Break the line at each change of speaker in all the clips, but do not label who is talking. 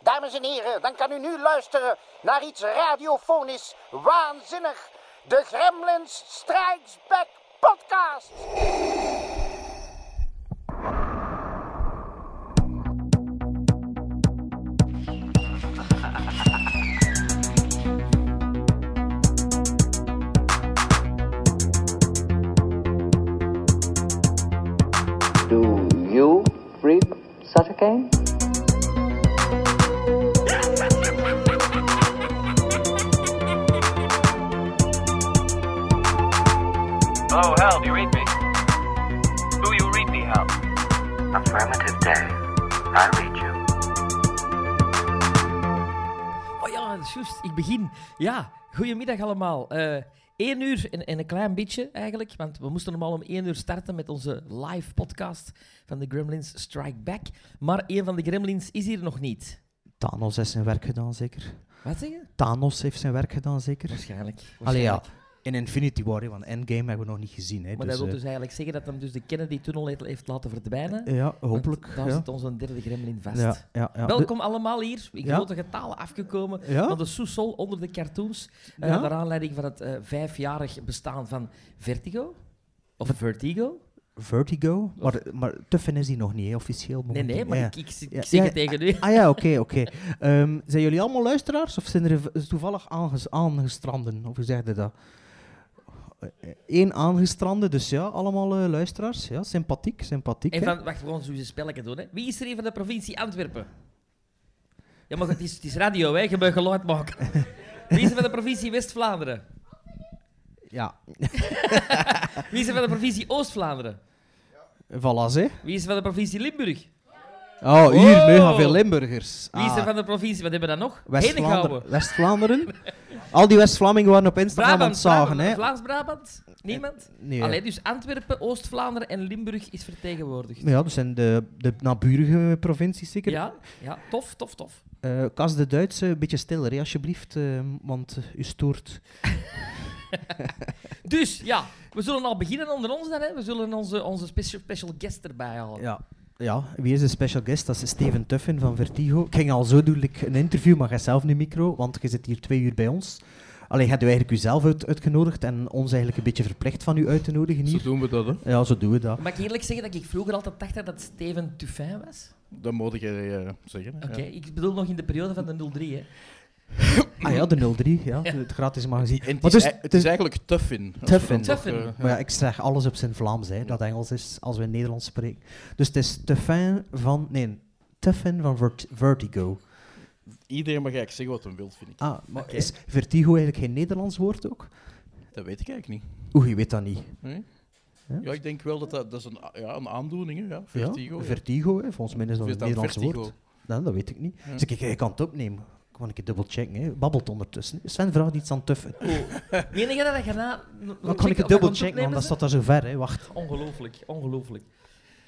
Dames en heren, dan kan u nu luisteren naar iets radiofonisch waanzinnig. De Gremlins Strikes Back podcast.
Do you read such a game?
Hello, Hal, Oh, do you read me? Do you read me, Hal?
Affirmative day. I read you.
Oh ja, dat is juist. Ik begin. Ja, goedemiddag allemaal. Eh 1 uur en, en een klein beetje eigenlijk, want we moesten normaal om 1 uur starten met onze live podcast van de Gremlins Strike Back. Maar een van de Gremlins is hier nog niet.
Thanos heeft zijn werk gedaan, zeker.
Wat zeg je?
Thanos heeft zijn werk gedaan, zeker.
Waarschijnlijk.
Allee, ja.
waarschijnlijk.
In Infinity War, hè, want Endgame hebben we nog niet gezien. Hè, dus,
Maar dat wil
eh,
dus eigenlijk zeggen dat hem dus de Kennedy-tunnel heeft- heeft laten verdwijnen.
Ja,
Want
Ah, hopelijk.
Daar
ja.
zit onze derde gremlin vast.
Ja, ja, ja.
Welkom allemaal hier. Ik
Ja.
grote getalen afgekomen
Ja?
van de Soesol onder de cartoons. eh,
Ja?
Naar aanleiding van het eh, vijfjarig bestaan van Vertigo. Of Vertigo?
De- Vertigo. Maar, maar Tuffen is die nog niet, hè, officieel.
Nee, nee,
momenteel.
maar
Ja.
ik, ik, ik
Ja,
zeg
ja,
het tegen u.
Ah ja, oké, oké. Ehm, zijn jullie allemaal luisteraars of zijn er v- toevallig aanges aangestranden? Of hoe zeg je dat? Eén aangestrande, dus ja, allemaal eh, luisteraars. Ja, sympathiek, sympathiek.
En
hè.
van, wacht, we gaan zo'n spelletje doen. Hè. Wie is er hier van de provincie Antwerpen? Ja, maar het is, het is radio, hè. je moet geluid maken. Wie is er van de provincie West-Vlaanderen?
Ja,
Wie is er van de provincie Oost-Vlaanderen?
voilà, zeg.
Wie is er van de provincie Limburg?
Oh, hier,
Wow.
mega veel Limburgers.
Wie is er
Ah.
van de provincie... Wat hebben we dan nog? Henegouwen.
West-Vlaanderen. West-Vlaanderen. Al die West-Vlamingen waren op Instagram aan
Brabant,
het zagen, hè?
Brabant,
Eh,
Vlaams-Brabant? Niemand?
nee.
Allee, dus Antwerpen, Oost-Vlaanderen en Limburg is vertegenwoordigd.
Ja, dat zijn de, de naburige provincies zeker.
Ja, ja, tof, tof, tof.
Eh, Kas de Duitse, een beetje stiller, hè, alsjeblieft, eh, want eh, u stoort.
Dus ja, we zullen al beginnen onder ons dan. Hè. We zullen onze, onze special, special guest erbij halen.
Ja. ja, wie is de special guest? Dat is Steven Tuffen van Vertigo. Ik ging al zo doen, like, een interview, maar jij zelf nu micro, want je zit hier twee uur bij ons. Alleen had u eigenlijk uzelf uit, uitgenodigd en ons eigenlijk een beetje verplicht van u uit te nodigen
Zo
hier.
doen we dat, hè.
Ja, zo doen we dat.
Mag ik eerlijk zeggen dat ik vroeger altijd dacht dat dat Steven Tuffin was?
Dat moet je zeggen. hè.
Oké, ik bedoel nog in de periode van de 03. Hè.
Ah ja, de 03, ja, het gratis magazine.
En het,
Maar
is,
dus-
ei- het is eigenlijk Tuffin. als we
Tuffin.
dan toch,
Tuffin.
eh,
Maar ja, ik zeg alles op zijn Vlaams, hè, dat Engels is, als we Nederlands spreken. Dus het is te fijn van... Nee, te fijn van vert- Vertigo.
Iedereen mag eigenlijk zeggen wat hij wil, vind ik.
Ah, maar is Vertigo eigenlijk geen Nederlands woord ook?
Dat weet ik eigenlijk niet.
Oeh, je weet dat niet.
Nee?
Ja?
Ja? ik denk wel dat dat, dat is een, a- ja, een aandoening is. Ja. Vertigo.
Ja?
Ja,
Vertigo, hè, volgens mij is dat
Of is
een
dat
Nederlands
vertigo?
woord. Nee, dat weet ik niet.
Ja.
Dus ik, ik kan het opnemen. Ik kan een keer dubbelchecken. hè. Babbelt ondertussen. Sven vraagt iets aan Tuffen.
Meen je dat je daarna...
Dan kan ik het dubbelchecken, want dat staat daar zo ver. Hè. Wacht.
Ongelooflijk, ongelooflijk.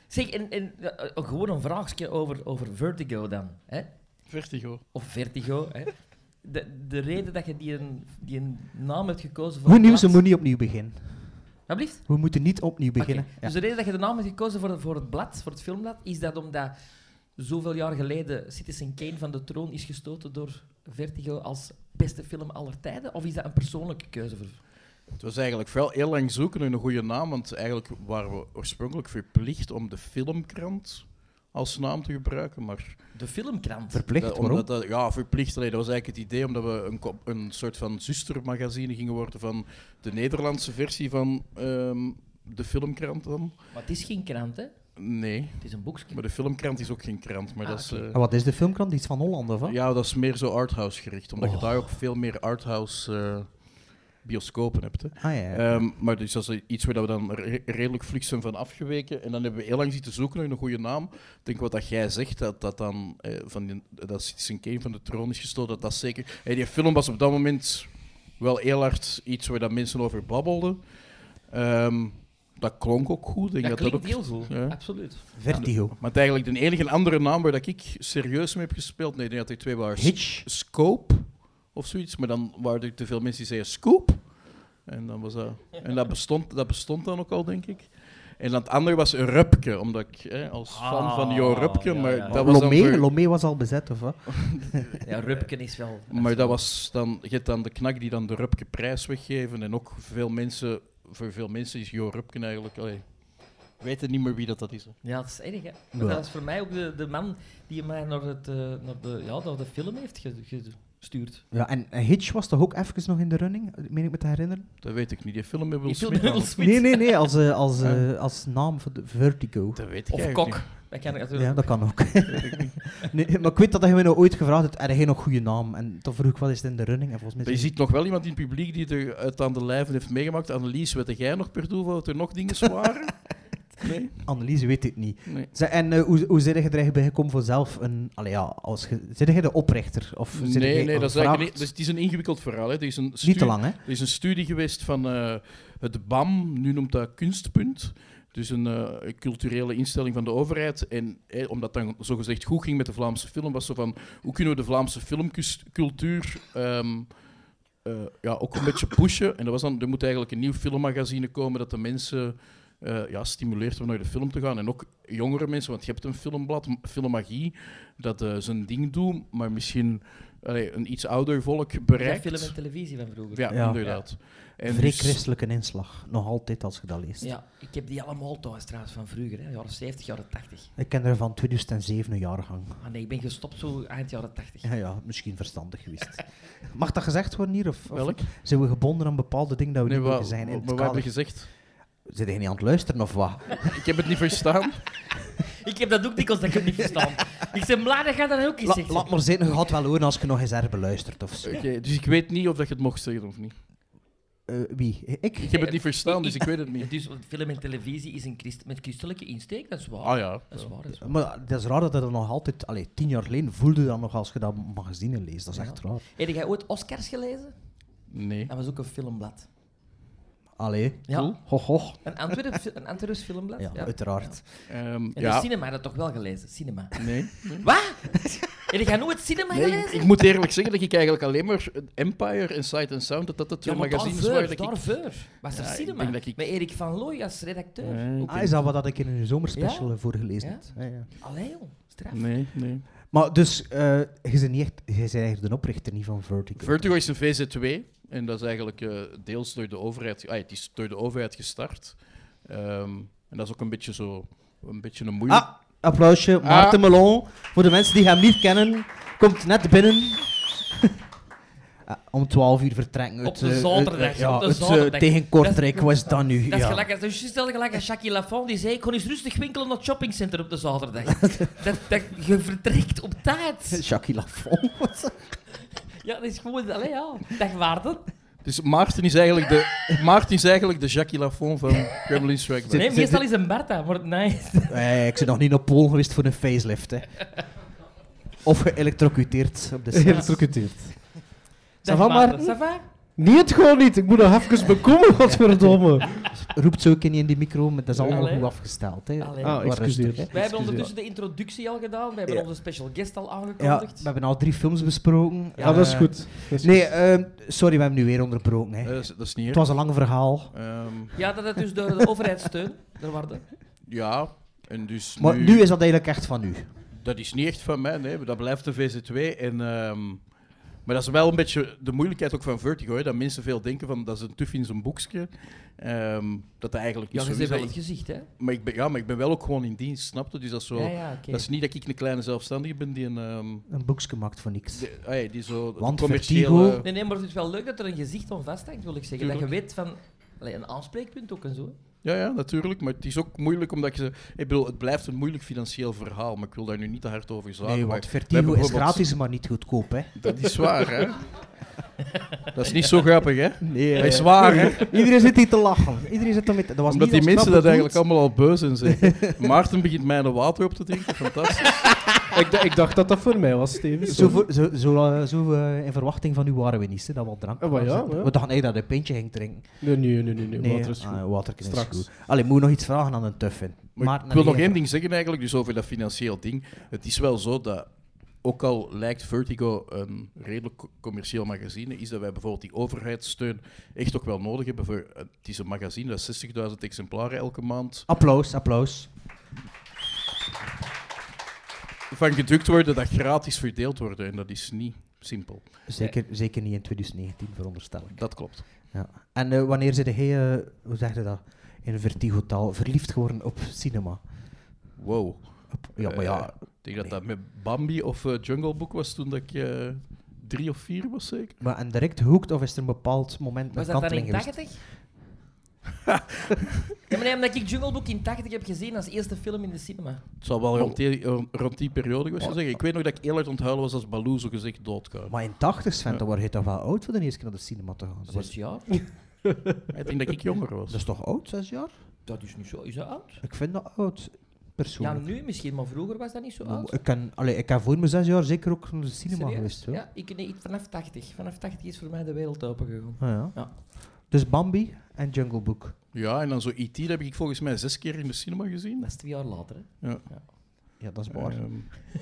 Zeg, en, en, eh, eh, gewoon een vraagje over, over Vertigo dan. Hè?
Vertigo.
Of Vertigo. Hè? De, de reden dat je die, een, die een naam hebt gekozen voor...
Hoe
het
nieuws, we
blad-
moeten niet opnieuw beginnen.
Alsjeblieft.
We moeten niet opnieuw beginnen.
Oké,
Ja.
Dus de reden dat je de naam hebt gekozen voor, voor het blad, voor het filmblad, is dat omdat zoveel jaar geleden Citizen Kane van de troon is gestoten door Vertigo als beste film aller tijden? Of is dat een persoonlijke keuze voor...
Het was eigenlijk wel heel lang zoeken naar een goede naam, want eigenlijk waren we oorspronkelijk verplicht om de filmkrant als naam te gebruiken, maar...
De filmkrant.
Verplicht,
dat-
waarom?
Eh, omdat dat, ja, verplicht. Allee, dat was eigenlijk het idee, omdat we een, kop- een soort van zustermagazine gingen worden van de Nederlandse versie van ehm, de filmkrant dan.
Maar het is geen krant, hè?
Nee,
Het is een boekje.
maar de filmkrant is ook geen krant. Maar
Ah,
dat is,
oké.
eh,
En wat is de filmkrant? Iets van Holland of Oh, wat? Oh.
ja, dat is meer zo arthouse gericht, omdat je daar ook veel meer arthouse eh, bioscopen hebt. Hè.
Ah ja, ja.
Ehm, maar dus dat is iets waar we dan re- redelijk vlug zijn van afgeweken. En dan hebben we heel lang zitten zoeken naar een goede naam. Ik denk wat dat jij zegt, dat dat dan eh, van die, dat Citizen Kane van de troon is gestoten, dat dat zeker... Hey, die film was op dat moment wel heel hard iets waar dat mensen over babbelden. Ehm, dat klonk ook goed. Ik Denk
dat
dat, dat
klinkt
ook,
heel zo,
Ja.
absoluut.
Vertigo.
Maar het eigenlijk de enige andere naam waar dat ik serieus mee heb gespeeld, nee, ik denk dat er twee waren.
Hitch.
Scope of zoiets, maar dan waren er te veel mensen die zeiden Scoop. En, dan was dat, en dat, bestond, dat bestond dan ook al, denk ik. En dat andere was Rupke, omdat ik eh, als fan van Jo
Ah,
Rupke,
ja,
maar
ja.
dat was dan
Lomé,
voor-
Lomé was al bezet, of wat?
Ja, Rupken is wel...
Maar dat was dan, je hebt dan de knak die dan de Rupke prijs weggeven. En ook veel mensen, voor veel mensen is Jo Rupke eigenlijk. Allee, weten niet meer wie dat, dat is. hè.
Ja, dat is erg, hè.
Ja.
Maar dat is voor mij ook de, de man die mij naar, het, eh, naar, de, ja, naar de film heeft ge- ge- gestuurd.
Ja, en en Hitch was toch ook even nog in de running, meen ik me te herinneren?
Dat weet ik niet. Die film met Will
Die film
Smith. nou.
met Will
al.
Smith.
Nee, nee, nee, als, eh, als, eh, als naam voor de Vertigo.
Dat weet ik
Of
eigenlijk
Kok. Dat kan ik natuurlijk
Ja, dat kan ook. nee, maar ik weet dat hij mij nou ooit gevraagd heeft, er geen nog goede naam? En toen vroeg ik, wat is het in de running? En volgens
niet.
mij
Je
zei
ziet nog wel iemand in het publiek die er het aan de lijven heeft meegemaakt. Annelies, weet jij nog per toeval dat er nog dingen waren? Nee?
hij, Annelies weet dit niet.
Nee.
Zeg, en eh, hoe, hoe zit je er eigenlijk bij gekomen voor zelf een... Allee, ja, als ge, zit jij de oprichter? Of zit jij
Nee, nee, dat is
gevraagd?
eigenlijk niet, dus het is een ingewikkeld verhaal. Hè. Het is een
Niet te
stu-
lang, hè?
Er is een studie geweest van eh, het BAM, nu noemt dat Kunstpunt. Dus een eh, culturele instelling van de overheid. En eh, omdat dan zogezegd goed ging met de Vlaamse film, was zo van hoe kunnen we de Vlaamse filmcultuur ehm, eh, ja, ook een beetje pushen. En dat was dan, er moet eigenlijk een nieuw filmmagazine komen dat de mensen eh, ja, stimuleert om naar de film te gaan. En ook jongere mensen, want je hebt een filmblad, M- Filmmagie, dat eh, zijn ding doet, maar misschien allee, een iets ouder volk
Ja,
bereikt.
film en televisie van vroeger.
Ja,
Ja.
inderdaad. En
Vrij
dus-
christelijke inslag. Nog altijd als je dat leest.
Ja, ik heb die allemaal thuis trouwens van vroeger, hè. jaren 70, jaren 80.
Ik ken er van 2007 een jaargang.
Maar nee, ik ben gestopt zo eind jaren 80.
Ja, ja, misschien verstandig geweest. Mag dat gezegd worden hier? Of, of
Welk?
zijn we gebonden aan bepaalde dingen dat we
Nee,
niet
wa-
mogen zijn in
maar
het
wat heb je
kader?
gezegd?
Zit jij niet aan het luisteren of wat?
Ik heb het niet verstaan.
Ik heb dat ook dikwijls dat ik het niet verstaan. ik ben blij dat jij dat ook eens
La,
zegt.
laat maar zitten, je gaat wel horen als je nog eens erbe luistert of zo.
Oké, dus ik weet niet of dat je het mocht zeggen of niet.
Eh, wie? Ik?
Ik heb het niet verstaan, dus ik weet het niet.
Dus film en televisie is een christ met christelijke insteek, dat is waar.
Ah ja.
Dat is waar, dat is waar.
Maar dat is raar dat dat nog altijd... Allee, tien jaar geleden voelde je dat nog als je dat magazine leest. Dat is echt raar.
Heb jij ooit Oscars gelezen?
Nee.
Dat was ook een filmblad.
Allee.
Ja.
Cool. Hoch, hoch.
Een Antwerps, een Antwerps filmblad?
Ja, uiteraard.
Ehm,
En de
ja.
cinema, dat toch wel gelezen? Cinema.
Nee.
Wat? Heb jij nooit cinema
nee ik,
gelezen?
ik moet eerlijk zeggen dat ik eigenlijk alleen maar Empire en Sight and Sound, dat dat de twee
maar
magazines
daarvoor,
waren dat ik...
daarvoor was er
Ja, ik
cinema.
denk dat ik-
Met Erik van Looy als redacteur. Ook-
Ah, is dat wat dat ik in een zomerspecial
Ja?
eh, voor gelezen
Ja?
heb? Ja, ja.
Allee, joh. Straf.
Nee, nee.
Maar dus, eh, je bent niet echt... Je bent eigenlijk de oprichter niet van Vertigo.
Vertigo is een VZ2 en dat is eigenlijk eh, deels door de overheid... Ah, het is door de overheid gestart. Ehm, en dat is ook een beetje zo... Een beetje een moeilijk...
Ah, applausje. Maarten Melon. Voor de mensen die hem niet kennen, komt net binnen. Ah, Om 12 uur vertrekken.
Op
Het,
de
eh,
zaterdag,
het, ja,
op de
het, eh,
zaterdag.
tegen Kortrijk,
Dat-
wat is dat nu?
Dat is
Ja.
gelijk, als- dat is juist hetzelfde gelijk als Jackie Lafont die zei, ik kon eens rustig winkelen naar het shoppingcenter op de zaterdag. dat, dat, je vertrekt op tijd.
Jackie Lafont.
Ja, dat is gewoon, allee ja. Dag Waarden.
Dus Maarten is eigenlijk de, Maarten is eigenlijk de Jackie Lafont van Gremlin Strike Back.
Nee,
zit-
meestal is een Bertha, maar nee.
Eh, ik ben nog niet op Polen geweest voor een facelift. Hè. Of geëlectrocuteerd op de set.
Geëlectrocuteerd.
Dag
va,
Maarten,
Maarten?
ça va?
Nee, het gewoon niet. Ik moet nog even bekomen, godverdomme.
Roept ze ook niet in die micro, maar dat is allemaal
Allee.
goed afgesteld. Hè.
Allee.
Ah,
Wat rustig,
excuseer.
hè.
Wij hebben
Excuseer.
ondertussen de introductie al gedaan, we hebben
Ja.
onze special guest al
Ja, we
aangekondigd.
hebben al drie films besproken.
Ja, Ah, dat is
Eh,
goed. Dat is
Nee,
goed.
eh, sorry, we hebben nu weer onderbroken. Hè.
Eh, dat, is, dat is niet
Het
erg.
was een lang verhaal.
Ehm,
Ja, dat is dus door de overheid steun. Daar waren
ja, en dus
Maar
nu,
nu is dat eigenlijk echt van u.
Dat is niet echt van mij, nee, maar dat blijft de VZ2. En, ehm, maar dat is wel een beetje de moeilijkheid ook van Vertigo, hè, dat mensen veel denken van dat is een tuf in zijn boekje. Ehm, dat dat eigenlijk
Ja,
niet
je
zo is.
zit wel
Ik-
het gezicht, hè?
maar, ik ben, ja, maar ik ben wel ook gewoon in dienst, snap je? Dus dat is, zo,
Ja, ja, oké.
dat is niet dat ik een kleine zelfstandige ben die een... ehm,
Een boekje gemaakt voor niks.
die, ah, ja, die zo de
Want
commerciële...
Vertigo-
Nee, nee, maar het is wel leuk dat er een gezicht aan vasthangt, wil ik zeggen. Dat je weet van... Allee, een aanspreekpunt ook en zo. hè.
Ja, ja, natuurlijk. Maar het is ook moeilijk omdat je. Ik bedoel, het blijft een moeilijk financieel verhaal. Maar ik wil daar nu niet te hard over zagen.
Nee,
maar
want
we
Vertigo
hebben
is
bijvoorbeeld-
gratis, maar niet goedkoop, hè.
Dat is waar, hè? dat is niet zo grappig, hè?
Nee,
Dat is waar, hè?
Iedereen zit hier te lachen. Iedereen zit er met... Dat was
Omdat die
niet als
mensen
knap
dat
bedoeld.
eigenlijk allemaal al beu zijn. Zeg. Maarten begint mij een water op te drinken. Fantastisch.
ik, d- ik dacht dat dat voor mij was, Steven.
Zo, voor- zo, zo, eh, zo eh, in verwachting van u waren we niet, hè, dat we al drank
Ah, maar ja,
hadden.
maar ja.
We dachten eigenlijk dat hij een pintje ging drinken.
Nee, nee, nee, nee. nee,
Nee,
water is goed.
ah, waterken is
Straks.
goed. Allee, moet je nog iets vragen aan een tuffin?
Maar ik wil nog één ding zeggen eigenlijk, dus over dat financieel ding. Het is wel zo dat ook al lijkt Vertigo een redelijk co- commercieel magazine, is dat wij bijvoorbeeld die overheidssteun echt ook wel nodig hebben. Voor, het is een magazine dat is 60.000 exemplaren elke maand
Applaus, applaus.
van gedrukt worden, dat gratis verdeeld worden. En dat is niet simpel.
Zeker, zeker niet in 2019, veronderstel ik.
Dat klopt.
Ja. En eh, wanneer zit jij, eh hoe zeg je dat, in vertigotaal verliefd geworden op cinema?
Wow.
Ja, maar ja,
Eh, Ik denk dat dat met Bambi of eh, Jungle Book was toen dat ik eh, drie of vier was, zeker.
maar en direct hoekt of is er een bepaald moment een
Was dat dan
kanteling
in
geweest?
80? ja, maar nee, omdat ik Jungle Book in 80 heb gezien als eerste film in de cinema.
Het zal wel rond die, rond die periode geweest
Oh.
zijn. Ik weet nog dat ik heel erg onthouden was als Baloo zo gezegd doodkwam.
Maar in 80, Sven, dan word je toch wel oud voor de eerste keer naar de cinema te gaan? Dat,
Zes jaar?
Ik denk dat ik jonger was.
dat is toch oud, zes jaar?
Dat is niet zo. Is dat oud?
Ik vind dat oud,
Ja,
persoonlijk.
nu misschien, maar vroeger was dat niet zo oud.
ik, kan, allee, ik heb voor mijn zes jaar zeker ook naar de cinema
Serieus?
geweest. hoor.
Ja, ik, nee, ik- vanaf 80. Vanaf 80 is voor mij de wereld open gegaan.
Ah, ja.
Ja.
Dus Bambi en Jungle Book.
Ja, en dan zo E.T. dat heb ik volgens mij zes keer in de cinema gezien.
Dat is twee jaar later. Hè.
Ja, dat is waar.
Ehm,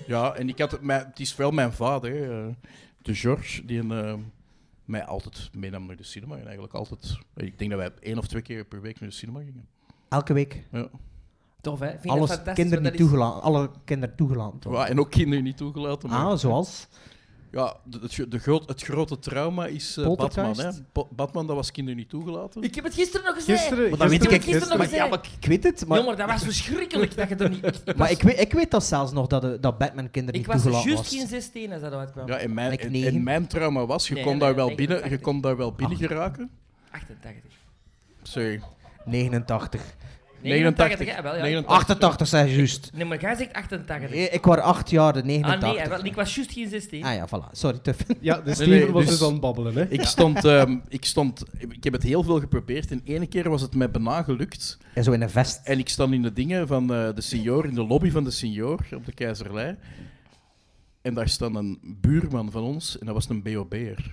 ja, en ik had het, mijn, het is wel mijn vader, hè, eh, de George, die een, eh, mij altijd meenam naar de cinema. En eigenlijk altijd, ik denk dat wij één of twee keer per week naar de cinema gingen.
Elke week.
Ja.
Tof, hè? Vind je dat
Alles
fantastisch,
kinderen
want
niet
dat is-
toegelaten. Alle kinderen toegelaten. toch?
Ja, en ook kinderen niet toegelaten. maar-
Oh. Ah, zoals?
Ja, de, het gro- de groot, het grote trauma is eh, Batman.
Poltergeist?
Hè. Bo- Batman, dat was kinderen niet toegelaten.
Ik heb het gisteren nog gezegd.
Gisteren...
Maar dat weet ik
gisteren-
echt
gisteren nog
maar,
gezegd.
ja, maar ik weet het. Maar,
Jongen, dat was verschrikkelijk dat je er niet... Ik, ik
maar
was,
ik, weet, ik weet dat zelfs nog, dat, eh, dat Batman kinderen
ik
niet
was
toegelaten
juist
was.
geen 16 als dat uitkwam.
Ja, en mijn,
Ik
en,
negen.
en mijn trauma was, je
Nee,
kon
nee, Ah.
daar
nee,
wel
ik
binnen,
ben
je kon daar wel binnen
Ach.
geraken.
88.
Sorry.
89.
89.
hè, wel, ja.
88, zei je juist.
Nee, maar jij zegt 88.
Eh, Ik was acht jaar, de
ah nee, hè,
89. Ah,
wel, ik was juist geen 16.
ja, voilà. Sorry, Tuffin.
Ja, de
Nee,
Steven
nee,
was
dus-
dus aan het babbelen, hè.
Ik stond, ehm, ik stond, ik heb het heel veel geprobeerd. En ene keer was het mij bijna gelukt.
En zo in een vest.
En ik stond in de dingen van eh, de senior, in de lobby van de senior op de Keizerlei. En daar stond een buurman van ons en dat was een BOB'er.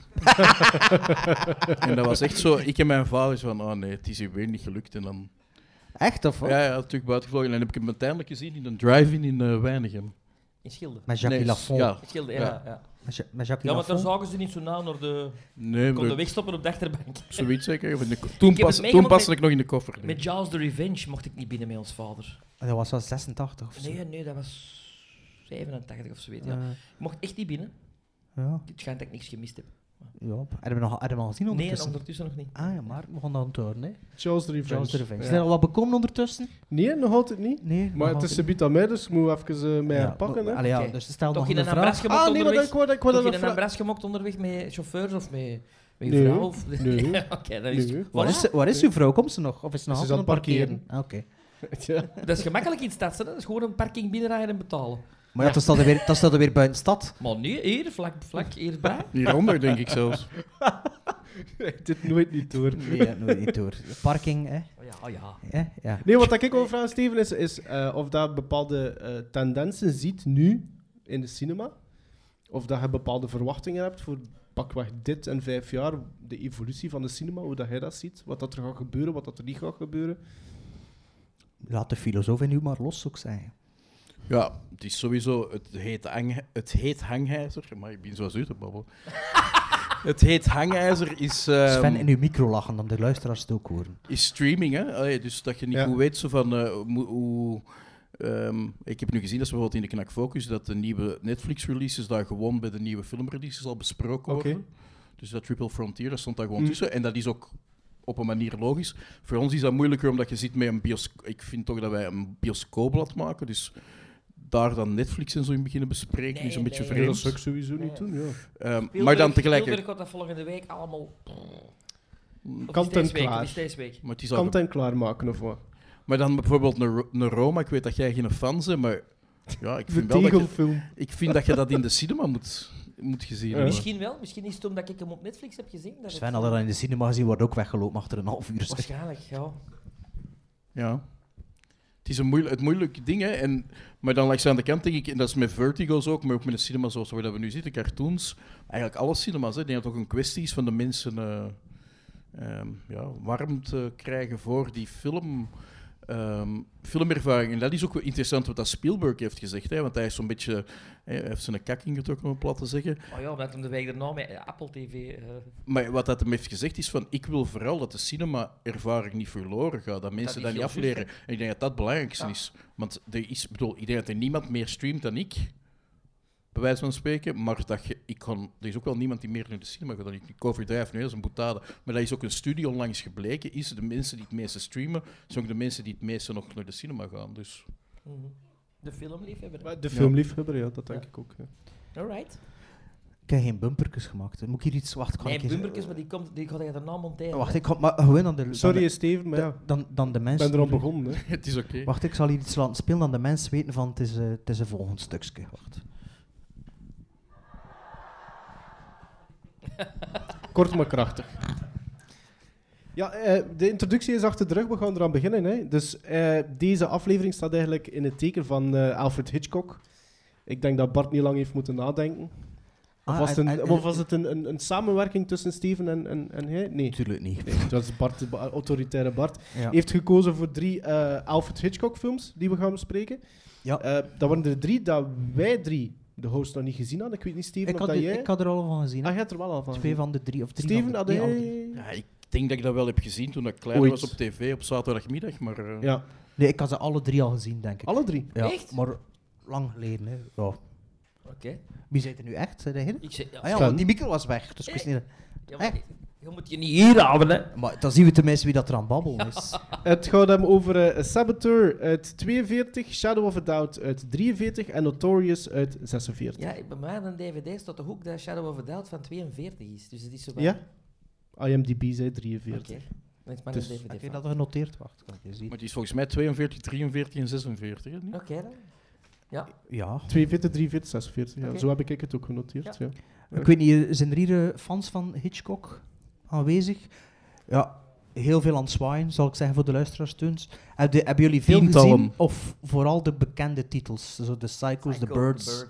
en dat was echt zo, ik en mijn vader zo van, oh nee, het is hier weer niet gelukt. En dan,
Echt, of wat?
ja, ja, natuurlijk buitengevlogen. En dan heb ik hem uiteindelijk gezien in een drive-in in eh, Weinigem.
In Schilder.
Met Jacques
Nee,
Lafont.
Ja,
In Schilder,
Ja.
ja. Ja, ja.
Met, Ja- met Jacques
maar daar
Lafont.
zagen ze niet zo nauw naar de...
nee, maar
konden wegstoppen op de achterbank.
zoiets zeker. Of in de ko- toen, pas, toen
meegemaakt
paste
met-
ik nog in de koffer. denk ik.
Met Jaws the Revenge mocht ik niet binnen met ons vader.
Dat was wel 86 of zo.
Nee, nee, dat was 87 of zo weet je.
Eh,
Ik mocht echt niet binnen.
ja.
Het schijnt dat ik niks gemist heb.
Ja, hebben we, nog, hebben we al gezien
Nee, en
ondertussen?
ondertussen nog niet.
Ah ja, maar we gaan dan toren, hè.
Charles de Revenge.
Charles de Revenge.
Ja.
Zijn er al wat bekomen ondertussen?
Nee, nog altijd niet.
Nee. nog
Maar het
altijd
is subiet aan mij, dus ik moet even eh, mij herpakken,
maar-
hè.
allee, ja,
Oké.
dus stel
Toch
nog
in
een
een
vraag.
ambras gemokt
Ah, nee, maar dat,
onderweg?
ik wou dat, ik wou
Toch
dat
in
nog
een
vragen.
ambras gemokt onderweg met chauffeurs of met, met uw
Nee,
vrouw? Of...
nee.
Oké, dat is...
Nee.
Waar
Voilà.
is, ze- waar is uw vrouw? Komt ze nog? Of is ze nog
Ze is
altijd
aan het
het Ah, Oké.
Ja.
Dat is gemakkelijk in stad, hè. dat is gewoon een parking binnenrijden en betalen.
Maar ja, dat staat er weer, dat staat er weer buiten stad.
Maar nu, hier, vlak, vlak hierbij.
Hieronder denk ik zelfs.
Dit nooit niet door.
Nee, dat nooit niet door. Parking, hè?
Oh ja, oh ja.
hè? Ja.
Nee, wat ik wil vragen, Steven, is, is eh, of dat bepaalde eh, tendensen ziet nu in de cinema. Of dat je bepaalde verwachtingen hebt voor pakweg dit en vijf jaar, de evolutie van de cinema, hoe dat jij dat ziet, wat dat er gaat gebeuren, wat dat er niet gaat gebeuren.
Laat de filosoof in u maar los ook zijn.
Ja, het is sowieso het heet, hang, het heet hangijzer. Maar ik ben zo zuur te babbelen. het heet hangijzer is, ehm,
Sven in uw micro lachen, dan de luisteraars het ook horen.
is streaming. Hè? Allee, dus dat je niet
Ja.
goed weet zo van eh, hoe. hoe, ehm, ik heb nu gezien dat ze bijvoorbeeld in de Knak Focus dat de nieuwe Netflix-releases daar gewoon bij de nieuwe filmreleases al besproken worden.
Oké.
Dus dat Triple Frontier, dat stond daar gewoon
Mm.
tussen. En dat is ook op een manier logisch. Voor ons is dat moeilijker omdat je zit met een bioscoop. Ik vind toch dat wij een bioscoopblad maken. Dus daar dan Netflix en zo in beginnen bespreken
Nee,
is een beetje
nee.
Nee, dat
vreemd.
zou ik sowieso niet doen, ja.
Ehm, maar dan tegelijkertijd.
Ik dat volgende week allemaal... Of is
Kant en
deze week? Of
klaar.
is deze week?
Maar, het is al
Kant
ge-
en klaar maken of wat.
maar dan bijvoorbeeld naar, Ro- naar Roma. Ik weet dat jij geen fan bent, maar ja, ik
De
vind wel dat je,
tegelfilm.
ik vind dat je dat in de cinema moet, moet gezien
Ja.
hebben.
Misschien wel. Misschien is het omdat ik hem op Netflix heb gezien. Dat
Sven
het...
had dat in de cinema gezien, wordt ook weggelopen achter een half uur. zeg.
Waarschijnlijk, ja.
Ja. Het is een moeil- het moeilijke ding, hè. En, maar dan langs aan de kant denk ik, en dat is met Vertigo's ook, maar ook met de cinema zoals waar dat we nu zitten, cartoons, eigenlijk alle cinema's, hè. Ik denk dat het ook een kwestie is van de mensen eh, ehm, ja, warm te krijgen voor die film. Ehm, ehm, filmervaring. En dat is ook wel interessant wat dat Spielberg heeft gezegd. Hè, want hij is zo'n beetje... eh, Hij heeft zijn kak ingetrokken, om het plat te zeggen.
Oh ja, omdat hem de week daarna met eh, Apple TV... eh,
Maar wat dat hem heeft gezegd is van... Ik wil vooral dat de cinema-ervaring niet verloren gaat. Dat mensen
is
dat, niet
heel
afleren.
juist,
En ik denk dat dat het belangrijkste
Ja.
is. Want er is... Ik bedoel, ik denk dat er niemand meer streamt dan ik. Bij wijze van spreken. Maar dat je, ik kan, er is ook wel niemand die meer naar de cinema gaat dan ik. Ik overdrijf nu, dat is een boetade. Maar dat is ook een studie onlangs gebleken. Is de mensen die het meeste streamen... zijn ook de mensen die het meeste nog naar de cinema gaan. Dus...
mhm. De filmliefhebber.
Maar De filmliefhebber, ja, dat denk ik ook. ja.
Alright.
Ik heb geen bumperkes gemaakt. hè. Moet ik hier iets... Wacht, kan ik
Nee,
eens- Oh,
Bumberkes, maar die, komt, die gaat hij daarna monteren.
Wacht, ik ga maar gewoon aan de... aan
Sorry,
de-
Steven, maar ja,
dan, dan de
ik
mensen...
ben erop begonnen. Hè.
Het is oké.
Wacht, ik zal hier iets laten spelen, dan de mensen weten van het is, eh, het is een volgend stukje. Wacht.
Kort maar krachtig. Ja, eh, de introductie is achter de rug, we gaan eraan beginnen. Hè. Dus eh, deze aflevering staat eigenlijk in het teken van eh, Alfred Hitchcock. Ik denk dat Bart niet lang heeft moeten nadenken. Of
Ah,
was het
en-
een,
en-
of was het een, een, een samenwerking tussen Steven en, en, en hij? Nee.
Natuurlijk niet.
Nee, dat is Bart, de ba- autoritaire Bart.
Ja.
Heeft gekozen voor drie eh, Alfred Hitchcock films die we gaan bespreken.
Ja.
Eh, dat waren er drie dat wij drie, de host, nog niet gezien hadden. Ik weet niet, Steven,
ik,
of
had
dat
er-
jij...
ik had er al van gezien. hè.
Ah, jij hebt er wel al van
Twee
gezien.
van de drie of drie.
Steven,
van
ah, had
de, nee, al drie.
jij...
Ja, ik denk dat ik dat wel heb gezien toen ik klein
Ooit.
was op tv op zaterdagmiddag. Maar eh,
Ja,
Nee, ik had ze alle drie al gezien, denk ik.
alle drie.
ja,
Echt?
Maar lang geleden, hè. Ja.
Oké.
Wie zit er nu echt? Zijn jij er?
Ik zeg, ja,
Ah ja,
Sven.
want die micro was weg, dus ik wist niet...
ja, maar
echt?
je moet je niet hier houden, hè.
Maar dan zien we tenminste wie dat er aan het babbelen is.
Het gaat hem over eh, Saboteur uit 42, Shadow of a Doubt uit 43 en Notorious uit 46. Ja?
Ja, bij mij aan een dvd staat de hoek dat Shadow of a Doubt van 42 is. Dus het is zo
IMDb zei 43.
Oké. Dat is maar
Dus-
een dvd
Heb je
van.
dat genoteerd? Wacht, kan ik je zien.
Maar die is volgens mij 42, 43 en 46. hè, niet?
Oké dan.
Ja.
42, 43, 46. Ja,
Oké.
Zo heb ik het ook genoteerd. Ja.
Ik weet niet, eh, zijn er hier eh, fans van Hitchcock aanwezig? Ja, heel veel aan het zwaaien, zal ik zeggen voor de luisteraars tunes. Heb je- Hebben jullie veel
Tientallen.
gezien? Of vooral de bekende titels? Zo de Psychos, The
Psycho,
Birds,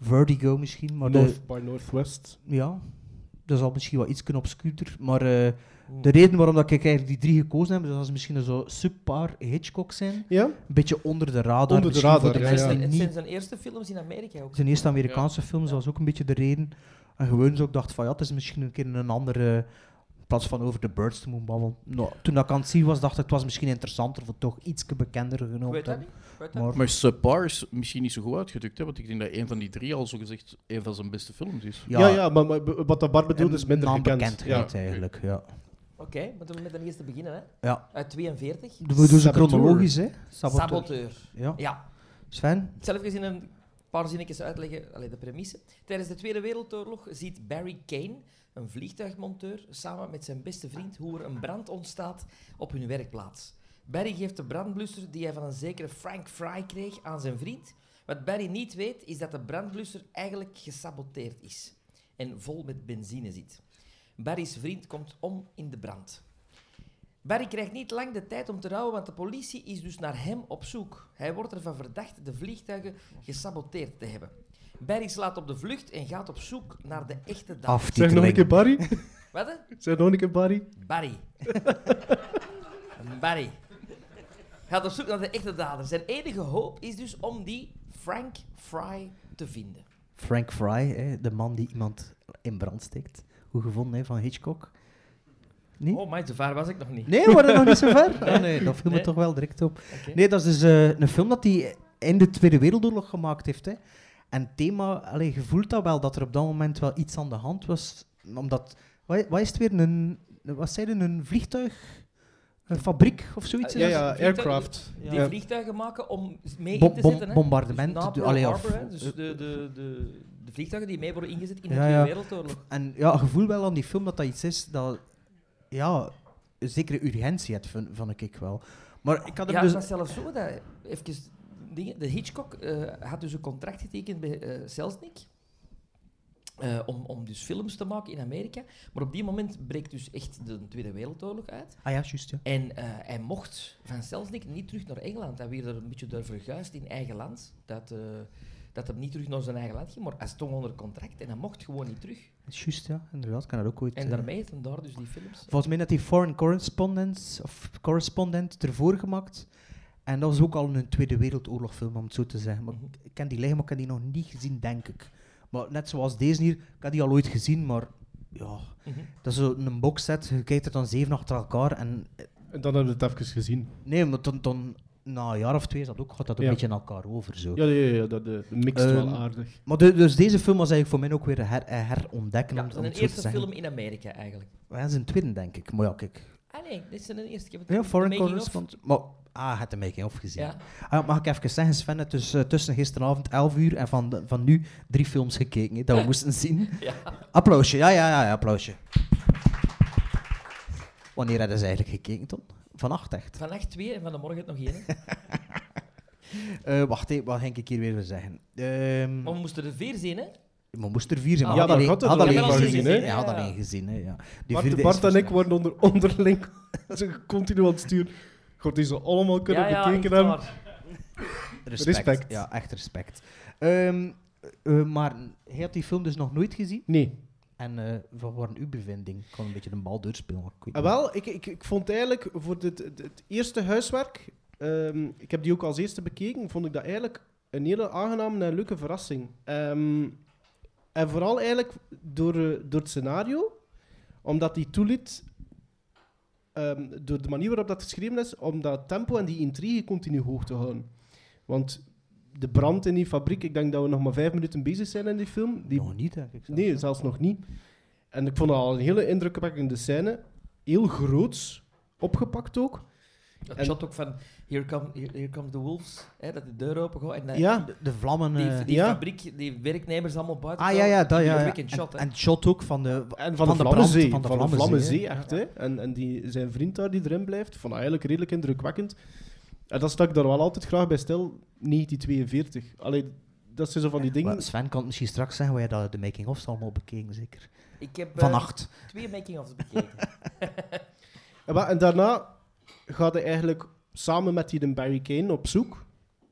Vertigo misschien. Maar de,
North Eh, by Northwest.
ja, dat is al misschien wat iets obscuurder. Maar eh, de reden waarom dat ik eigenlijk die drie gekozen heb, is dat ze misschien een zo subpar Hitchcock zijn.
Ja?
Een beetje onder de radar.
Onder de
misschien
radar,
voor de
ja,
mensen
ja.
die
Het
niet
zijn zijn eerste films in Amerika ook.
zijn eerste Amerikaanse film, dat was ook een beetje de reden. En gewoon zo, ik dacht van ja, het is misschien een keer een andere. In plaats van over de birds te moeten babbelen. Nou, toen dat ik aan het zien was, dacht ik het was misschien interessanter of het toch iets bekender
Ik
genomen
weet
te
dat
hebben.
niet. Ik weet dat
Maar
Maar Subpar is misschien niet zo goed uitgedrukt, hè? want ik denk dat een van die drie al zogezegd een van zijn beste films is.
Ja, ja, maar, maar b- wat dat Bart bedoelt is minder
een
gekend.
bekendheid
Ja.
eigenlijk. Ja.
niet. Oké, moeten we met de eerste beginnen, hè.
Ja.
Uit 42.
We doen ze
Saboteur.
chronologisch, hè?
Saboteur.
Ja.
Ja,
Sven?
zelf gezien een paar zinnetjes uitleggen, allee, de premisse. Tijdens de Tweede Wereldoorlog ziet Barry Kane, een vliegtuigmonteur, samen met zijn beste vriend hoe er een brand ontstaat op hun werkplaats. Barry geeft de brandblusser die hij van een zekere Frank Fry kreeg aan zijn vriend. Wat Barry niet weet, is dat de brandblusser eigenlijk gesaboteerd is en vol met benzine zit. Barry's vriend komt om in de brand. Barry krijgt niet lang de tijd om te rouwen, want de politie is dus naar hem op zoek. Hij wordt ervan verdacht de vliegtuigen gesaboteerd te hebben. Barry slaat op de vlucht en gaat op zoek naar de echte dader.
Zeg nog een keer
Aftiteling.
Barry.
Wat? hè?
Zeg nog een keer Barry.
Barry. Barry. Gaat op zoek naar de echte dader. Zijn enige hoop is dus om die Frank Fry te vinden.
Frank Fry, hè, de man die iemand in brand steekt. Hoe gevonden hè, van Hitchcock? Nee?
Oh, maar zo ver was ik nog niet.
Nee, we waren nog niet zo ver. Ah, nee, dat viel me
Nee.
toch wel direct op.
Oké.
Nee, dat is dus eh, een film dat hij in de Tweede Wereldoorlog gemaakt heeft. Hè. En het thema, allee, je voelt dat wel, dat er op dat moment wel iets aan de hand was. Omdat, wat, wat is het weer, een, wat zei je, een vliegtuig, een fabriek of zoiets?
Ah,
Ja,
is dat?
ja, aircraft.
Die
Ja.
vliegtuigen maken om s- mee
Bom-
in te
bom-
zetten. hè.
bombardementen,
Dus na
de-
Pearl
allee, of-
Harbor, hè, dus de, de, de, de vliegtuigen die mee worden ingezet in
Ja,
de Tweede
ja.
Wereldoorlog.
En ja, je voelt wel aan die film dat dat iets is dat, ja, een zekere urgentie had, vond, vond ik wel. Maar ik had hem
Ja,
dus...
dat is zelfs zo. Dat, even dingen, de Hitchcock eh, had dus een contract getekend bij eh Selznick. eh, om, om dus films te maken in Amerika. Maar op die moment breekt dus echt de Tweede Wereldoorlog uit.
Ah ja, juist, ja.
En eh, hij mocht van Selznick niet terug naar Engeland. Hij werd er een beetje door verguisd in eigen land. Dat, eh, dat hij niet terug naar zijn eigen land ging. Maar hij stond onder contract en hij mocht gewoon niet terug.
Juist, ja, inderdaad, ik kan dat ook ooit...
En
eh,
daarmee heeft hij daar dus die films.
Volgens mij had hij Foreign Correspondence of Correspondent ervoor gemaakt. En dat was ook al een Tweede Wereldoorlogfilm, om het zo te zeggen.
Mhm.
Maar ik ken die liggen, maar ik heb die nog niet gezien, denk ik. Maar net zoals deze hier, ik had die al ooit gezien, maar ja,
Mhm.
dat is zo'n boxset. Je kijkt er dan zeven achter elkaar en
En dan hebben we het even gezien.
Nee, maar dan, dan, na een jaar of twee is dat ook, gaat dat een
Ja.
beetje in elkaar over. Zo.
Ja, ja, ja dat eh, mixt
Ehm,
wel aardig.
Maar de- dus deze film was eigenlijk voor mij ook weer een her, een herontdekken.
Ja,
om,
dat
om het
is
zo
een
te
eerste
zeggen.
film in Amerika eigenlijk.
Ja, dat is een tweede, denk ik. Maar ja, kijk.
Ah nee, dit is een eerste. Ik heb het
Ja,
de
Foreign
making of.
Correspondent. Maar, ah, je hebt de making-of gezien.
Ja.
Ah, mag ik even zeggen, Sven, het is eh, tussen gisteravond 11 uur en van, de- van nu drie films gekeken, hè, dat we moesten zien.
Ja.
Applausje, ja, ja, ja, ja, applausje. Wanneer hadden ze eigenlijk gekeken, Ton? Vannacht echt.
Vannacht twee en van de morgen nog één. hè.
Eh, wacht, hé, wat ging ik hier weer zeggen? Ehm,
Maar we moesten er vier zien, hè?
Maar moest er vier zijn.
Ah.
maar
Ja,
had
daar
alleen-
had het
had
er
alleen
wel
één
gezien,
gezien,
hè?
hè? Ja, had
Ja.
alleen gezien, hè, ja. Die
Bart,
vierde is
Bart en ik
verstrekt.
worden onder, onderling ze continu aan het sturen. God, die ze allemaal kunnen
ja, ja,
bekeken
echt
hebben.
waar.
Respect.
respect.
Ja, echt respect. Ehm, eh, maar hij had die film dus nog nooit gezien.
Nee.
En eh wat waren uw bevinding? Ik kon een beetje de bal doorspelen. maar ik weet
Ah,
niet.
wel, ik, ik, ik vond eigenlijk voor dit, het- het eerste huiswerk, ehm, ik heb die ook als eerste bekeken, vond ik dat eigenlijk een hele aangename en leuke verrassing. Ehm, en vooral eigenlijk door, eh, door het scenario, omdat die toeliet, ehm, door de manier waarop dat geschreven is, om dat tempo en die intrigue continu hoog te houden. Want de brand in die fabriek, ik denk dat we nog maar vijf minuten bezig zijn in die film, die
Nog niet, denk ik. zelfs,
Nee,
hè.
zelfs nog niet. En ik vond dat al een hele indrukwekkende scène. Heel groots opgepakt ook.
Dat
En-
shot ook van Here Come, here, Here Comes the Wolves, hè, dat de deur open gaat en dat-
Ja.
De, de vlammen... eh,
die, die
ja.
fabriek, die werknemers allemaal buiten.
ah, ja, ja, dat, ja. ja.
En,
En,
shot, hè.
en het shot ook van de...
En
Van
van, de,
de
Vlammenzee.
brand, van de
Van de
Vlammenzee,
Vlammenzee, echt. Hè? En, en die, zijn vriend daar die erin blijft, vond ik eigenlijk redelijk indrukwekkend. En dat stak daar wel altijd graag bij stil, 1942. Allee, dat zijn zo van die dingen.
Maar Sven kan het misschien straks zeggen, waar je dat de making-ofs allemaal bekeken, zeker.
ik heb eh,
Vannacht.
twee making-ofs bekeken.
En, wa- en daarna gaat hij eigenlijk samen met die de Barry Kane op zoek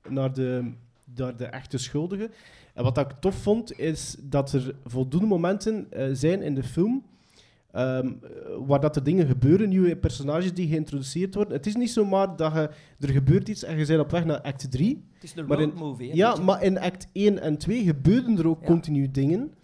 naar de, naar de echte schuldigen. En wat dat ik tof vond, is dat er voldoende momenten eh, zijn in de film ehm, eh, waar dat er dingen gebeuren, nieuwe personages die geïntroduceerd worden. Het is niet zomaar dat je, er gebeurt iets en je bent op weg naar act 3.
het is een
Maar in-
road movie. Hè,
Ja,
weet je.
maar in act 1 en 2 gebeuren er ook
Ja.
continu dingen,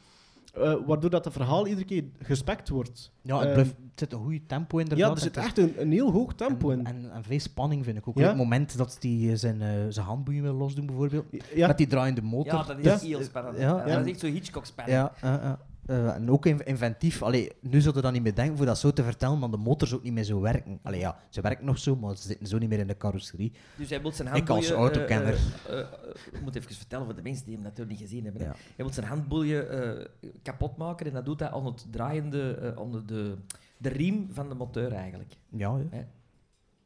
eh, waardoor dat het verhaal iedere keer gespekt wordt.
Ja, het,
Ehm,
blijft, het zit een goede tempo inderdaad.
Ja, er
en
zit
het is-
echt een, een heel hoog tempo
en,
in.
en, en veel spanning vind ik ook.
Ja?
Op het moment dat hij zijn, eh, zijn handboeien wil losdoen, bijvoorbeeld.
Ja.
Met die draaiende motor.
Ja, dat is
Ja.
heel spannend.
Ja,
Dat
en-
is echt zo Hitchcock-spannend.
Ja, eh, eh. Eh, en ook in- inventief. Allee, nu zullen we dat niet meer denken voor dat zo te vertellen, want de motor zou ook niet meer zo werken. Allee, ja, ze werken nog zo, maar ze zitten zo niet meer in de carrosserie.
Dus hij wil zijn
Ik als
handboeien...
autokenner.
eh, eh, eh, ik moet even vertellen voor de mensen die hem natuurlijk niet gezien hebben. hè.
Ja.
Hij wil zijn handboeien eh, kapot maken en dat doet hij aan het draaiende... eh, onder de, de riem van de motor eigenlijk.
Ja, ja.
Hè?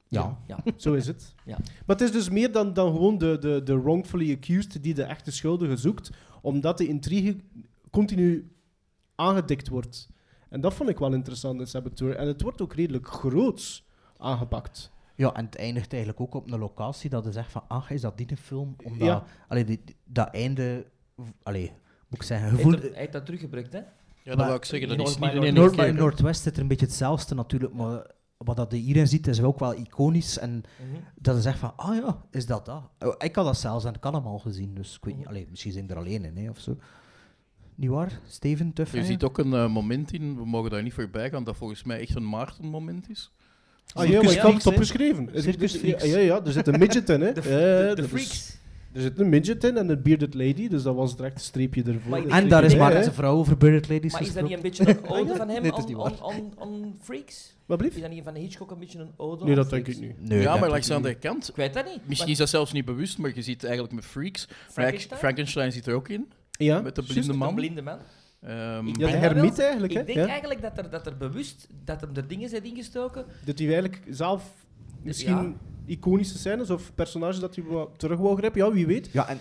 Ja.
Ja.
Zo is het.
Ja.
Maar het is dus meer dan, dan gewoon de, de, de wrongfully accused die de echte schuldige zoekt, omdat de intrigue continu aangedikt wordt. En dat vond ik wel interessant in Saboteur. En het wordt ook redelijk groots aangepakt.
Ja, en het eindigt eigenlijk ook op een locatie dat je zegt van, ach, is dat die een film? Omdat,
Ja.
allee, die, die- dat einde... Allee, moet ik zeggen,
Hij,
gevoel...
heeft, er- hij heeft dat teruggebruikt, hè?
Ja, dat
Maar-
wou ik zeggen. Dat
Noord-
is
maar
niet in één
Noord,
keer,
maar in
hè.
Noordwest zit er een beetje hetzelfde natuurlijk, maar wat dat je hierin ziet is ook wel iconisch. En
Mhm.
dat is echt van, ah ja, is dat dat? Oh, Ik had dat zelfs en ik had hem al gezien, dus ik weet
Mhm.
niet, allee, misschien zijn er alleen in, hè, of zo. Niet waar? Steven Tuff?
Je ziet ook een eh, moment in, we mogen daar niet voorbij gaan, dat volgens mij echt een Maarten-moment is.
Ah ja, maar ik had het
Freaks, hè?
opgeschreven. Het-
Circus
ja,
Freaks.
Ja, ja, er zit een midget in. Hè.
De,
Ja,
de, de
dat is-
freaks.
er zit een midget in en een bearded lady, dus dat was direct een streepje ervoor.
Maar ik
Een
En
denk-
daar is
Nee,
maar
hè?
eens een vrouw over Bearded Ladies
Maar is dat niet
gesproken.
een beetje een ode van hem
Nee, dat is
on,
niet
on,
waar.
on, on freaks?
Wat blieft?
Is dat niet van Hitchcock een beetje een ode
Nee,
aan
dat denk ik
freaks?
niet.
Nee,
ja,
dat
maar
doet
langs de
hij
andere kant.
Ik weet dat niet.
Misschien is dat zelfs niet bewust, maar je ziet eigenlijk met Freaks.
Frankenstein?
Frankenstein zit er ook in.
Ja,
Met de
Maar juist
blinde man.
De blinde man.
Ehm,
Ik
ja de
denk dat wel.
hermiet eigenlijk.
Ik
Hè.
denk
Ja.
eigenlijk dat er, dat er bewust dat hem er dingen zijn ingestoken.
Dat hij eigenlijk zelf misschien iconische scènes of personages dat hij wou- terug wou grijpen, ja, wie weet.
Ja, en,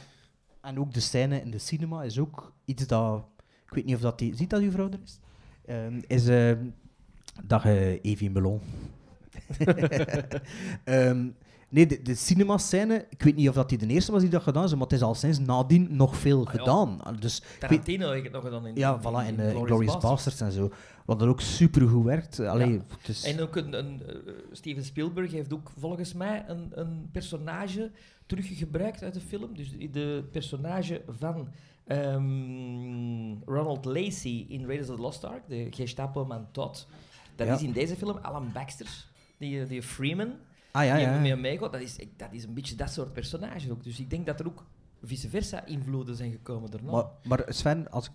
en ook de scène in de cinema is ook iets dat... Ik weet niet of dat die... Ziet dat uw vrouw er is? Ehm, is ehm, dat je Evie Melon... Ehm, Nee, de, de cinema-scène, ik weet niet of dat die de eerste was die dat gedaan is, maar het is al sinds nadien nog veel
ja.
gedaan. Ah, Dus ik weet,
Tarantino heeft het nog gedaan in
ja,
in-
voilà, en
in
eh
Inglourious
Glorious
Basterds.
Bastards en zo. Wat er ook supergoed werkt. Allee,
Ja.
het is-
En ook een, een, eh, Steven Spielberg heeft ook volgens mij een, een personage teruggebruikt uit de film. Dus de- de personage van ehm, Ronald Lacey in Raiders of the Lost Ark, de Gestapo-man Todd. Dat
Ja.
is in deze film Alan Baxter, die, eh, die Freeman,
ah ja,
die
ja.
mee meegaat. Dat is, ik- dat is een beetje dat soort personage ook. Dus ik denk dat er ook vice versa invloeden zijn gekomen daarna.
Maar, maar Sven, als ik,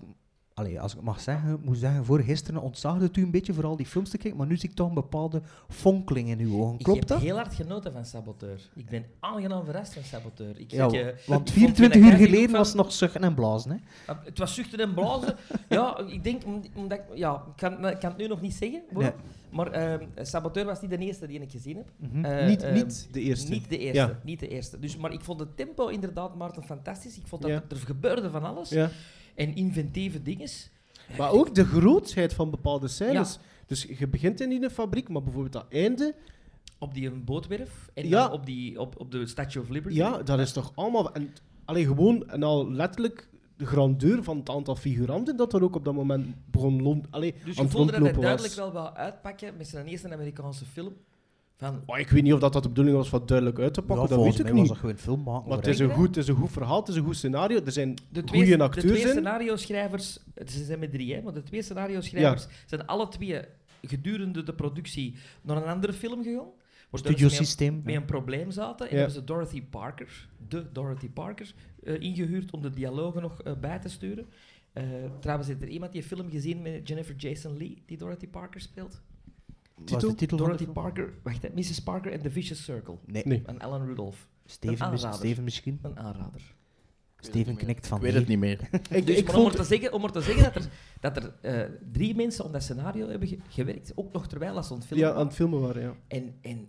allee, als ik het mag zeggen, ik moet zeggen, voor gisteren ontzagde het u een beetje voor al die films te kijken, maar nu zie ik toch een bepaalde fonkeling in uw ogen.
ik
Klopt
heb
dat?
heel hard genoten van Saboteur. Ik ben aangenaam verrast van Saboteur. Ik
Ja,
ik, eh,
want
ik vond
24
Tina
uur
Kaag ook
geleden
van-
was het nog zuchten en blazen. Hè?
Ah, Het was zuchten en blazen. ja, ik denk, om- omdat ik, ja, ik kan, ik kan het nu nog niet zeggen. waarom. Maar ehm, Saboteur was niet de eerste die ik gezien heb. Eh,
Mhm. niet,
ehm,
niet de eerste.
Niet de eerste.
Ja.
Niet de eerste. Dus, maar ik vond het tempo inderdaad, Maarten, fantastisch. Ik vond dat
Ja.
er, er gebeurde van alles.
Ja.
En inventieve dingen.
Maar ook de grootheid van bepaalde scènes.
Ja.
Dus je begint in die fabriek, maar bijvoorbeeld dat einde,
Op die bootwerf en
Ja.
dan op, die, op, op de Statue of Liberty.
ja, dat is toch allemaal... En, alleen gewoon, en al letterlijk de grandeur van het aantal figuranten dat er ook op dat moment begon lon, allee,
Dus
aan
je
het
voelde dat hij
rondlopen
duidelijk
was.
wel wou uitpakken met zijn eerste Amerikaanse film. Van,
Maar ik weet niet of dat, dat de bedoeling was wat duidelijk uit te
Ja,
pakken, dat
volgens
weet ik
mij
niet.
was dat gewoon film maken.
Maar het
hoor,
is, een
Denk je
goed, het is een goed verhaal, het is een goed scenario. Er zijn
De twee,
goede
de
acteurs
twee
in.
scenario-schrijvers, het- ze zijn met drie, hè, maar de twee scenario-schrijvers zijn alle twee gedurende de productie naar een andere film gegaan.
hè.
Waar dat ze met een-
Studiosysteem.
Met een probleem zaten en
Ja.
hebben ze Dorothy Parker, de Dorothy Parker, eh, ingehuurd om de dialogen nog eh, bij te sturen. Eh, trouwens, heeft er iemand die film gezien met Jennifer Jason Lee, die Dorothy Parker speelt?
Wat is de titel van de
Dorothy
film?
Parker, wacht hè, Mrs. Parker and the Vicious Circle.
Nee,
Nee.
Van Alan Rudolph.
Steven,
Een
mis-
aanrader.
Steven misschien.
Een aanrader.
Steven knikt van
Ik weet
nee.
het niet meer.
Ik,
Dus
ik
maar
vond-
om, maar te zeggen, om maar te zeggen dat er, dat er eh, drie mensen aan dat scenario hebben ge- gewerkt, ook nog terwijl dat ze aan het filmen
ja, aan
waren.
het filmen waren, ja.
en, en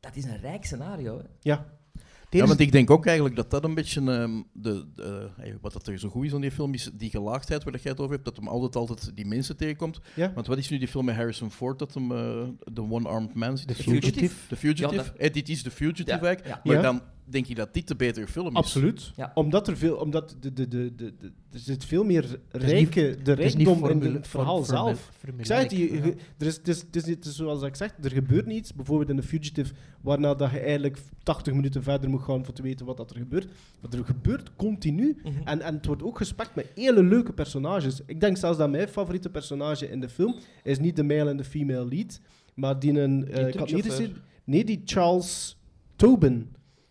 dat is een rijk scenario. Hè.
Ja,
Het
Ja,
enige-
want ik denk ook eigenlijk dat dat een beetje ehm, de, de- eh, wat dat er zo goed is aan die film is die gelaagdheid waar dat jij het over hebt, dat hem altijd altijd die mensen tegenkomt.
ja.
Want wat is nu die film met Harrison Ford dat hem eh, de one-armed man zit?
The
te
Fugitive.
The Fugitive.
Ja, dat-
Eh, dit is The Fugitive
Ja,
eigenlijk.
ja.
Maar
Ja.
dan denk ik dat dit de betere film is.
absoluut.
Ja.
Omdat er veel, omdat de, de, de, de, de- er zit veel meer
is niet-
rijke, de
het is niet
rijkdom in
formule-
het verhaal
formu-
zelf.
formulaic.
Ik zei het, je-
Ja.
je- er is, het, is, het, is, niet- het is zoals ik zeg, er gebeurt niets. Bijvoorbeeld in The Fugitive, waarna dat je eigenlijk 80 minuten verder moet gaan voor te weten wat dat er gebeurt. Maar er gebeurt continu. En, en het wordt ook gespekt met hele leuke personages. Ik denk zelfs dat mijn favoriete personage in de film is niet de male en de female lead, maar die een... eh, ik had niet
truckchauffeur.
gezien, nee, die Charles Tobin.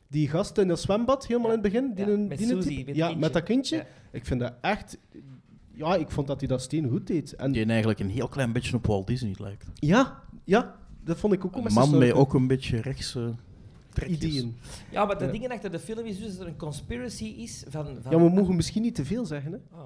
Die gast in het zwembad, helemaal in het begin. Die
Ja,
een,
met
die een
Suzy,
type-
met het
ja,
kindje.
met dat kindje.
Ja.
Ik vind dat echt... Ja, ik vond dat hij dat steen goed deed. En
Die eigenlijk een heel klein beetje op Walt Disney lijkt.
ja, ja, dat vond ik ook
Een
met
man
zijn
met
soort
ook een beetje rechtse trekjes.
ideeën.
Ja, maar de
Ja.
dingen achter de film is dus dat er een conspiracy is van... van
Ja, we mogen misschien niet te veel zeggen, hè?
Ah,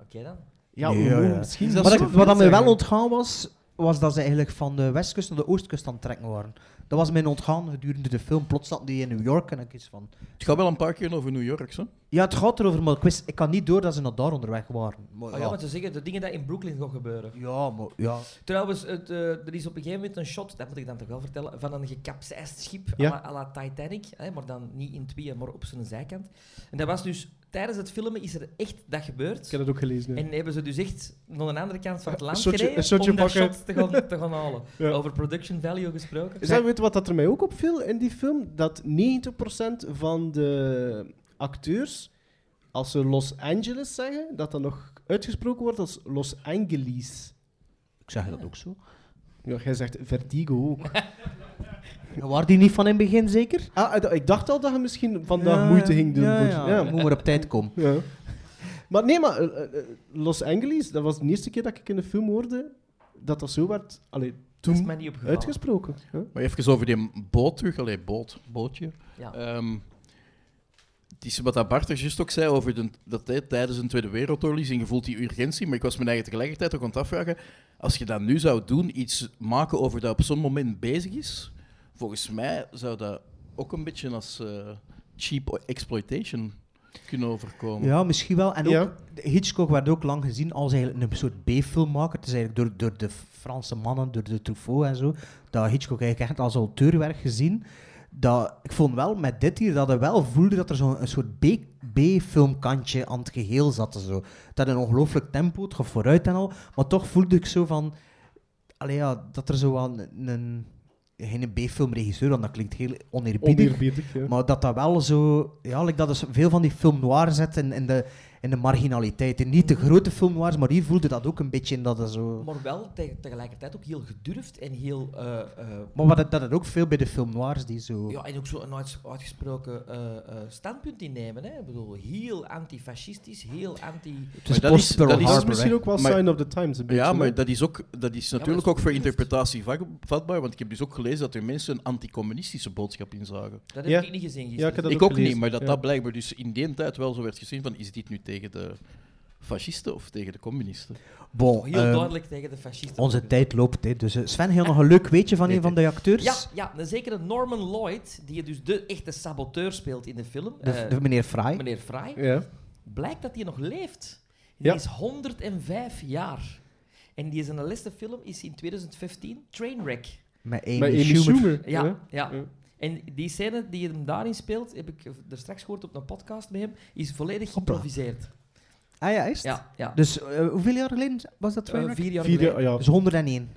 Oké dan.
Ja,
Nee,
we
ja,
mogen
ja.
misschien
Is
niet
dat
Wat,
te
zo?
ik,
veel
wat dat mij wel
zeggen.
ontgaan was, was dat ze eigenlijk van de westkust naar de oostkust aan het trekken waren. Dat was mijn ontgaan gedurende de film. Plots zat die in New York en ik is van...
Het gaat wel een paar keer over New York, hè?
Ja, het gaat erover, maar ik, wist, ik kan niet door dat ze naar daar onderweg waren. Maar
Ah, ja,
ja,
maar te zeggen, de dingen die in Brooklyn gaan gebeuren.
ja, maar ja.
Trouwens, het, eh, er is op een gegeven moment een shot, dat moet ik dan toch wel vertellen, van een gekapseist schip
Ja.
à, la, à la Titanic, hè, maar dan niet in tweeën, maar op zijn zijkant. En dat was dus... Tijdens het filmen is er echt dat gebeurd.
Ik heb dat ook gelezen. ja.
En hebben ze dus echt naar de andere kant van het land
Een shotje-
gereden
een shotje
om dat
pakken.
shot te gaan, te gaan halen.
Ja.
Over production value gesproken.
Is dat, weet je wat dat er mij ook opviel in die film? Dat 90% van de acteurs, als ze Los Angeles zeggen, dat dat nog uitgesproken wordt als Los Angeles.
Ik zeg dat ook zo.
Ja, jij zegt Vertigo ook.
En waren die niet van in het begin zeker?
ah, eh, ik dacht al dat je misschien vandaag
Ja,
moeite ging doen.
Ja,
voor-
ja.
ja.
Moet maar op tijd komen.
Ja. Maar nee, maar eh, eh, eh, Los Angeles, dat was de eerste keer dat ik in een film hoorde dat dat zo werd. Allee,
Dat is mij
toen
niet opgevallen.
uitgesproken. Ja.
Maar even over die boot terug. Allee, boot, bootje.
Ja.
Ehm, het is wat dat Bart er juist ook zei over de, dat hij tijdens de Tweede Wereldoorlog is en je voelt die urgentie. Maar ik was me eigen tegelijkertijd ook aan het afvragen, als je dat nu zou doen, iets maken over dat op zo'n moment bezig is, volgens mij zou dat ook een beetje als eh, cheap exploitation kunnen overkomen.
Ja, misschien wel. En ook,
Ja.
Hitchcock werd ook lang gezien als eigenlijk een soort B-filmmaker. Het is eigenlijk door, door de Franse mannen, door de Truffaut en zo, dat Hitchcock eigenlijk echt als auteur werd gezien. Dat, ik vond wel met dit hier dat het wel voelde dat er zo'n een soort B, B-filmkantje aan het geheel zat. en Zo. Dat een ongelooflijk tempo, het gaat vooruit en al. Maar toch voelde ik zo van. Allee, ja, dat er zo wel een. een geen B-filmregisseur, want dat klinkt heel oneerbiedig.
Oneerbiedig, ja.
Maar dat dat wel zo... Ja, like dat is veel van die film noir zet in, in, de, in de marginaliteit. En niet de grote film noirs, maar hier voelde dat ook een beetje in dat er zo...
Maar wel te- tegelijkertijd ook heel gedurfd en heel... eh, eh,
Maar wat, het- dat het ook veel bij de film noirs die zo...
ja, en ook zo'n uit, uitgesproken eh, eh, standpunt innemen. Hè. Ik bedoel, heel antifascistisch, heel anti...
het is
Maar dat is-
post-Pearl
dat is-
Dat is
Harbor,
misschien
hè.
ook wel
Maar-
sign of the times, een beetje.
Ja, maar
hè.
dat is, ook, dat is natuurlijk
dat is
ook voor
goed.
interpretatie vak- vatbaar, want ik heb dus ook gelezen dat er mensen een anticommunistische boodschap in zagen.
Dat heb
Ja.
ik niet gezien
Ja,
gisteren.
ik heb dat
ik ook
gelezen,
niet, maar dat
ja.
dat blijkbaar dus in die tijd wel zo werd gezien van is dit nu tegen de fascisten of tegen de communisten?
Bon,
Heel
ehm,
duidelijk tegen de fascisten.
onze tijd loopt, hè. Dus eh, Sven, heel nog een leuk weetje van een van de acteurs.
Ja, ja, een zekere Norman Lloyd, die dus de echte saboteur speelt in de film,
De,
eh,
de meneer Fry.
meneer Fry,
Ja.
blijkt dat hij nog leeft. Die
Ja.
is 105 jaar. En die zijn laatste film is in 2015, Trainwreck.
Met Amy,
Met Amy Schumer.
Ja,
hè.
ja.
Ja.
En die scène die hem daarin speelt, heb ik er straks gehoord op een podcast met hem, is volledig geïmproviseerd.
Ah ja, is het?
Ja, ja.
Dus eh, hoeveel jaar geleden was dat?
Eh,
Trainwreck?
vier jaar
Vier
geleden.
jaar- ja.
Dus 101.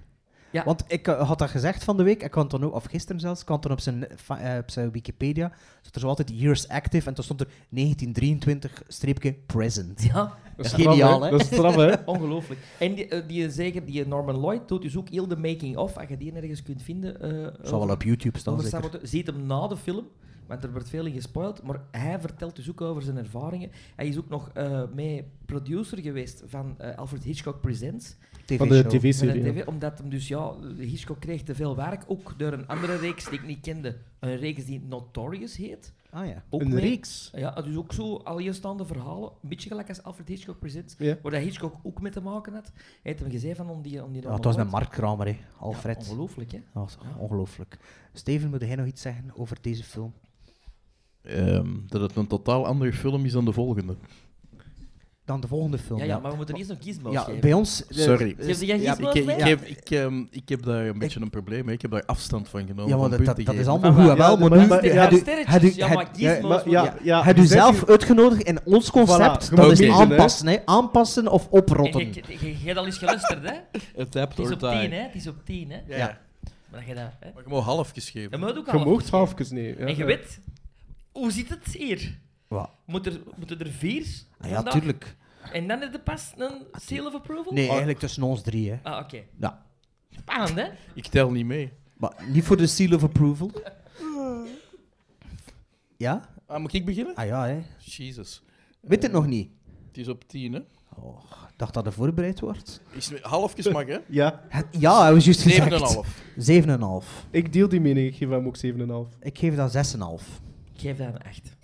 Ja.
Want ik eh, had dat gezegd van de week, ik kwam dan ook, of gisteren zelfs, ik kwam dan op zijn, fa- eh, op zijn Wikipedia, stond er zo altijd years active en toen stond er 1923-present.
Ja,
Dat is
Ja.
straf,
Geniaal, hè?
Dat is straf, hè?
ongelooflijk. En die, eh, die, zeker, die Norman Lloyd doet dus ook heel de making-of, als je die nergens kunt vinden. eh,
Zal wel op YouTube staan,
over
zeker.
saboteur- Ziet hem na de film, want er wordt veel in gespoild, maar hij vertelt dus ook over zijn ervaringen. Hij is ook nog eh, mee producer geweest van eh, Alfred Hitchcock Presents.
Van
TV-show.
de
Met een
tv-serie.
TV, omdat hem dus, ja, Hitchcock kreeg te veel werk, ook door een andere reeks die ik niet kende. Een reeks die Notorious heet.
Ah ja.
Ook
Een
mee.
reeks.
Ja, dus ook zo alleenstaande verhalen, een beetje gelijk als Alfred Hitchcock Presents,
Ja.
waar dat Hitchcock ook mee te maken had. Hij heeft hem gezegd van om die... Om
Ja,
die Norman
het was met
Lloyd.
Mark Kramer, hè. Alfred.
Ongelooflijk, hè?
Dat was ongelooflijk. Steven, moet jij nog iets zeggen over deze film?
Ehm, dat het een totaal andere film is dan de volgende.
Dan de volgende film.
Ja, ja, maar we moeten eerst nog gizmos
Ja,
geven.
bij ons... eh,
Sorry.
Geef jij
Ja,
gizmos
Ik, ik,
mee?
ik, heb, ik, ehm, ik heb daar een beetje een probleem mee. Ik heb daar afstand van genomen.
Ja, maar
van
dat, dat,
punten
dat is
geven.
allemaal
Maar-
goed en wel,
ja,
maar
maar-
nu...
maar-
heb je-
ja,
heb je-
sterretjes,
heb je-
ja, maar
heb-
kies
Maar,
Ja,
ja, ja,
Hij doet
je zegt
zelf
hier-
uitgenodigd in ons concept.
Voilà, je
dat
moet
is niet
kiezen,
hè.
aanpassen, hè. Aanpassen of oprotten.
En je- je- Je hebt al eens geluisterd, hè? Het is op tien, hè? Het is op tien, hè?
Ja.
Ja.
Maar dat je dat... Hè?
Maar je mag half geschreven.
Dat moet ook
Je
al
moogt halfjes, nee. ja.
En je weet, hoe zit het hier?
Wat?
Moet er, moeten er vier?
Ah, ja,
vandaag?
tuurlijk.
En dan is er pas een seal of approval?
Nee, eigenlijk tussen ons drie, hè.
Ah, oké.
Ja.
Spannend, hè?
Ik tel niet mee.
Maar niet voor de seal of approval. Ja?
Ah, moet ik beginnen?
Ah ja, hè.
Jezus.
Weet het nog niet?
Het is op tien, hè?
Oh, ik dacht dat er voorbereid wordt.
Is, halfjes mag, hè?
Ja,
Het- ja, hij was juist gezegd.
7,5.
7,5.
ik deel die mening. Ik geef hem ook 7,5.
Ik geef dat 6,5.
Ik geef dat een acht.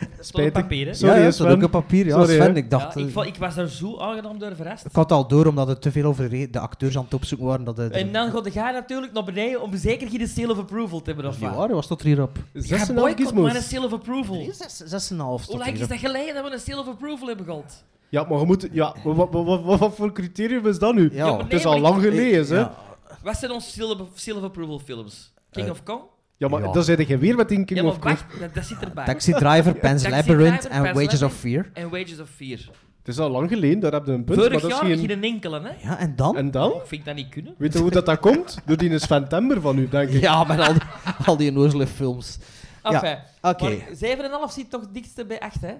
Dat is toch een
Spijtig.
papier, hè?
Zo- Sorry,
ja, ja,
hè,
dat staat
Sven.
ook op papier. Ja,
Sorry, hè.
Sven, ik dacht...
Ja, ik,
eh,
vo- ik was daar zo aangenaam door verrast.
ik had al door, omdat het te veel over re- de acteurs aan het opzoeken waren. Dat de,
En dan gaat jij natuurlijk naar beneden om zeker geen seal of approval te hebben, of
Ja,
wat?
waar was dat er hierop? 6,5
Ga
6,5
boycott maar een
gizmos.
seal of approval. Hoe
staat
lang
er
is dat geleden dat we een seal of approval hebben gehad?
Ja, maar je moet... Ja, wat, wat, wat, wat- wat voor criterium is dat nu?
Ja. Ja, maar
het
nee,
is
maar
al
ik-
lang geleden, hè?
Ja.
Wat zijn onze seal of, seal of approval films? King
Eh,
of Kong?
Ja, maar
Ja.
dan zit je weer met die King
Ja, maar
of Kings.
wacht, dat, dat zit erbij.
Taxi Driver, Pan's
Taxi
Labyrinth
Driver,
en
Pan's
Wages of
Labyrinth.
Fear.
En Wages of Fear.
Het is al lang geleden, daar heb je een punt.
Vorig
maar dat
jaar
is
geen...
geen...
enkele, hè?
Ja, en dan?
En dan?
Ik vind dat niet kunnen.
Weet je hoe dat, dat komt? Door die Sven Temmer van u, denk ik.
Ja, met al die, al die onnozele films.
Enfin,
Ja, oké.
maar 7,5 zit toch het dikste bij 8, hè?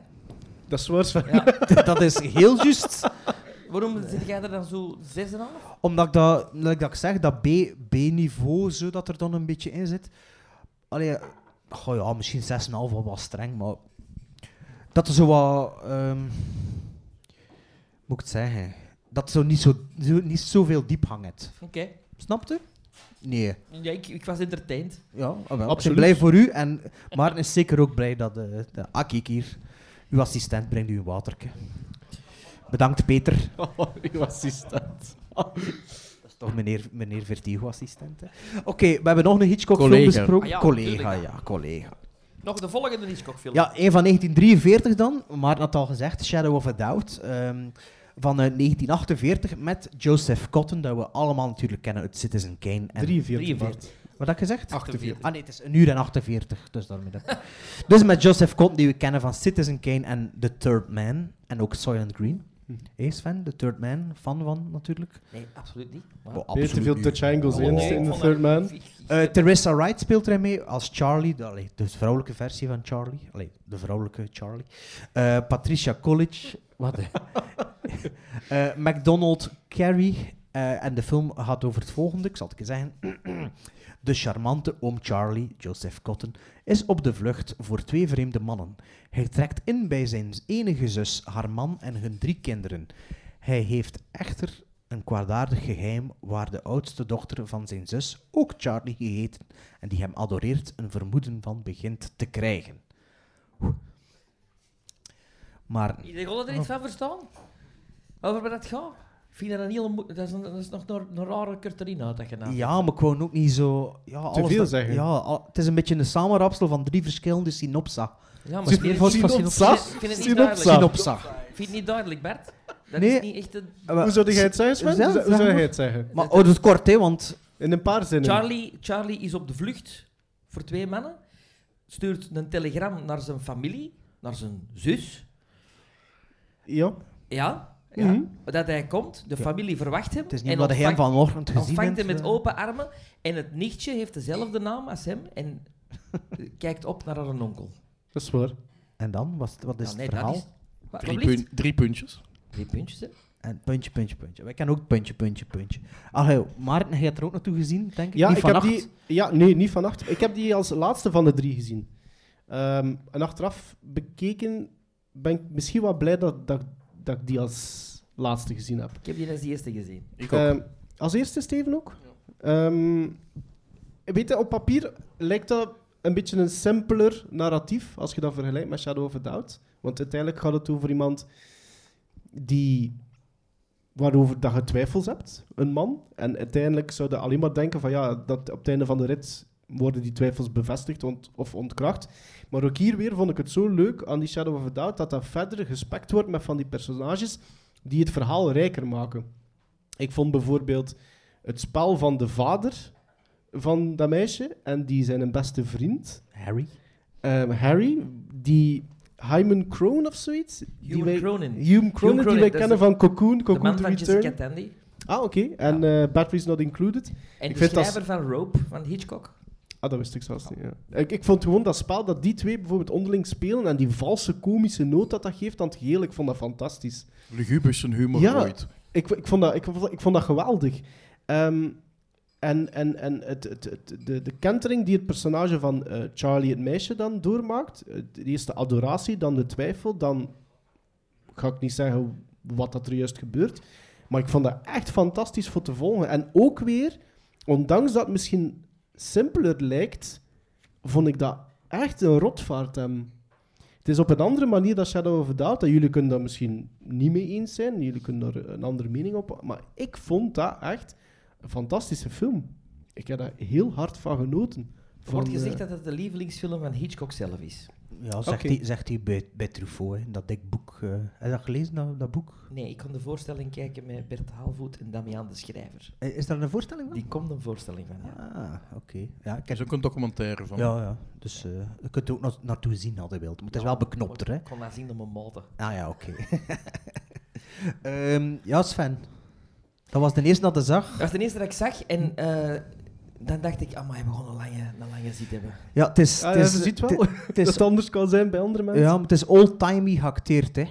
Dat is waar, Sven.
Ja.
dat is heel juist.
Waarom zit jij er dan zo 6,5?
Omdat ik dat, like dat ik zeg, dat B- B-niveau, zo dat er dan een beetje in zit. Allee, goh ja, misschien 6,5 wel wat streng, maar... Dat er zo wat... ehm, moet ik het zeggen? Dat zo niet, zo, zo, niet zoveel diepgang heeft.
Oké.
Snapte? Nee.
Ja, ik, ik was entertained.
Ja, absoluut. Ik ben
Absoluut.
blij voor u. En Maarten is zeker ook blij dat de, de ah, kijk hier, uw assistent brengt u een waterke. Bedankt, Peter.
Oh, uw assistent.
Dat is toch meneer, meneer Vertigo-assistent. hè? Oké, we hebben nog een Hitchcock-film
Collega.
besproken.
Ah ja,
collega,
tuurlijk.
ja, collega.
Nog de volgende Hitchcock-film.
Ja, een van 1943 dan. Maarten had al gezegd, Shadow of a Doubt. ehm, van eh, 1948 met Joseph Cotton, dat we allemaal natuurlijk kennen uit Citizen Kane. En
43.
Drieënveertig.
Wat had ik gezegd?
48.
Ah nee, het is een uur en 48, dus daarmee dat. dus met Joseph Cott, die we kennen van Citizen Kane en The Third Man, en ook Soylent Green. Hey Sven, The Third Man, fan van natuurlijk.
Nee, absoluut niet. Maar-
Wow,
Veel te
absoluut
veel
niet.
touch-angles
Oh,
in,
ik
in The
vond
Third
dat-
Man.
Eh, Teresa Wright speelt erin mee als Charlie, de, allee, de vrouwelijke versie van Charlie. Allee, de vrouwelijke Charlie. Eh, Patricia College. Wat hè? Eh, MacDonald Carey. Eh, en de film gaat over het volgende, ik zal het je zeggen. de charmante oom Charlie, Joseph Cotton, is op de vlucht voor twee vreemde mannen. Hij trekt in bij zijn enige zus, haar man en hun drie kinderen. Hij heeft echter een kwaadaardig geheim waar de oudste dochter van zijn zus, ook Charlie geheten, en die hem adoreert, een vermoeden van begint te krijgen. Maar
Iedereen kon er iets van verstaan? Over wat dat gaat? Ik vind dat een hele moe- Dat is, een- dat is nog een, een rare kurterin uit dat gedaan.
Ja, maar ik wou ook niet zo... Ja, alles
veel
dat-
zeggen.
Ja, al- het is een beetje een samenrapsel van drie verschillende synopsa.
ja
Zit-
ik vind
Vos
het-
van
ik vind
Sinopsa?
het- Ik vind het niet
Sinopsa.
duidelijk.
Synopsa.
Ik vind het niet duidelijk, Bert. Dat
Nee.
is niet echt een...
Eh,
Hoe zou jij het zeggen, Sven?
Zelf,
Hoe zou-
zeg
Hoe zou
maar.
jij het zeggen?
Maar oh, dat is kort, hè, want...
In een paar zinnen.
Charlie, Charlie is op de vlucht voor twee mannen. Stuurt een telegram naar zijn familie, naar zijn zus.
Ja.
Ja, ja.
Mhm.
dat hij komt. De familie verwacht hem.
Het is
en
niet wat hij hem
ontvangt-
vanochtend gezien
ontvangt hem
bent,
met
eh.
open armen. En het nichtje heeft dezelfde naam als hem en kijkt op naar haar onkel.
Dat is waar.
En dan? Was het- wat is
Ja, nee,
het
dat
verhaal?
is- Wat-
Drie,
wat blieft?
punt- drie puntjes.
Drie puntjes, hè?
En puntje, puntje, puntje. Wij kennen ook puntje, puntje, puntje. Allee, Maarten, jij hebt er ook naartoe gezien, denk ik?
Ja,
Niet
ik heb
vannacht.
die, ja, nee, niet vannacht. Ik heb die als laatste van de drie gezien. Ehm, en achteraf bekeken ben ik misschien wel blij dat, dat, dat ik die als laatste gezien heb.
Ik heb die als eerste gezien.
Ik ook.
Ehm, als eerste Steven ook. Ehm, weet je, op papier lijkt dat een beetje een simpeler narratief als je dat vergelijkt met Shadow of a Doubt. Want uiteindelijk gaat het over iemand die waarover dat je twijfels hebt, een man. En uiteindelijk zou je alleen maar denken van ja, dat op het einde van de rit worden die twijfels bevestigd ont- of ontkracht. Maar ook hier weer vond ik het zo leuk aan die Shadow of a Doubt dat dat verder gespekt wordt met van die personages die het verhaal rijker maken. Ik vond bijvoorbeeld het spel van de vader van dat meisje en die zijn een beste vriend,
Harry.
ehm, Harry, die Hyman Kroon of zoiets. die
Ewan
wij-
Cronin.
Hume Cronin,
Cronin,
die wij
dat is
kennen
de-
van Cocoon,
De
Cocoon
man
to
van Jessica
Return.
Tandy.
Ah, oké. En eh, Batteries Not Included.
En
Ik
de
vind dat-
schrijver van Rope, van Hitchcock.
Ah, dat wist ik zelfs niet. Ja. Ik, ik vond gewoon dat spel dat die twee bijvoorbeeld onderling spelen en die valse komische noot dat dat geeft aan het geheel, ik vond dat fantastisch.
Lugubers en humor
Ja.
ooit.
Ik, ik, vond dat, ik, vond- ik vond dat geweldig. Ehm, en en, en het, het, het- de, de kentering die het personage van eh, Charlie, het meisje, dan doormaakt. eh, de eerste adoratie, dan de twijfel. Dan ga ik niet zeggen wat dat er juist gebeurt. Maar ik vond dat echt fantastisch voor te volgen. En ook weer, ondanks dat het misschien simpeler lijkt, vond ik dat echt een rotvaart hem. Het is op een andere manier dat Shadow of a Doubt. En jullie kunnen daar misschien niet mee eens zijn. Jullie kunnen daar een andere mening op. Maar ik vond dat echt een fantastische film. Ik heb daar heel hard van genoten.
Er wordt
Van,
gezegd
eh,
dat het de lievelingsfilm van Hitchcock zelf is.
Ja, zegt,
Oké.
hij, zegt hij bij, bij Truffaut, hè, dat dik boek. eh. heb je dat gelezen, dat, dat boek?
Nee, ik kon de voorstelling kijken met Bert Haalvoet en Damian de Schrijver.
Eh, Is daar een voorstelling van?
Die komt een voorstelling van, ja.
Ah, oké. Ja, ik
Er is
heb...
ook een documentaire van.
Ja, ja. Dus eh, je kunt er ook nog naartoe zien, als je wilt. Maar het is wel beknopter, hè?
Ik kon dat zien op mijn motor.
Ah ja, oké. Ehm, ja, Sven. Dat was de eerste dat hij zag.
Dat was de eerste dat ik zag en eh, dan dacht ik, amai, we gaan een lange, een lange zit hebben.
Ja, het is...
Ah,
het
ja,
is
je ziet wel
het- het is,
dat het anders kan zijn bij andere mensen.
ja, maar het is old-timey geacteerd, hè.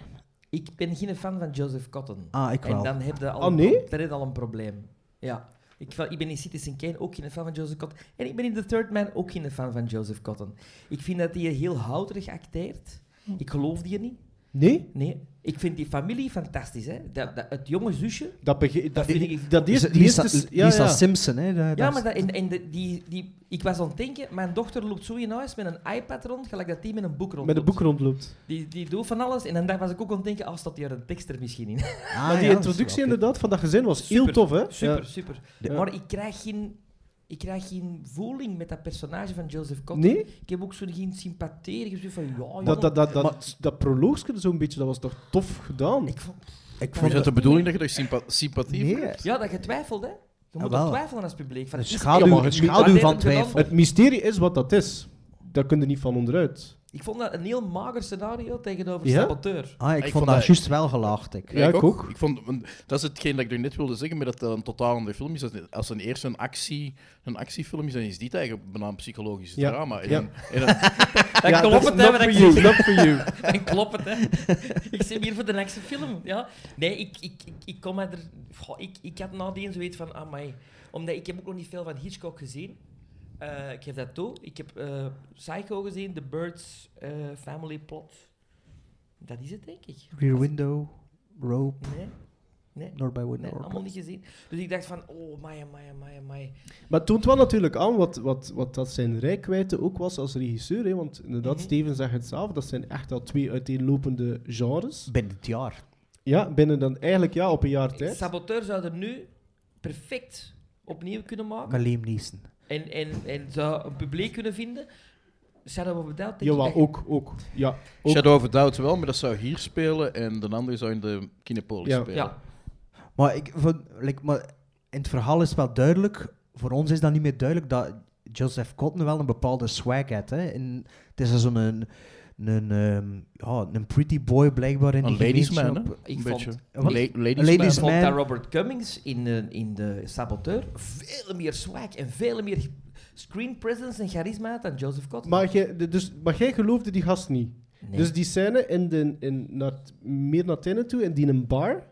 Ik ben geen fan van Joseph Cotton.
Ah, ik wel.
En dan heb je al,
Ah, nee?
dan heb je al een probleem. Ja. Ik, wel- ik ben in Citizen Kane ook geen fan van Joseph Cotton. En ik ben in The Third Man ook geen fan van Joseph Cotton. Ik vind dat hij heel houterig acteert.
Hm.
Ik geloof die niet.
Nee?
Nee. Ik vind die familie fantastisch. Hè? Dat, dat, het jonge zusje,
Dat, bege- dat
vind
vind ik...
ik-
Dat
Lisa,
eerste, die eerste...
Lisa-
ja,
Lisa
ja.
Simpson, hè. dat-
Ja,
dat-
maar dat, en, en de- die, die, ik was aan het denken, mijn dochter loopt zo in huis met een iPad rond, gelijk dat die met een boek rond.
Met een boek rondloopt.
Die, die doet van alles. En dan dacht- was ik ook aan het denken, als staat hier een tekst er misschien in.
Ah, ja,
maar die
dat is
introductie
wel oké.
inderdaad van dat gezin was heel
Super,
tof, hè?
Super,
Ja.
super.
Ja.
Maar ik krijg, geen, ik krijg geen voeling met dat personage van Joseph Cotton.
Nee?
Ik heb ook zo geen sympathie. Ik heb zo van, ja, jongen.
Dat, dat, dat, dat, dat proloogske zo'n beetje, dat was toch tof gedaan?
Ik vond,
Ik
Is
vond
dat
het...
de bedoeling dat je daar sympa- sympathie
Nee,
voor hebt?
ja, dat je twijfelt, hè. Je Je moet
Jawel.
ook twijfelen als publiek. Van,
Een
is het
schaduw,
Ja, maar
een
het-
schaduw van
het-
twijfel.
Het mysterie is wat dat is. Daar kun je niet van onderuit.
Ik vond dat een heel mager scenario tegenover
Ja?
Saboteur.
Ah, ik,
Ik
vond
vond
dat
dat-
juist wel gelaagd. Ik.
Ja, ik ook.
Ik vond, want dat is hetgeen dat ik er net wilde zeggen, maar dat dat een totaal andere film is. Als- Als een eerste een, actie, een actiefilm is, dan is dit eigenlijk bijna een psychologisch
Ja.
drama. En
Ja.
dan- en dan-
Dan
Ja,
klopt
that's
het, hè.
not
wat ik
for you,
zeg.
not for you.
Dan klopt het, hè. Ik zit hier voor de next film, ja. Nee, ik, ik, ik, ik kom er... Goh, ik, ik had nadien zoiets van, amai. Omdat ik heb ook nog niet veel van Hitchcock gezien. Eh, ik geef dat toe. Ik heb eh, Psycho gezien, The Birds, eh, Family Plot. Dat is het, denk ik.
Rear Window, Rope,
Nee, nee.
Door by
Nee,
Window.
allemaal niet gezien. Dus ik dacht van, oh, maya, maya, maya, maya.
Maar het toont wel natuurlijk aan wat, wat, wat dat zijn rijkwijde ook was als regisseur. Hè? Want inderdaad,
Mhm.
Steven zegt het zelf, dat zijn echt al twee uiteenlopende genres.
Binnen het jaar.
Ja, binnen dan eigenlijk ja, op een jaar tijd.
Saboteur zou er nu perfect opnieuw kunnen maken.
Met Liam Neeson.
En, en, en zou een publiek kunnen vinden. Shadow of a Doubt, denk
Jawel,
ik. dat je-
ook, ook. Ja, ook.
Shadow of a Doubt wel, maar dat zou hier spelen en de andere zou in de Kinepolis
Ja.
spelen.
Ja,
Maar, ik, vond- like, maar in het verhaal is wel duidelijk, voor ons is dat niet meer duidelijk, dat Joseph Cotton wel een bepaalde swag had. Hè. En het is zo'n een, een, ehm, ja, een pretty boy blijkbaar in
Een
die
ladies man,
gemeenschap.
hè?
ik
Een
vond-
beetje.
Wat?
La- ladies
Ladies
man.
ik vond
man.
dat Robert Cummings in, de- in de Saboteur veel meer swag en veel meer screen presence en charisma had dan Joseph Cotton.
Maar, jij, de- dus, maar jij geloofde die gast niet.
Nee.
Dus die scène in de, in, naar, het- meer naar het einde toe, in die een bar,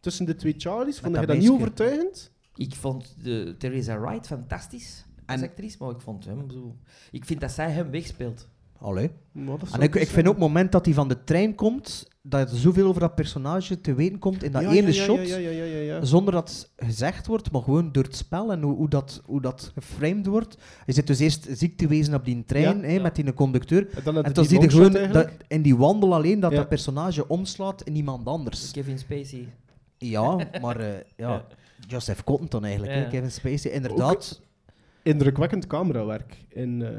tussen de twee Charlies, vond
dat
je dat niet
meisje.
overtuigend?
Ik vond de Theresa Wright fantastisch als
En-
actrice, maar ik vond hem zo... Ik vind dat zij hem wegspeelt.
Allee.
Maar dat
En
zou
ik,
dus
ik vind
zijn.
ook het moment dat hij van de trein komt, dat er zoveel over dat personage te weten komt in dat
Ja,
ene
ja, ja,
shot.
Ja, ja, ja, ja, ja.
Zonder dat het gezegd wordt, maar gewoon door het spel en hoe, hoe, dat, hoe dat geframed wordt. Je zit dus eerst ziek te wezen op die trein
Ja.
hè,
Ja.
met die conducteur.
En dan had
En
het
dan zie
die
je
longshot
gewoon
eigenlijk.
dat, in die wandel alleen dat
Ja.
dat personage omslaat in iemand anders.
Kevin Spacey. Eh,
Ja, maar eh, ja. Joseph Cotton dan eigenlijk,
Ja.
hè, Kevin Spacey. Inderdaad,
indrukwekkend camerawerk in, eh,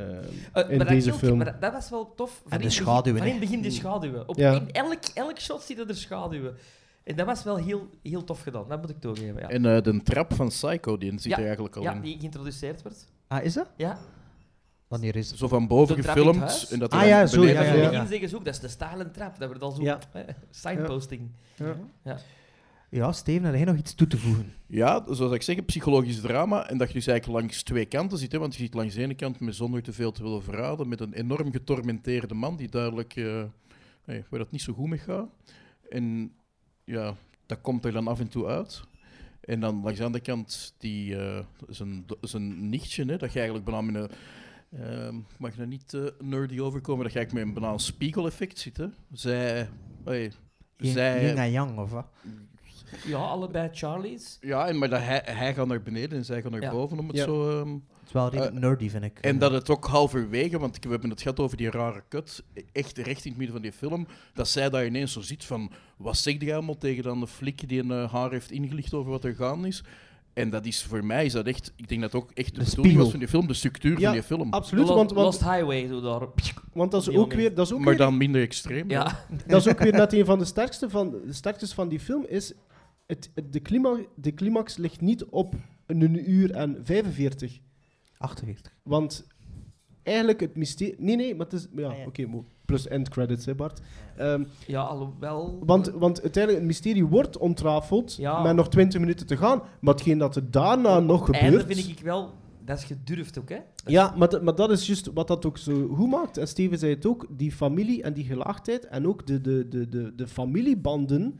Eh,
in
maar dat,
deze
hielp,
film.
maar dat, dat was wel tof. Van
de
in het begin-
schaduwen,
Van
hè.
in het begin die schaduwen. Op,
Ja.
In elk, elk shot zitten er schaduwen. En dat was wel heel, heel tof gedaan, dat moet ik toegeven. Ja,
En eh, de trap van Psycho, die zit
Ja.
er eigenlijk al
ja
in.
die geïntroduceerd wordt.
ah, is dat?
Ja.
Wanneer is het?
Zo van
De
boven
trap in het
gefilmd.
huis?
En dat
Ah, ja, zo,
En
ja,
van
ja,
in het
ja.
begin zeggen ze ook, dat is de stalen trap. Dat wordt al zo...
Ja.
eh, signposting.
Ja.
Ja, Steven, had jij nog iets toe te voegen?
Ja, zoals ik zeg, een psychologisch drama. En dat je dus eigenlijk langs twee kanten zit. Hè? Want je ziet langs de ene kant, met zonder te veel te willen verraden, met een enorm getormenteerde man die duidelijk eh, hey, waar dat niet zo goed mee gaat. En ja, dat komt er dan af en toe uit. En dan langs de andere kant, die, eh, zijn, do- zijn nichtje, hè, dat je eigenlijk bijna met een... eh, mag je nou niet eh, nerdy overkomen, dat je eigenlijk met een bijna een spiegeleffect zit. Hè? Zij... hey,
Yin,
zij eh,
yin en yang, of wat?
Ja, allebei Charlie's.
ja, en maar dat hij, hij gaat naar beneden en zij gaat naar
Ja.
boven, om het
Ja.
zo... ehm,
Het is wel redelijk nerdy, vind ik.
en dat het ook halverwege, want we hebben het gehad over die rare kut, echt recht in het midden van die film, dat zij daar ineens zo ziet van, wat zeg jij allemaal tegen dan de flik die een, eh, haar heeft ingelicht over wat er gaande is? En dat is voor mij, is dat echt, ik denk dat ook echt de,
De
bedoeling
spiegel.
was van die film, de structuur
Ja,
van die film.
Absoluut,
Lo-
want,
Lost
want,
Highway, zo daar.
want dat, is
Die
ook
moment.
weer, dat, is ook
Maar
weer,
dan minder extreem. hè.
Ja.
dat is ook weer net een van de sterkste van, de sterkste van die film, is het, het- de, clima, de climax ligt niet op een uur en 45.
48.
Want eigenlijk het mysterie... Nee, nee, maar het is... Ja,
Ah, ja.
oké, mooi. plus end credits, hè Bart. Ehm,
Ja, alhoewel...
Want, want uiteindelijk, het mysterie wordt ontrafeld
Ja.
met nog 20 minuten te gaan. Maar hetgeen dat er daarna nog gebeurt...
Einde vind ik wel... Dat is gedurfd ook, hè.
Ja, maar, dat- maar dat is juist wat dat ook zo goed maakt. En Steven zei het ook, die familie en die gelaagdheid en ook de, de, de, de, de familiebanden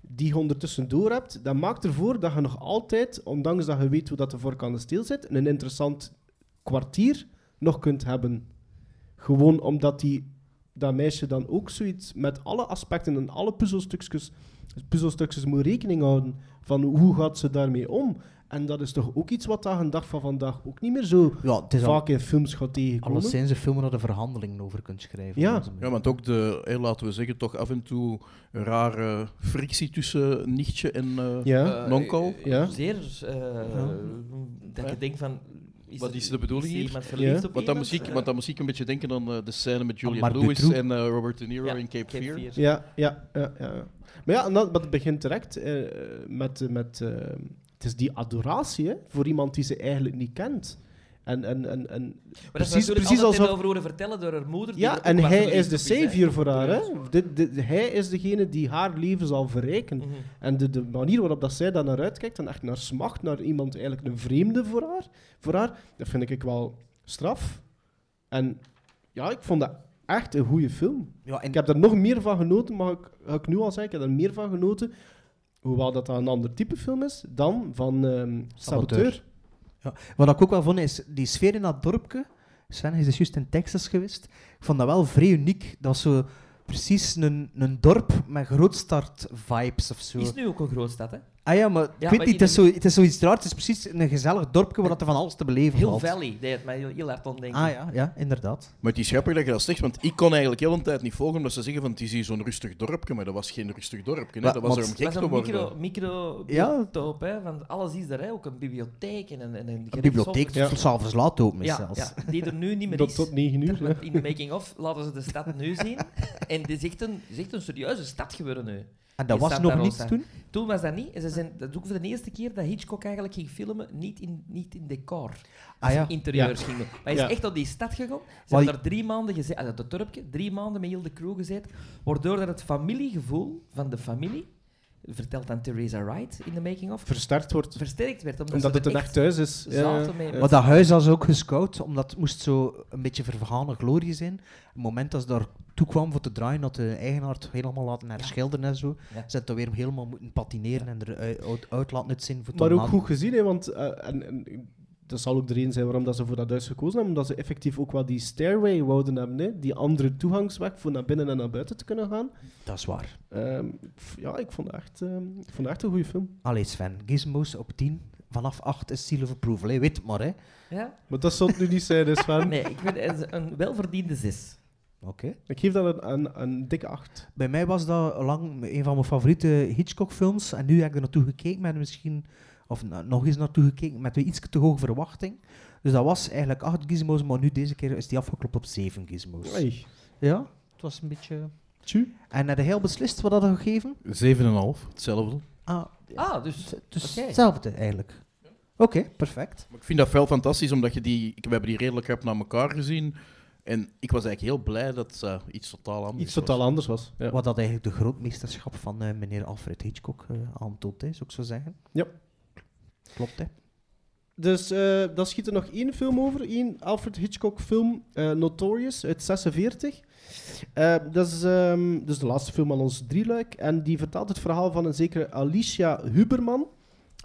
die je ondertussen door hebt, dat maakt ervoor dat je nog altijd, ondanks dat je weet hoe dat de vork aan de steel zit, een interessant kwartier nog kunt hebben. Gewoon omdat die, dat meisje dan ook zoiets met alle aspecten en alle puzzelstukjes, puzzelstukjes moet rekening houden. Van hoe gaat ze daarmee om? En dat is toch ook iets wat daar een dag van vandaag ook niet meer zo
Ja, het is al
vaak in films gaat tegenkomen.
Alleszins de film waar de verhandelingen over kunt schrijven.
Ja.
op deze manier.
Ja, want ook de, eh, laten we zeggen, toch af en toe rare frictie tussen nichtje en eh
Ja.
Eh,
nonkel.
Ja.
Zeer... eh, Dat je
Ja.
denkt van...
Wat
het-
is de bedoeling
is
hier?
iemand verliefd
Ja.
op
Want dan,
iemand?
moest ik,
Eh,
want dan moest ik een beetje denken aan eh, de scène met Julia
Marc
Lewis
Dutroux.
en eh, Robert De Niro
ja,
in Cape, Fear.
Ja, ja, ja, ja. Maar ja, en dat, dat begint direct eh, met, eh, met eh, het is die adoratie hè, voor iemand die ze eigenlijk niet kent. En, en, en,
Maar
en
dat is
Precies-
natuurlijk
precies
altijd
alsof-
over horen vertellen door haar moeder. die
ja,
dat
en
ook maar
hij
verliefd
is de
op hè.
savior voor haar. Hè? Dit- dit- hij is degene die haar leven zal verrijken.
Mhm.
En de, de manier waarop dat zij daar naar uitkijkt en echt naar smacht, naar iemand eigenlijk een vreemde voor haar, voor haar dat vind ik wel straf. En ja, ik vond dat echt een goede film.
Ja, en
Ik heb er nog meer van genoten, mag ik, ga ik nu al zeggen, ik heb er meer van genoten, hoewel dat, dat een ander type film is, dan van ehm, Saboteur.
Saboteur. Wat ik ook wel vond, is die sfeer in dat dorpje. Sven, hij is dus juist in Texas geweest. Ik vond dat wel vrij uniek. Dat is zo precies een, een dorp met grootstart-vibes of zo.
Is nu ook een grootstad, hè?
Ah ja, maar ik
Ja,
weet
maar
niet, het is, zo, het is zoiets raar. Het is precies een gezellig dorpje waar dat er van alles te beleven
Heel
valt.
Valley deed het mij heel, heel hard aan denken.
Ah ja, ja, inderdaad.
Maar het is grappig dat je dat zegt, want ik kon eigenlijk heel een tijd niet volgen omdat ze zeggen van het is hier zo'n rustig dorpje, maar dat was geen rustig dorpje. Hè?
Maar-
Dat was er
want-
om
Het
gek
was
te
een
worden.
micro, micro
Ja.
biotoop, hè? Want alles is er, hè? Ook een bibliotheek en een, en een
Een bibliotheek,
Ja.
tot s'avonds laat open is
Ja,
zelfs.
ja, die er nu niet meer
Tot,
is.
tot 9 uur.
Want In de making-of laten ze de stad nu zien. En het is echt een, het is echt een serieuze stad geworden nu.
En Ah, dat
In
was
Santa
nog
Rosa.
niets toen.
Toen was dat niet. En ze zijn, dat is ook voor de eerste keer dat Hitchcock eigenlijk ging filmen, niet in, niet in decor. Dus
Ah ja.
Interieurs ging doen. Maar hij is
Ja.
echt op die stad gegaan. Ze
Maar-
hebben daar drie maanden gezeten, uit dat dorpje, drie maanden met heel de crew gezeten. Waardoor dat het familiegevoel van de familie, vertelt dan Theresa Wright in de making-of,
Versterkt wordt,
versterkt werd. Omdat,
omdat
ze
het een
er
echt thuis is. Ja,
zaten
ja.
mee.
Ja.
Maar
Maar dat huis was ook gescout, omdat het moest zo een beetje vergane glorie zijn. Op het moment dat ze daar toe kwam voor te draaien, had de eigenaar het helemaal laten herschilderen en zo. Ze
Ja.
hebben het weer helemaal moeten patineren en er uit, uit laten uitzien voor
Maar
te
ook
laten-
goed gezien, hè, want eh, en, en, dat zal ook de reden zijn waarom dat ze voor dat huis gekozen hebben. Omdat ze effectief ook wel die stairway wouden hebben, hè, die andere toegangsweg voor naar binnen en naar buiten te kunnen gaan.
Dat is waar.
Ehm, ik v- ja, ik vond het echt, ehm, ik vond het echt een goede film.
Allee Sven, Gizmos op 10, vanaf 8 is Seal of Approval, hè. weet het maar. hè. Oké.
Ja? Ah,
Maar dat zal het nu niet zijn, dus van.
Nee, ik vind het een welverdiende zes.
Ik geef dat een, een, een dikke acht.
Bij mij was dat lang een van mijn favoriete Hitchcock-films. En nu heb ik er naartoe gekeken met misschien... Of na- nog eens naartoe gekeken met weer iets te hoge verwachting. Dus dat was eigenlijk 8 gizmos, maar nu deze keer is die afgeklopt op 7 gizmos.
Oei.
Ja, het was een beetje...
Tju.
En heb je heel beslist wat dat had gegeven?
7,5, hetzelfde.
Ah,
Ah, dus...
het- dus
Oké.
hetzelfde eigenlijk. Oké, perfect.
Maar ik vind dat wel fantastisch, omdat je die, ik- we hebben die redelijk rap naar elkaar gezien. En ik was eigenlijk heel blij dat ze iets totaal anders
Iets totaal
was.
anders was. Ja.
Wat dat eigenlijk de grootmeesterschap van eh, meneer Alfred Hitchcock eh, aantoont, hè, zou ik zo zeggen.
Ja.
Klopt, hè.
Dus eh, dan schiet er nog één film over. één Alfred Hitchcock film, eh, Notorious, uit 46. Eh, dat is ehm, dus de laatste film aan ons drieluik. En die vertelt het verhaal van een zekere Alicia Huberman.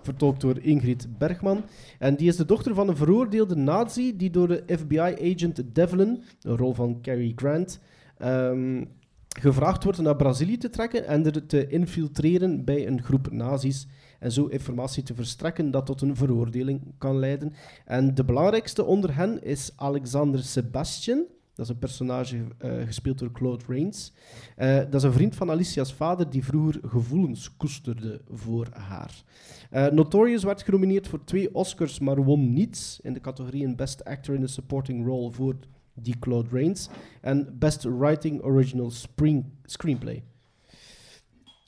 Vertolkt door Ingrid Bergman. En die is de dochter van een veroordeelde nazi die door de FBI-agent Devlin, een rol van Cary Grant, ehm, gevraagd wordt naar Brazilië te trekken en er te infiltreren bij een groep nazi's en zo informatie te verstrekken dat tot een veroordeling kan leiden. En de belangrijkste onder hen is Alexander Sebastian. Dat is een personage eh, gespeeld door Claude Rains. Eh, dat is een vriend van Alicia's vader die vroeger gevoelens koesterde voor haar. Eh, Notorious werd genomineerd voor twee Oscars, maar won niets in de categorieën Best Actor in a Supporting Role voor die Claude Rains en Best Writing Original Spring- Screenplay.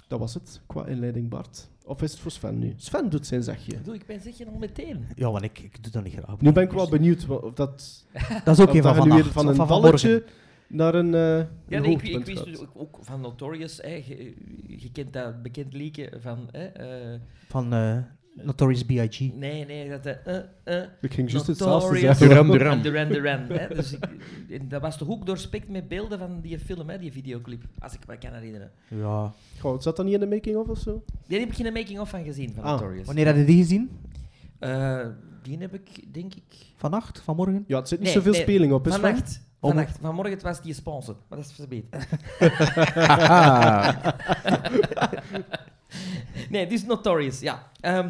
Dat was het qua inleiding, Bart. Of is het voor Sven nu? Sven doet zijn zegje.
Ik bedoel, ik ben zeg je al meteen.
Ja, want ik, ik doe dat niet graag.
Nu ben ik wel benieuwd wa- of dat,
Dat is ook
of
een
dat
van
je
vandaag.
nu weer van
of
een
van
balletje
vanmorgen.
naar een, eh
Ja, nee,
een
ik, ik
hoogtepunt
wist
gaat.
dus ook, ook van Notorious, hè, je, je kent dat bekend liedje van... Hè, eh,
Van eh, Notorious B.I.G.
nee, nee, dat... eh, eh, eh,
Ik ging juist
Notorious.
hetzelfde zeggen.
Duran Duran.
en Duran Duran. hè. Dus ik, en dat was toch ook doorspekt met beelden van die film, hè, die videoclip, als ik me kan herinneren.
Ja.
dus-
Goh, zat dat niet in de making-of of zo?
Daar heb ik geen making-of van gezien, van
Ah,
Notorious.
Wanneer had je die gezien?
Eh, die heb ik, denk ik...
Vannacht? Vanmorgen?
Ja, het zit niet
Nee,
zoveel
nee,
speling op, is Sven?
Vannacht.
Om-
Vannacht. Vanmorgen het was die sponsor, maar dat is verbeet.
Ah.
Nee, dit is Notorious, ja. Ehm,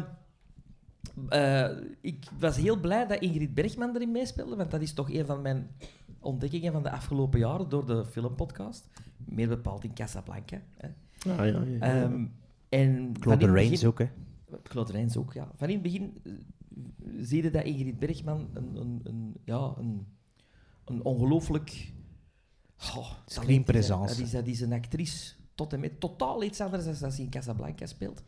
eh, ik was heel blij dat Ingrid Bergman erin meespeelde, want dat is toch een van mijn ontdekkingen van de afgelopen jaren door de filmpodcast. Meer bepaald in Casablanca. Hè.
Ah, ja, ja, ja.
Ehm, en
Claude
van in het
Rains
begin-
ook, hè.
Claude Rains ook, ja. Van in het begin eh, zie je dat Ingrid Bergman een, een, een, ja, een, een ongelooflijk... Oh,
Screenpresence.
Dat is, dat is een actrice tot en met totaal iets anders dan dat ze in Casablanca speelt.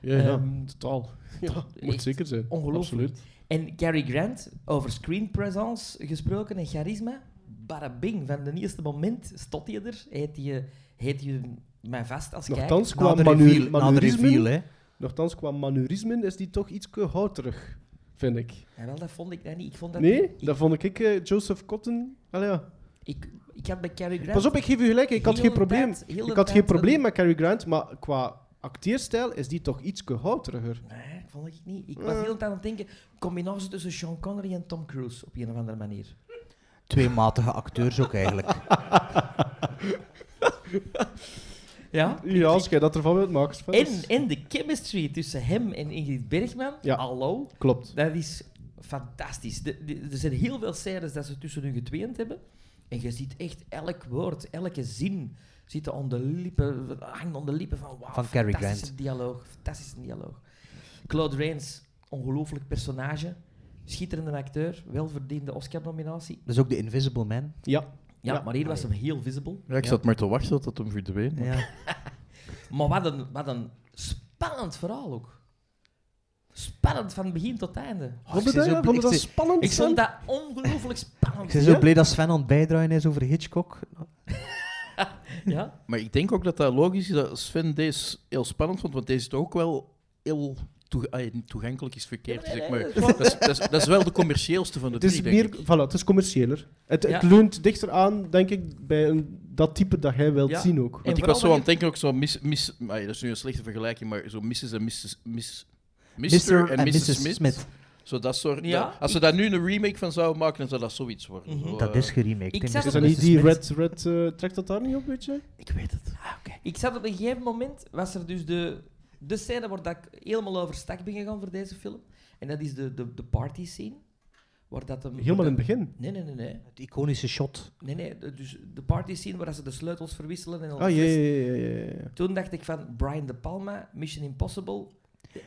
Ja, ja,
Ehm,
totaal. Ja,
echt
moet zeker zijn.
ongelooflijk.
Absoluut.
En Cary Grant, over screen presence gesproken en charisma. Barabing, van de eerste moment stond hij er. Heet je, heet je mij vast als kijker.
Nochtans,
Na
qua
de
manu-
reveal, na de
manurismen-
reveal, hè.
nochtans, qua manurismen is die toch iets houterig, vind ik.
Ja, wel, dat vond ik dat niet. Ik vond dat
Nee?
Ik,
Dat vond ik eh, Joseph Cotton... Allee, ja.
ik, ik had bij Cary Grant...
Pas op, ik geef u gelijk, ik had
heel
geen
de
probleem.
tijd- heel de
Ik had
tijd
geen
wel-
probleem met Cary Grant, maar qua acteerstijl is die toch iets houteriger.
Nee, dat vond ik niet. Ik was heel de tijd aan het denken, combinatie tussen Sean Connery en Tom Cruise, op een of andere manier.
Twee matige acteurs ook eigenlijk.
Ja?
Ja, als jij dat ervan wilt maken. Sven,
En,
is-
en de chemistry tussen hem en Ingrid Bergman,
Ja.
hallo,
Klopt.
dat is fantastisch. De- de- er zijn heel veel scènes dat ze tussen hun getweend hebben. En je ziet echt elk woord, elke zin zit aan de lippen, hangt aan de lippen van wauw,
Van Cary
fantastische
Grant.
dialoog, fantastische dialoog. Claude Rains, ongelooflijk personage, schitterende acteur, welverdiende Oscar-nominatie.
Dat is ook de Invisible Man.
Ja.
Ja,
Ja.
maar hier was hem heel visible.
Ja, ik zat maar te wachten tot hem verdween. maar-
Ja.
Maar wat een, wat een spannend verhaal ook. Spannend van begin tot einde.
Vond je
ik zei
dat,
zo-
ja? Vond je
ik
dat
zei-
spannend?
Ik vond
Sven?
dat ongelooflijk
Ik
spannend.
ben zo
Ja?
blij dat Sven aan het bijdraaien is over Hitchcock.
Ja?
Maar ik denk ook dat dat logisch is dat Sven deze heel spannend vond, want deze toch ook wel heel toeg- ah, niet toegankelijk is verkeerd.
Ja, nee,
zeg
nee,
maar.
dat is waar.
dat, is, dat, is, dat is wel de commercieelste van de
Het is,
drie, denk
meer,
ik.
voilà, het is commerciëler. Het, het
Ja.
leunt dichter aan, denk ik, bij een, dat type dat hij wilt
Ja.
zien ook.
En
Want ik
vooral
was zo aan
wanneer-
het denken, ook zo mis, mis, maar ja, dat is nu een slechte vergelijking, maar zo Mrs. en Mrs. Miss, Mr. en Mrs. Smith. Zo dat soort,
Ja,
dat- als ze daar nu een remake van zouden maken, dan zou dat zoiets worden.
Mhm.
Zo,
Dat
eh,
is geremaked.
Ik
hè,
zat
Mrs.
Is dat niet die
Smith.
Red, red eh, trekt dat daar niet op, weet je?
Ik weet het. Ah, Ik zat op een gegeven moment, was er dus de, de scène waar dat ik helemaal over stak ben gegaan voor deze film. En dat is de, de, de party scene. Waar dat hem,
Helemaal in het begin.
Nee, nee, nee, nee.
Het iconische shot.
Nee, nee. de- Dus de party scene waar dat ze de sleutels verwisselen en al
Ah,
de
ja,
flessen.
ja, ja, ja, ja.
Toen dacht ik van Brian De Palma, Mission Impossible,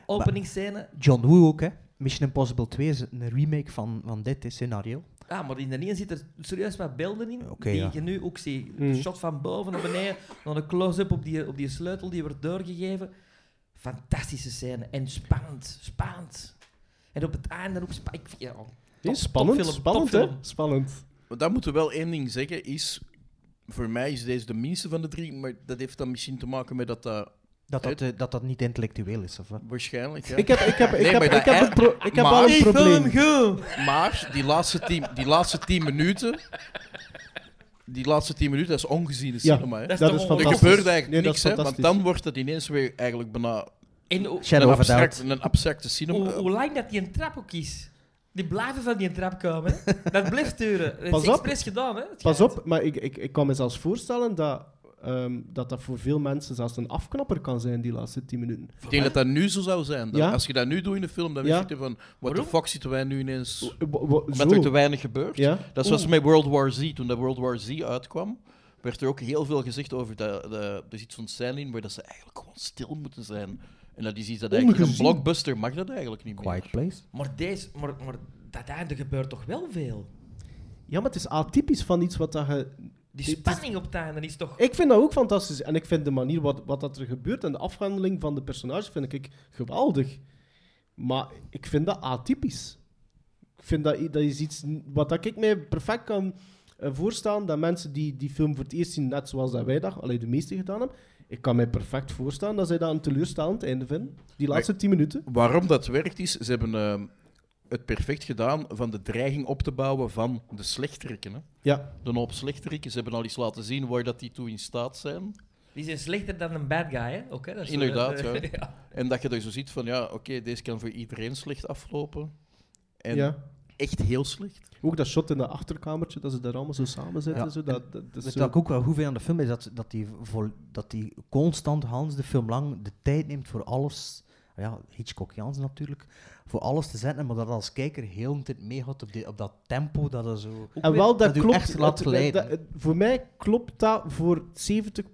openingsscène.
John Woo ook, hè. Mission Impossible 2 is een remake van, van dit hè, scenario.
Ah, maar in de een zit er serieus wat beelden in,
Oké,
die
ja.
je nu ook ziet.
Mm.
Hmm.
Een shot van boven naar beneden, dan een close-up op die, op die sleutel die wordt doorgegeven. Fantastische scène. En spannend, spannend. En op het einde ook spannend. Ja,
Nee,
Top-
spannend,
topfilm,
spannend, hè?
topfilm.
Spannend.
Maar daar moeten we wel één ding zeggen, is... Voor mij is deze de minste van de drie, maar dat heeft dan misschien te maken met dat dat...
Dat dat, eh, dat, dat niet intellectueel is, of wat?
Waarschijnlijk, ja.
Ik heb, ik heb, ik
Nee,
heb,
maar dat
ik heb,
ei-
een pro- ik heb
maar-
al een
Ik
probleem.
Maar die laatste tien, die laatste tien minuten... Die laatste tien minuten, dat is ongeziene
Ja,
cinema, hè.
Dat is
dat
toch
is
ongelooflijk.
Er
fantastisch.
gebeurt eigenlijk
Nee,
niks,
dat is
hè. Want
fantastisch.
dan wordt dat ineens weer eigenlijk bijna
En hoe,
Shadow of
een,
a
abstract,
Doubt.
een abstracte cinema.
eh,
hoe, hoe lang dat die een trap ook is. Die blijven van die trap komen. hè. Dat blijft duren. Dat
Pas
is
op.
expres gedaan, hè? het
Pas
schijnt.
op, maar ik, ik, ik kan me zelfs voorstellen dat, ehm, dat dat voor veel mensen zelfs een afknapper kan zijn, die laatste 10 minuten.
Ik denk dat dat nu zo zou zijn. Dan-
Ja?
Als je dat nu doet in de film, dan
Ja.
weet je van... What the
Waarom?
fuck zitten wij nu ineens...
Wa- wa-
Omdat
Zo.
er te weinig gebeurt.
Ja?
Dat was met World War Z. Toen dat World War Z uitkwam, werd er ook heel veel gezegd over dat, dat er is iets van scène in waar dat ze eigenlijk gewoon stil moeten zijn. En dat is iets dat eigenlijk in een
Ongezien.
blockbuster mag dat eigenlijk niet meer.
Quiet Place.
Maar, deze, maar, maar dat einde gebeurt toch wel veel?
Ja, maar het is atypisch van iets wat dat je...
Die spanning op het einde is toch...
Ik vind dat ook fantastisch. En ik vind de manier wat, wat dat er gebeurt en de afhandeling van de personages vind ik geweldig. Maar ik vind dat atypisch. Ik vind dat, i- dat is iets n- wat dat ik mij perfect kan eh, voorstellen. Dat mensen die die film voor het eerst zien, net zoals dat wij dat, alleen de meeste gedaan hebben. Ik kan mij perfect voorstellen dat zij dat een teleurstellend einde vinden. Die laatste tien minuten.
Waarom dat werkt is, ze hebben ehm, het perfect gedaan van de dreiging op te bouwen van de slechteriken. Hè.
Ja,
De hoop slechteriken. Ze hebben al eens laten zien waar dat die toe in staat zijn.
Die zijn slechter dan een bad guy, hè? Ook, hè? Dat is, eh,
Inderdaad, ja.
ja.
En dat je er zo ziet van, ja, oké, deze kan voor iedereen slecht aflopen. En
ja.
echt heel slecht.
Ook dat shot in dat achterkamertje, dat ze daar allemaal zo samen zitten.
Ja.
Zo, dat, dat, dat is
Wat
zo-
ik ook wel goed vind aan de film is dat, dat, die, vol, dat die constant Hans de film lang de tijd neemt voor alles. Ja, Hitchcock Jans natuurlijk. Voor alles te zetten, maar dat als kijker heel de tijd meegaat op, die- op dat tempo. Dat er zo...
En wel, dat,
dat u
klopt.
echt laat
dat-
glijden.
dat- het- voor mij klopt dat voor 70%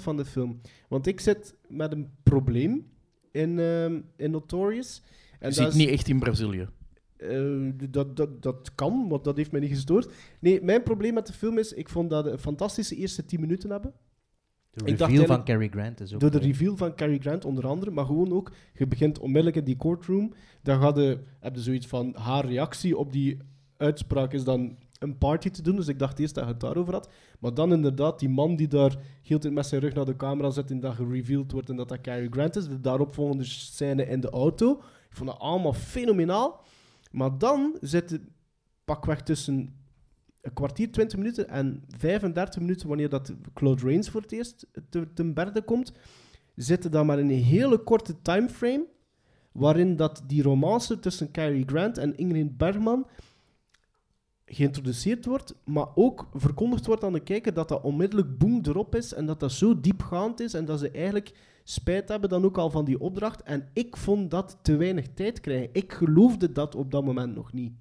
van de film. Want ik zit met een probleem in, ehm, in Notorious. En
je
dat,
zit
is-
niet echt in Brazilië.
eh, dat, dat, dat kan, want dat heeft mij niet gestoord. Nee, mijn probleem met de film is, ik vond dat we een fantastische eerste 10 minuten hebben.
De
dacht
reveal van
eigenlijk-
Cary Grant is ook...
Door de
mooi.
reveal van Cary Grant onder andere, maar gewoon ook, je begint onmiddellijk in die courtroom, dan gaat de, heb je zoiets van, haar reactie op die uitspraak is dan een party te doen, dus ik dacht eerst dat je het daarover had. Maar dan inderdaad, die man die daar heel de tijd met zijn rug naar de camera zit en dat gereveeld wordt en dat dat Cary Grant is, de daaropvolgende scène in de auto, ik vond dat allemaal fenomenaal. Maar dan zit het pakweg tussen een kwartier, 20 minuten en 35 minuten, wanneer dat Claude Rains voor het eerst te, ten berde komt, zitten dan maar in een hele korte timeframe, waarin dat die romance tussen Cary Grant en Ingrid Bergman geïntroduceerd wordt, maar ook verkondigd wordt aan de kijker dat dat onmiddellijk boem erop is en dat dat zo diepgaand is en dat ze eigenlijk spijt hebben dan ook al van die opdracht. En ik vond dat te weinig tijd krijgen. Ik geloofde dat op dat moment nog niet.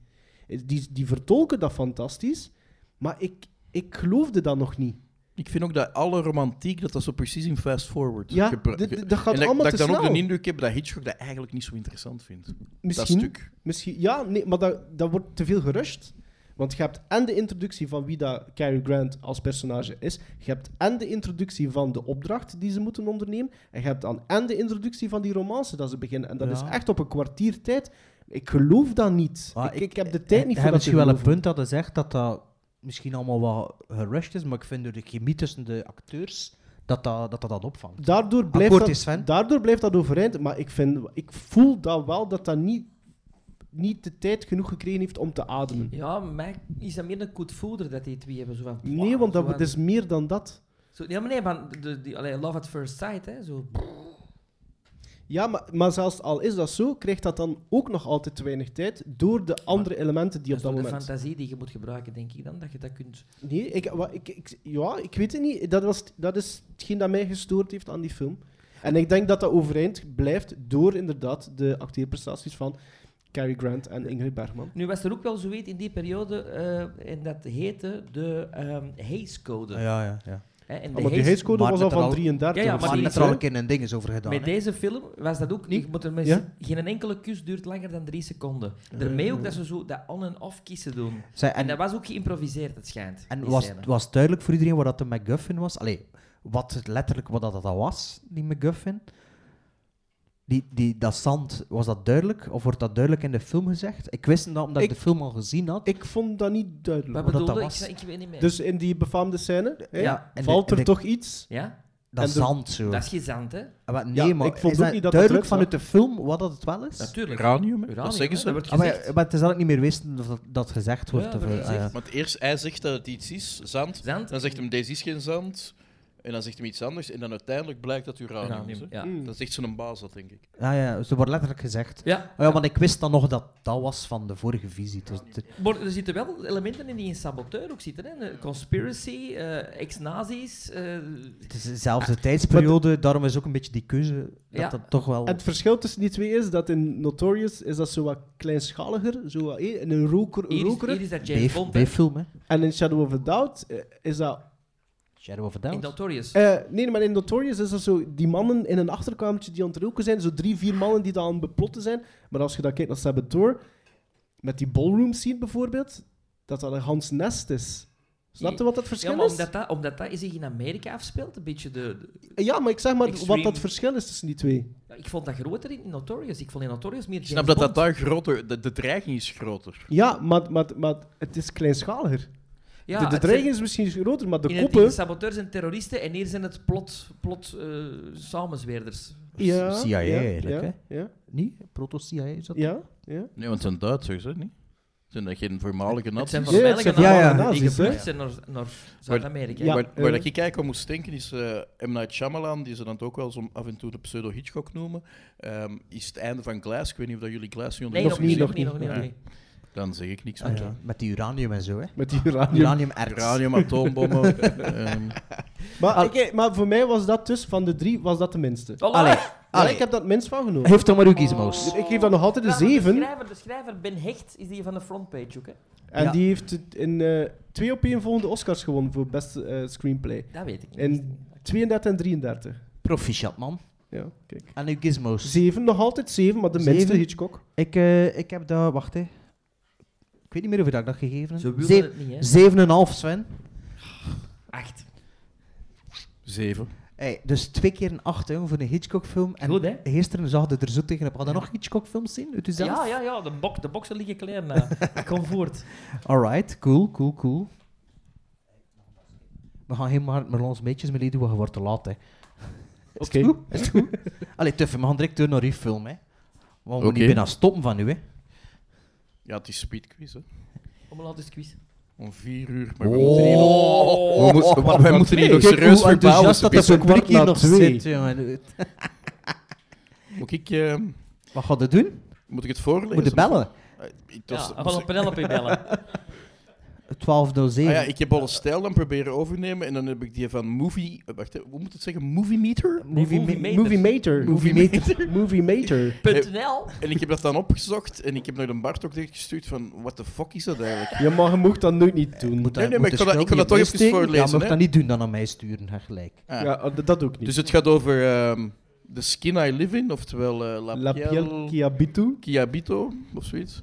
Eh, Die, die vertolken dat fantastisch, maar ik, ik geloofde dat nog niet.
Ik vind ook dat alle romantiek, dat dat zo precies in fast forward
Ja,
gebru-
dit- dit-
ge-
dat
en
gaat
dat,
allemaal
dat ik
te
dan ook
snel.
de indruk heb dat Hitchcock dat eigenlijk niet zo interessant vindt.
Misschien,
Dat stuk.
Misschien, ja, nee, maar dat, dat wordt te veel gerust. Want je hebt en de introductie van wie dat Cary Grant als personage is. Je hebt en de introductie van de opdracht die ze moeten ondernemen. En je hebt dan en de introductie van die romance dat ze beginnen. En dat
Ja.
is echt op een kwartier tijd. Ik geloof dat niet.
Maar
ik, ik, heb de tijd niet
hij
voor dat te
misschien wel een
geloven.
punt dat hij zegt dat dat misschien allemaal wat gerushed is, maar ik vind door de chemie tussen de acteurs dat dat dat, dat, dat opvangt.
Daardoor blijft,
Akkoord
dat,
is, Sven.
daardoor blijft dat overeind. Maar ik, vind, ik voel dat wel dat dat niet, niet de tijd genoeg gekregen heeft om te ademen.
Ja, mij is dat meer een koetvoerder dat die twee hebben. Zo van,
Nee, want dat,
zo
dat is meer dan dat.
zo, ja, maar nee, maar de, die, allee, Love at First Sight, hè. Zo,
Ja, maar, maar zelfs al is dat zo, krijgt dat dan ook nog altijd te weinig tijd door de andere elementen die
dat is
op dat
toch de
moment...
fantasie die je moet gebruiken, denk ik dan, dat je dat kunt...
Nee, ik, wa- ik, ik, ja, ik weet het niet. Dat, was, dat is hetgeen dat mij gestoord heeft aan die film. En ik denk dat dat overeind blijft door inderdaad de acteerprestaties van Cary Grant en Ingrid Bergman.
Nu was er ook wel zoiets in die periode, eh, en dat heette de ehm Hays Code.
Ah, Ja, ja, ja.
Hè, en de
Ah, Maar die
Hays-
Hays Code
maar
was al
net er
van
al-
33.
Ja, ja,
of
maar
Maar
die-
net
zoiets,
er al
hè?
een keer een ding is over gedaan.
Met
hè.
deze film was dat ook.
Niet?
Je moet er met
Ja?
Geen enkele kus duurt langer dan drie seconden. Daarmee ook dat ze zo dat on- en off kiezen doen. En,
Zij- en
dat was ook geïmproviseerd, het schijnt.
en
die
was,
scène.
was duidelijk voor iedereen wat dat de MacGuffin was? Allee, wat het letterlijk wat dat, dat was, die MacGuffin? Die, die, dat zand, was dat duidelijk? Of wordt dat duidelijk in de film gezegd? Ik wist dat omdat ik,
Ik-
de film al gezien had.
Ik vond dat niet duidelijk.
Wat
dat
bedoelde
was.
ik? Ik weet niet meer.
Dus in die befaamde scène hè,
Ja,
en de-
valt
en
er
de-
toch iets...
ja?
dat
en de-
zand zo. Ah,
Dat is gezant, hè?
Maar nee,
Ja,
maar
ik vond
is
ook
dat
niet dat dat
duidelijk
lukt,
vanuit de film wat dat het wel is?
Natuurlijk.
Uranium, hè?
Uranium,
dat zeggen
hè,
ze.
wordt
Ah, maar,
gezegd.
ja, maar het is dat ik niet meer wist dat dat gezegd wordt.
Ja,
of,
dat
eh,
wordt
ah, ja.
Want eerst hij zegt dat het iets is, zand.
Zand.
Dan zegt hem, deze is geen zand. En dan zegt hem iets anders. En dan uiteindelijk blijkt dat het uranium, is.
Uranium,
hè.
Mm.
ja.
Dat zegt zo'n baas, dat denk ik.
ah, Ja, ja, ze wordt letterlijk gezegd.
Ja.
Oh ja, want ik wist dan nog dat dat was van de vorige visie. Dus het-
Maar er zitten wel elementen in die in saboteur ook zitten. Hè? De Conspiracy, eh, ex-nazi's. eh,
het is dezelfde tijdsperiode, daarom is ook een beetje die keuze dat
Ja.
dat toch wel...
En het verschil tussen die twee is dat in Notorious is dat zo wat kleinschaliger, zo wat, eh, in een roker,
hier, is,
rokerig.
hier is dat James
B-
Bond, hè?
B-film, hè.
En in Shadow of a Doubt eh, is dat...
Shadow of a
in
Doubt.
Notorious.
eh, nee, maar in Notorious is dat zo die mannen in een achterkamertje die aan het roken zijn. Zo drie, vier mannen die daar aan het beplotten zijn. Maar als je dan kijkt naar Saboteur, met die ballroom scene bijvoorbeeld, dat dat een Hans Nest is. Snap je wat dat verschil
ja, maar
is?
omdat dat, omdat dat zich in Amerika afspeelt, een beetje de, de-
Eh, Ja, maar ik zeg maar
Extreme-
wat dat verschil is tussen die twee.
Ja, ik vond dat groter in Notorious. Ik vond in Notorious meer
Ik
James
snap dat dat
Bond.
daar groter... De, de dreiging is groter.
Ja, maar, maar, maar het is kleinschaliger.
Ja,
de, de
het
dreiging
zijn-
is misschien groter, maar
in
de
het ding
koppen...
saboteurs en terroristen en hier zijn het plot, plot eh, samenzweerders.
Ja,
CIA
ja,
eigenlijk,
ja,
hè.
Ja,
Niet? Proto-CIA is dat?
ja, ja.
Nee, want het zijn Duitsers, hè? Niet? Zijn dat geen voormalige
Het zijn
nazi's?
van
Ja,
Belgen
het zijn
en
van
ja,
Belgen die
nazi's, hè?
gevlucht zijn naar, naar Zuid-Amerika.
Ja.
Waar,
eh.
waar dat ik eigenlijk aan moest denken is eh, M. Night Shyamalan, die ze dan ook wel zo af en toe de pseudo-Hitchcock noemen, ehm, is het einde van Glass. Ik weet niet of dat jullie Glass nu
Nee,
ondertussen
nog,
niet,
niet,
gezien
nog niet, nog niet, nog
Nee.
niet.
hebben. Dan zeg ik niks
Ah,
meer.
ja. Met die uranium en zo, hè.
Met die uranium.
Uranium-erts.
Uranium, atoombommen. ehm,
Ah.
Maar, ik- maar voor mij was dat dus, van de drie, was dat de minste.
Allee.
Allee.
Ja,
Oh. Allee.
ik heb dat het minst van genomen.
Heeft dan maar uw gizmos.
Oh.
Ik geef dat nog altijd een
Ja, maar De
7.
schrijver, de schrijver Ben Hecht is die van de frontpage ook, hè?
En
Ja.
die heeft het in eh, twee op één volgende Oscars gewonnen voor beste eh, screenplay.
Dat weet ik niet.
In 32 en 33.
Proficiat, man.
Ja, kijk.
En uw gizmos.
7, nog altijd 7, maar de minste
Zeven?
Hitchcock.
Ik, eh, ik heb dat... Wacht, hè. Ik weet niet meer hoeveel dat ik dat gegeven
Ze
heb.
wilden
Zeven-
het niet, hè?
Zeven en een half, Sven.
Acht.
zeven.
Hey, dus twee keer een acht hè, voor een Hitchcock-film. En
Goed, hè?
gisteren zag je er zo tegenop. Had je nog Hitchcock-films zien uit uzelf?
Ja, ja, ja. De, bok, de boksen liggen klaar. na. Kom voort.
Alright, cool, cool, cool. We gaan helemaal met ons meetjes mee doen, want je wordt te laat, hè. Is het goed? Is het goed? Allee, Tuffen, we gaan direct door naar die film, hè. Want we
Oké.
moeten bijna stoppen van nu, hè.
Ja, het is speedquiz, hè.
Kom maar, laat eens quiz.
Om vier uur. Maar
Oh.
we moeten hier nog, we moeten-
Maar-
wij moeten hier nog
Kijk
serieus
hoe
voor
enthousiast dat
bouwen.
dat
Pieter.
publiek hier
na
nog
twee.
zit, jongen.
Moet ik, eh,
Wat gaat dat doen?
moet ik het voorlezen?
Moet je bellen?
Eh, het was-
Ja, van een Penelope bellen.
1207.
Ah ja, ik heb alle stijl dan proberen overnemen en dan heb ik die van Movie... eh, Wacht, hè, hoe moet het zeggen? Movie Meter?
Movie Maker.
Movie Mater.
Movie
Movie Mater.
.nl.
En ik heb dat dan opgezocht en ik heb naar de Bart ook gestuurd van, what the fuck is dat eigenlijk?
Ja, maar je mocht dat nooit niet doen.
Moet dat-
nee, maar
moet
ik
de
kan dat-
schuld
ik kan
niet
dat toch even
meesteken?
voorlezen,
Ja, mag
hè.
dat niet doen, dan aan mij sturen, hè, gelijk.
Ah.
Ja, dat- dat ook niet.
Dus het gaat over ehm, de skin I live in, oftewel eh, La,
La Piel
Piel
Kiabitu.
Kiabito of zoiets.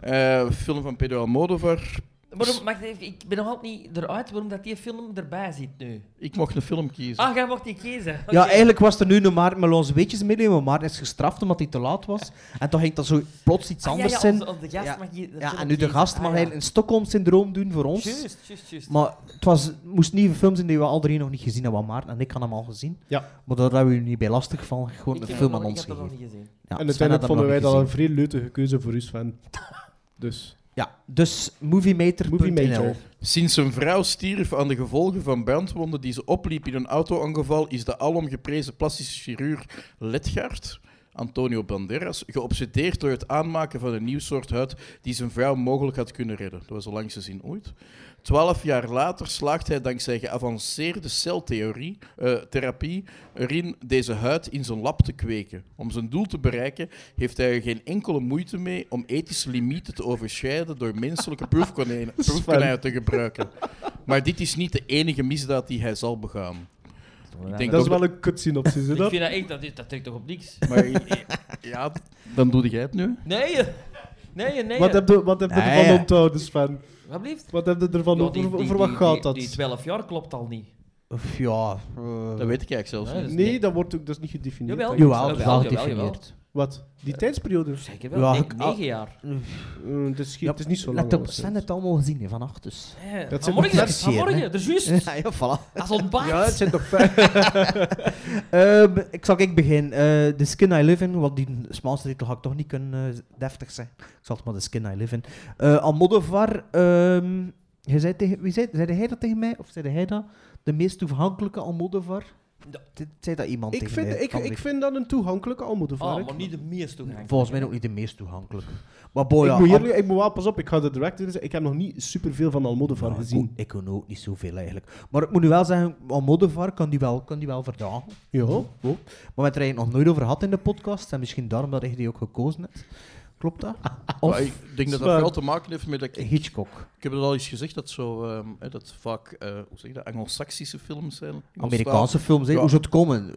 Eh, film van Pedro Almodovar.
Waarom, wacht even, ik ben nog altijd niet eruit waarom dat die film erbij zit nu.
Ik mocht een film kiezen.
Ah, jij mocht niet kiezen. Oké.
Ja, eigenlijk was er nu een Maarten Melons weetjes meenemen, maar Maarten is gestraft omdat hij te laat was. En toen ging dat zo plots iets
Ah, ja,
anders
ja,
zijn.
onze- onze gast
Ja.
mag je de
Ja,
film
en nu de
kiezen.
gast
Ah,
mag
ja.
eigenlijk een Stockholm-syndroom doen voor ons.
Juist, juist, juist.
Maar het was, moest nieuwe films zijn die we al drie nog niet gezien hebben, Maarten en ik had hem al gezien.
Ja.
Maar daar hebben we u niet bij lastig van, gewoon
Ik
een
heb
film
dat
aan
nog-
ons
Ik heb dat nog
gegeven.
niet gezien.
Ja,
en
Sven had hem
uiteindelijk vonden
nog
wij
niet
dat een
gezien.
vrij leutige keuze voor u, Sven. Dus.
Ja, dus moviemater.nl.
Movie Mater.
Sinds zijn vrouw stierf aan de gevolgen van brandwonden die ze opliep in een autoongeval, is de alom geprezen plastische chirurg Letgaard, Antonio Banderas, geobsedeerd door het aanmaken van een nieuw soort huid die zijn vrouw mogelijk had kunnen redden. Dat was de langste zin ooit. Twaalf jaar later slaagt hij dankzij geavanceerde celtherapie therapie erin deze huid in zijn lab te kweken. Om zijn doel te bereiken heeft hij er geen enkele moeite mee om ethische limieten te overschrijden door menselijke proefkonijnen, proefkonijnen te gebruiken. Maar dit is niet de enige misdaad die hij zal begaan. Ik denk
Dat is
ook
wel een kut synopsis, hè?
Ik
dat?
vind dat echt, dat, is- dat trekt toch op niks?
dat- Maar, ja, dan doe jij het nu.
Nee, eh. nee, nee.
Wat
eh.
heb je wat heb je
Nee.
ervan onthouden, Sven?
Wat blieft?
Wat heb je ervan
Ja, die-
over,
die-
over wat
die-
gaat
die-
dat?
Die 12 jaar klopt al niet. dus
Of ja, eh,
Dat weet ik eigenlijk zelfs
Nee,
niet.
dat is
Nee, dat wordt ook dat is niet gedefinieerd.
Jawel.
denk ik.
jawel, dat is wel
Jawel, jawel, jawel.
gedefinieerd.
Wat? Die tijdsperiode?
Zeker wel,
Ja,
ne-
ik- ah,
negen jaar.
Eh, het, is, ge-
Ja,
het is niet zo lang.
Let op,
alles, hè.
Sven heeft het allemaal gezien, hè, vannacht dus.
Eh,
zijn
Vanmorgen,
nog zeer, hè?
vanmorgen, dus juist.
Ja, ja, voilà.
Als ontbijt.
Ja, het zijn toch vijf.
Ehm, ik zal ik beginnen. Eh, de Skin I Live In, want die Spaanse titel ga ik toch niet kunnen eh, deftig zijn. Ik zal het maar de Skin I Live In. Eh Almodovar, ehm, jij zei tegen, wie zei, zei hij dat tegen mij? Of zei hij dat? De meest toegankelijke Almodovar?
Ja.
Dit- Zei dat iemand
ik,
tegen
vind,
mij?
ik,
Kan
ik vind dat een toegankelijke Almodovar.
Oh,
Ik-
maar niet de meest toegang.
Volgens mij ook niet de meest toegankelijke. Maar boy,
ik,
Oh ja, ah.
moet
Al-
eerlijk, ik moet wel pas op, ik ga de director zeggen. dus Ik heb nog niet superveel van Almodovar
Nou, ik
gezien.
kon- Ik kon ook niet zoveel eigenlijk. Maar ik moet nu wel zeggen, Almodovar kan die wel, kan die wel verdragen.
Ja.
Maar we hebben het er eigenlijk nog nooit over gehad in de podcast. En misschien daarom dat je die ook gekozen hebt. Klopt dat?
Maar
Of
ik denk dat dat
Zwaar.
vooral te maken heeft met... dat ik,
Hitchcock.
ik heb het al eens gezegd, dat, zo, ehm, hè, dat vaak eh, hoe zeg je dat, Anglo-Saxische films zijn.
Amerikaanse films, hè?
Ja.
hoe zou het komen?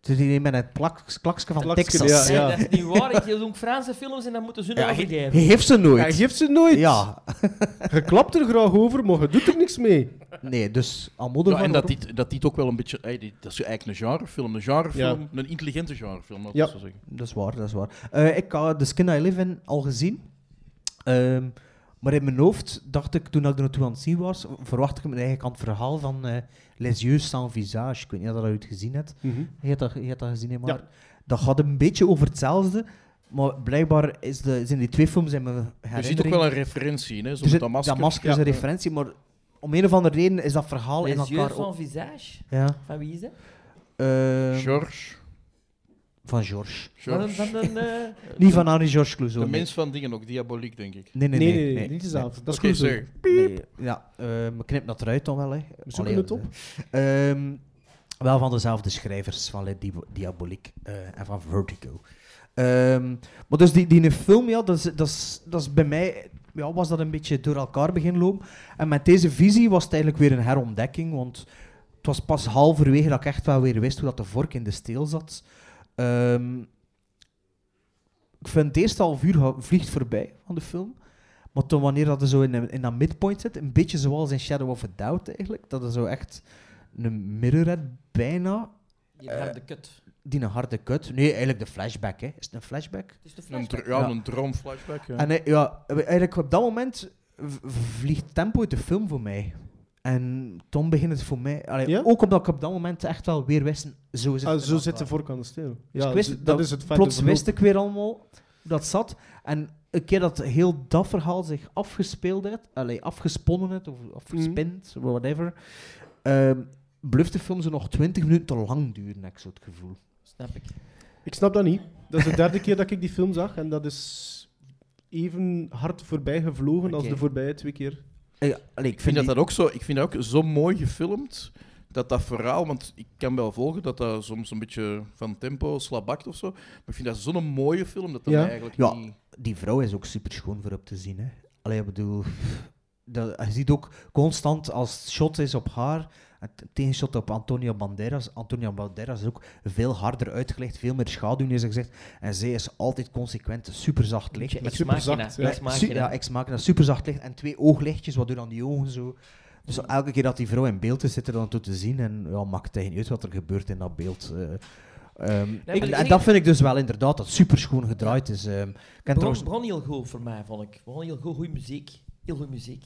Het is hier met het plak- klaksken van
Klaksken,
Texas.
Nee,
Ja.
dat is niet waar. Ik doe ook Franse films en dan moeten ze hun
Ja,
ja,
hij-
geven.
Hij heeft ze
Hij
nooit.
geeft ze nooit.
Ja,
Je klapt er graag over, maar je doet er niks mee.
nee, dus
Ja,
Almodovar...
en dat
waarom-
dit, dat dit ook wel een beetje... hey, dit- dat is eigenlijk een genrefilm. Een genrefilm, een intelligente genrefilm, laat ik
Ja.
zo zeggen.
Dat is waar, dat is waar. Eh, ik had The Skin I Live In al gezien. Ehm, maar in mijn hoofd dacht ik, toen ik er naartoe aan het zien was, verwacht ik mijn eigen kant verhaal van eh Les Yeux Sans Visage. Ik weet niet of dat je het gezien hebt.
Mhm.
Je hebt dat, je hebt dat gezien, hè, maar
Ja.
dat gaat een beetje over hetzelfde. Maar blijkbaar is de, zijn die twee films in mijn herinnering...
Er zit ook wel een referentie in, hè, zo
Dus
met
het-
dat masker.
is een referentie, maar om een of andere reden is dat verhaal in
Les
elkaar...
yeux
op-
van visage?
Ja.
Van wie is dat?
Ehm,
George.
van George.
Van een...
George.
Van een eh,
Niet van Henri-Georges Clouseau.
de
nee.
mens van dingen ook, diaboliek, denk ik.
Nee, nee, nee. nee, nee.
niet dezelfde. Dat is
Oké,
goed zo.
sir.
Nee, ja, ehm, we knipt dat eruit dan wel. Hè. We
zoeken het op.
wel van dezelfde schrijvers, van Le Diab- Diabolique eh, en van Vertigo. Ehm, maar dus die, die film, ja, dat is, dat is, dat is bij mij... Ja, was dat een beetje door elkaar begin lopen. En met deze visie was het eigenlijk weer een herontdekking, want het was pas halverwege dat ik echt wel weer wist hoe dat de vork in de steel zat. Ehm, ik vind het eerste half uur ga- vliegt voorbij van de film. Maar toen wanneer dat er zo in, in dat midpoint zit, een beetje zoals in Shadow of a Doubt eigenlijk, dat er zo echt een mirrorhead bijna,
Je hebt de kut.
die een harde kut. Nee, eigenlijk de flashback, hè. Is het een flashback?
Het is de
Een,
flashback.
dr- ja,
Ja.
een droomflashback. Ja.
En eh, ja, eigenlijk op dat moment v- vliegt tempo uit de film voor mij. En toen begint het voor mij... allee,
Ja?
Ook omdat ik op dat moment echt wel weer wist, zo zit
Ah,
het in
zo zit de
elkaar.
voorkant aan de steel.
Dus
Ja,
ik wist
d- dat,
dat
is het feit.
Plots wist ik weer allemaal dat het zat. En een keer dat heel dat verhaal zich afgespeeld had, allee, afgesponnen had, of afgespind,
Mhm.
whatever, ehm bluft de film zo nog 20 minuten te lang duren, heb ik zo het gevoel.
Snap ik.
Ik snap dat niet. Dat is de derde keer dat ik die film zag en dat is even hard voorbij gevlogen als
Oké.
de voorbije twee keer.
Eh, allee,
Ik vind dat,
die-
dat ook zo, ik vind dat ook zo mooi gefilmd. Dat dat verhaal, want ik kan wel volgen dat dat soms een beetje van tempo slabakt of zo. Maar ik vind dat zo'n mooie film dat dat
Ja.
mij eigenlijk
Ja.
niet...
die vrouw is ook super schoon voor op te zien. Hè. Allee, ik bedoel, dat, je ziet ook constant als het shot is op haar, het tegenshot op Antonio Banderas. Antonio Banderas is ook veel harder uitgelegd, veel meer schaduw is er gezegd. En zij is altijd consequent, super zacht licht.
Met
super zacht, ja.
Ja.
Su- ja, ex machina, super zacht licht en twee ooglichtjes, wat doen aan die ogen zo. Dus elke keer dat die vrouw in beeld is, zit er dan toe te zien en ja, maakt het niet uit wat er gebeurt in dat beeld. eh. Ehm,
maar ik
en- en
zeg-
dat vind ik dus wel inderdaad, dat super schoon gedraaid is. ehm. ik ken trouwens
Bron, Bron heel goed voor mij, vond ik. Bron heel goed, goede muziek. Heel goede muziek.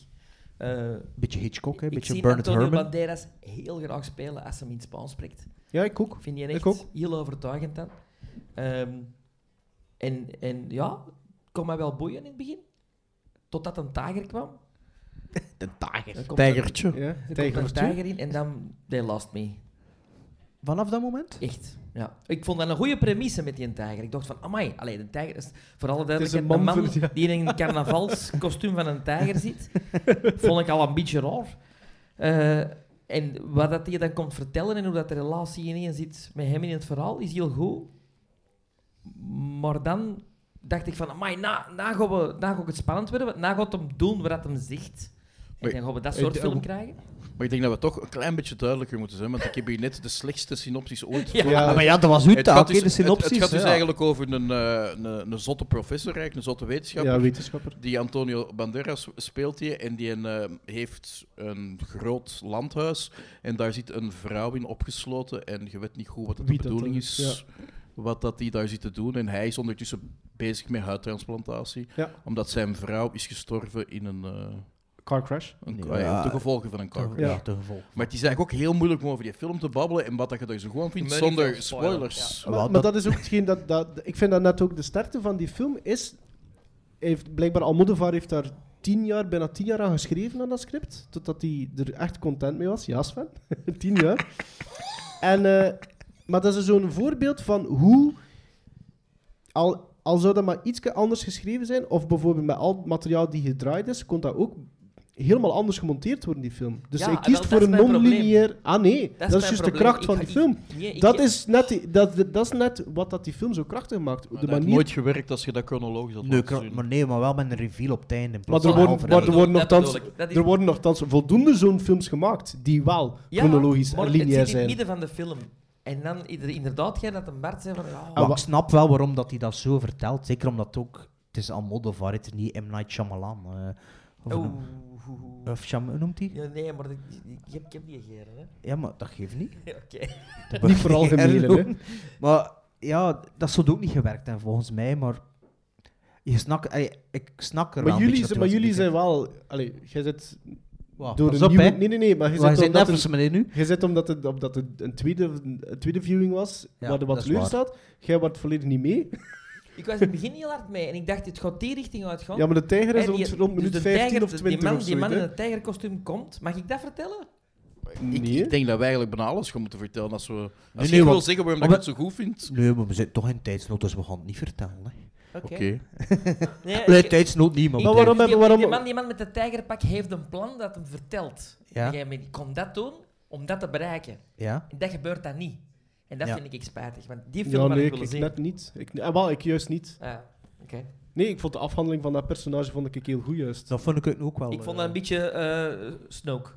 Eh,
beetje Hitchcock, hè?
ik
beetje
zie
Bernard
Antonio
Herman.
Banderas heel graag spelen als hij in het Spaans spreekt.
Ja, ik ook.
Vind je
Ik
echt
ook.
heel overtuigend dan. Ehm, en, en ja, kon mij wel boeien in het begin. Totdat een tijger kwam.
De
Dan
tijger.
komt
Tijgertje.
Ja,
Er komt een
tijgertje.
tijger in en dan they lost me.
Vanaf dat moment?
Echt. Ja. Ik vond dat een goede premisse met die tijger. Ik dacht van, amai, allee, de tijger is voor alle
is een
duidelijkheid
man
een man,
voor- ja.
die in een carnavalskostuum van een tijger zit. vond ik al een beetje raar. Eh, en wat dat hij dan komt vertellen en hoe dat de relatie ineens zit met hem in het verhaal, is heel goed. Maar dan dacht ik van, amai, na, na, gaan we, na gaat het spannend worden, want na gaat hem doen wat hem zegt. En
Maar-
dan gaan we dat soort
eh,
film krijgen.
Maar ik denk dat we toch een klein beetje duidelijker moeten zijn, want ik heb hier net de slechtste synopsis ooit
Ja.
Ja,
Ah, maar ja, dat was uw
Het
taak,
gaat,
hè,
dus,
de synopsis.
het, het gaat dus
ja.
eigenlijk over een, eh, een, een zotte professor, eigenlijk, een zotte wetenschapper.
Ja, wetenschapper.
Die Antonio Banderas speelt die en die eh, heeft een groot landhuis. En daar zit een vrouw in opgesloten. En je weet niet goed wat de
Wie dat
bedoeling
dan
is,
is,
wat dat die daar zit te doen. En hij is ondertussen bezig met huidtransplantatie.
Ja.
Omdat zijn vrouw is gestorven in een, eh,
Car crash.
een
Ja.
ah ja, de gevolgen van een car crash.
Ja.
Ja, te gevolg.
Maar het is eigenlijk ook heel moeilijk om over die film te babbelen en wat dat je daar zo gewoon vindt,
Met niet
zonder
veel spoilers,
spoilers.
Maar,
Wat
maar dat is ook hetgeen dat, dat... Ik vind dat net ook de sterkte van die film is... Heeft, blijkbaar Almodovar heeft daar tien jaar, bijna tien jaar aan geschreven aan dat script. Totdat hij er echt content mee was. Ja, Sven. tien jaar. En, eh, maar dat is zo'n voorbeeld van hoe... Al, al zou dat maar iets anders geschreven zijn, of bijvoorbeeld met al het materiaal die gedraaid is, kon dat ook helemaal anders gemonteerd worden, die film. Dus
Ja,
hij
wel,
kiest
dat
voor
is
een
mijn probleem.
non-lineair... Ah nee, dat is,
mijn
juist de
probleem.
kracht
Ik
van
ga-
die film.
ik- nee, ik-
Dat is, net, die- dat, dat is net wat dat die film zo krachtig
Maar
maakt. de
dat heeft
manier,
nooit gewerkt als je dat chronologisch had
Nee,
laten
kra-
zien.
maar nee, maar wel met een reveal op het einde. in
maar
plaats
er
van
worden,
een halve
maar er worden
Dat
nogthans,
bedoel ik. Dat is-
er worden nogthans voldoende zo'n films gemaakt die wel chronologisch
maar
en lineair
het zit in het
zijn.
midden van de film. En dan ieder- inderdaad, jij dat een Bart zei van... ja,
Ah,
Maar ik snap wel waarom dat hij dat zo vertelt. Zeker omdat het ook... Het is Almodovar, het is niet M. Night Shyamalan. eh, of,
oeh,
een-
oh, oeh, oeh.
of Shyam- hoe noemt hij?
Ja, nee, maar dat- ik heb, ik heb die geren, hè.
Ja, maar dat geeft niet.
Oké.
Niet vooral gemelen, hè.
Maar ja, dat zou ook niet gewerkt hebben, volgens mij. Maar je snak, allee, ik snak er wel
Maar
een
jullie,
beetje dat
zijn- maar
je
jullie
wat
zijn wel... Allee, jij zit
doet. Wauw,
door
pas
een
op,
nieuwe...
hè.
Nee, nee, nee, maar jij
Wij
zit
zijn
omdat,
nergens,
het,
meneer, nu.
jij zit omdat het, omdat het een, tweede, een tweede viewing was,
Ja,
waar er
dat
wat
is
teleur
waar.
staat. Jij wordt volledig niet mee.
Ik was in het begin heel hard mee en ik dacht, het gaat die richting uitgaan.
Ja, maar de tijger is
Hè, die-
rond, rond
dus
minuut
de
15
tijger-
of 20
Die man,
of
die man
zoiets,
in
hè.
het tijgerkostuum komt, mag ik dat vertellen?
Ik,
Nee.
ik denk dat we eigenlijk bijna alles gaan moeten vertellen. Als, we, als
nee,
je wil
want- Ah,
zeggen waarom
maar
dat ik het zo goed vind.
Nee, maar we zitten toch in tijdsnood, dus we gaan het niet vertellen. Hè.
Oké.
Nee,
Nee,
ik-
tijdsnood niet, maar...
ik-
Maar waarom
die-
hebben- waarom-
Die man, die man met het tijgerpak heeft een plan dat hem vertelt.
Ja.
En jij bent, ik kom dat doen om dat te bereiken.
Ja?
En dat gebeurt dan niet. En dat
Ja.
vind ik spijtig, want die film
Ja,
had
nee,
ik
ik,
willen
ik
zien.
net niet. Ik, eh, wel, ik juist niet.
Ja, oké.
Nee, ik vond de afhandeling van dat personage vond ik heel goed juist.
Dat vond ik ook wel...
eh, Ik vond dat een beetje eh Snoke.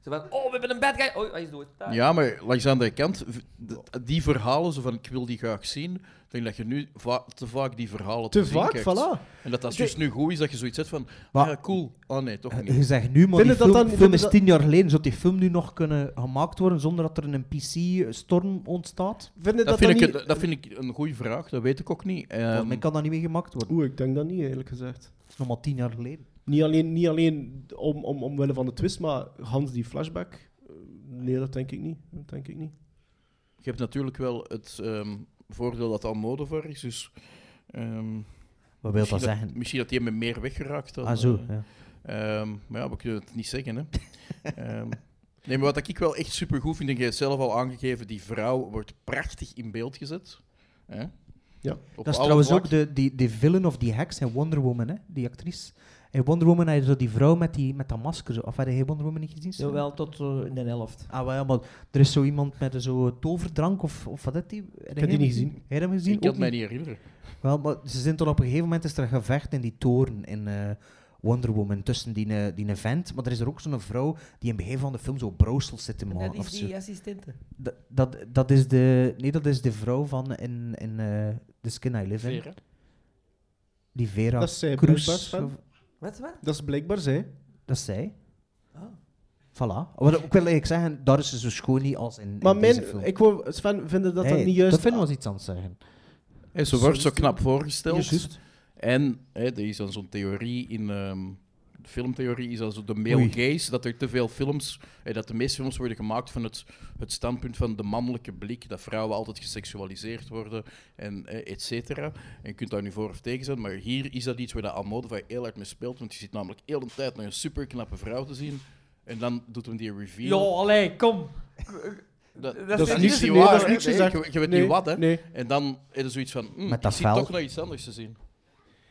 Zo van, oh, we hebben een bad guy. Oh, hij is dood. Daar.
Ja, maar langs aan de kant, v- d- die verhalen, zo van ik wil die graag zien, ik denk dat je nu va- te vaak die verhalen
Te
te zien
vaak,
kijkt.
voilà.
En dat dat juist nu goed is, dat je zoiets hebt van,
Maar- Eh,
ah, ja, cool. Oh nee, toch
Je
niet.
zegt nu, maar
Vind
die
je
film,
dat dan-
film
dat-
is tien jaar geleden. Zou die film nu nog kunnen gemaakt worden zonder dat er een PC-storm ontstaat?
Vind je
Dat
dat,
vind,
dan
ik,
niet...
een- dat vind ik een goede vraag, dat weet ik ook niet.
Volgens
Ehm,
mij kan dat niet meer gemaakt worden.
Oeh, ik denk dat niet, eerlijk gezegd.
Dat is nog maar tien jaar geleden.
Niet alleen, niet alleen om, om, omwille van de twist, maar Hans die flashback. eh, Nee, dat denk ik niet. Dat denk ik niet.
je hebt natuurlijk wel het ehm, voordeel dat Almodovar is, dus... ehm,
Wat wil
misschien,
dat zeggen?
misschien dat die me meer weggeraakt dan...
Ah, zo.
eh,
Ja.
Ehm, maar ja, we kunnen het niet zeggen, hè. Ehm, nee, maar wat ik wel echt supergoed vind, en jij hebt zelf al aangegeven, die vrouw wordt prachtig in beeld gezet. Hè?
Ja.
Op
Dat is
alle
trouwens ook
vlakken.
de, die, die villain of die heks in Wonder Woman, hè? die actrice. In Wonder Woman had je zo die vrouw met, die, met dat masker. zo. Of had je Wonder Woman niet gezien? Sven?
Jawel, tot eh, in de helft.
Ah, wel, ja, maar er is zo iemand met een zo toverdrank of, of wat is die? Heb
die niet gezien.
Heb je hem gezien?
Ik kan
Ook
het mij niet herinneren.
Wel, maar ze zijn toch op een gegeven moment is er een gevecht in die toren in eh, Wonder Woman tussen die, eh, die vent. Maar er is er ook zo'n vrouw die in het begin van de film zo broostels zit te
En
maken.
dat
of
is
zo.
die assistente.
Dat, dat, dat is de, nee, dat is de vrouw van in, in eh, The Skin I Live In.
Vera.
Die Vera
Dat is zij, blijkbaar,
Cruz.
Sven.
of-
Wat, wat?
Dat is blijkbaar zij.
Dat is zij.
Ah.
Voilà. Wat ik wil eigenlijk zeggen, daar is ze zo schoon niet als in, in
Maar
deze film.
mijn, ik wou, Sven, vinden dat
Hey,
dat niet juist... Ah.
Dat vinden we iets aan het zeggen.
Hey, ze
Zo
wordt
is
zo
die.
knap voorgesteld.
Juist.
En hè, er is dan zo'n theorie in ehm, de filmtheorie, is dan zo de male
Oei.
gaze, dat er te veel films, hè, dat de meeste films worden gemaakt van het, het standpunt van de mannelijke blik, dat vrouwen altijd geseksualiseerd worden, en eh, et cetera. En je kunt daar nu voor of tegen zijn, maar hier is dat iets waar de Almodovar heel hard mee speelt, want je zit namelijk heel de tijd naar een superknappe vrouw te zien, en dan doet hem die
Ja,
reveal.
allee, kom.
dat, dat,
dat is
is niks
niks-
niet
nee,
waar,
dat is
hè.
niks
Nee,
gezegd.
je, je weet
Nee,
niet wat, hè.
nee.
En dan is er zoiets van, hm,
Met
ik
dat
zit
vel.
toch nog iets anders te zien.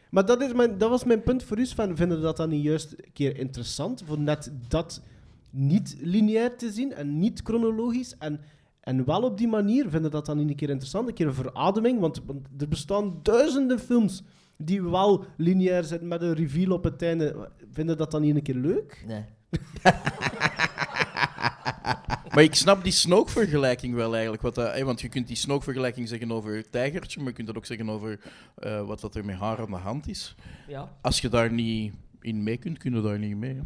Maar dat, is mijn, dat was mijn punt voor u, Sven. Vinden we dat dan niet juist een keer interessant? Voor net dat niet lineair te zien en niet chronologisch. En, en wel op die manier vinden we dat dan niet een keer interessant. Een keer een verademing, want, want er bestaan duizenden films die wel lineair zijn met een reveal op het einde. Vinden we dat dan niet een keer leuk?
Nee.
Maar ik snap die snookvergelijking wel eigenlijk. Wat, dat- hè, want je kunt die snookvergelijking zeggen over het tijgertje, maar je kunt dat ook zeggen over eh, wat, wat er met haar aan de hand is.
Ja.
Als je daar niet in mee kunt, kun je daar niet mee. hè.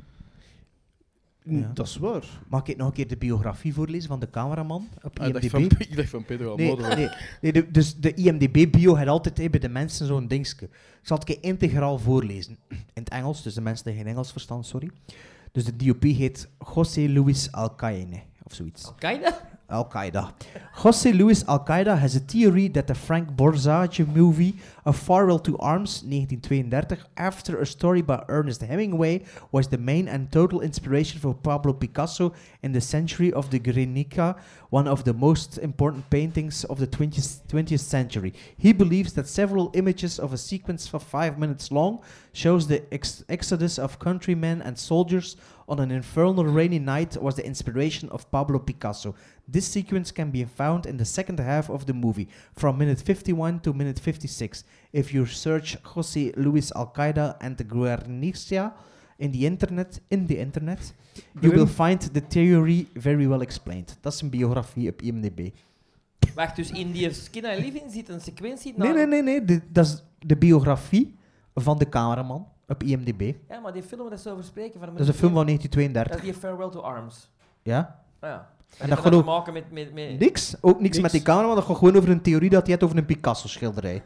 Ja.
Dat is waar.
Mag ik nog een keer de biografie voorlezen van de cameraman op
Ah, ik, dacht
IMDb?
van, ik dacht van Pedro
Nee,
Almodovar.
nee, nee de- dus de IMDB-bio had altijd hey, bij de mensen zo'n dingetje. Ik zal het een keer integraal voorlezen. In het Engels, dus de mensen die geen Engels verstaan, sorry. Dus de DOP heet José Luis Alcaine, of zoiets.
Al-Qaeda?
Al Qaeda. Jose Luis Al Qaeda has a theory that the Frank Borzage movie, A Farewell to Arms, 1932, after a story by Ernest Hemingway, was the main and total inspiration for Pablo Picasso in the century of the Guernica, one of the most important paintings of the 20th, 20th century. He believes that several images of a sequence of five minutes long shows the ex- exodus of countrymen and soldiers on an infernal rainy night was the inspiration of Pablo Picasso. This sequence can be found in the second half of the movie, from minute 51 to minute 56. If you search Jose Luis Alcaida and the Guernica in the internet, in the internet, you will find the theory very well explained. Dat is een biografie op IMDb.
Wacht, dus in die Skin I Live In zit een sequentie
Nee,
naar...
nee, nee, nee. dit- Dat is de biografie van de cameraman op IMDb.
Ja, maar die film waar ze over spreken... Van
Dat is een film van
Dat is
1932.
die Farewell to Arms.
Ja?
Ah, ja.
En dat
En dat gaat te
geloof-
maken met... met, met...
Niks. Ook niks,
Niks.
met die camera, want dat gaat gewoon over een theorie dat hij had over een Picasso-schilderij.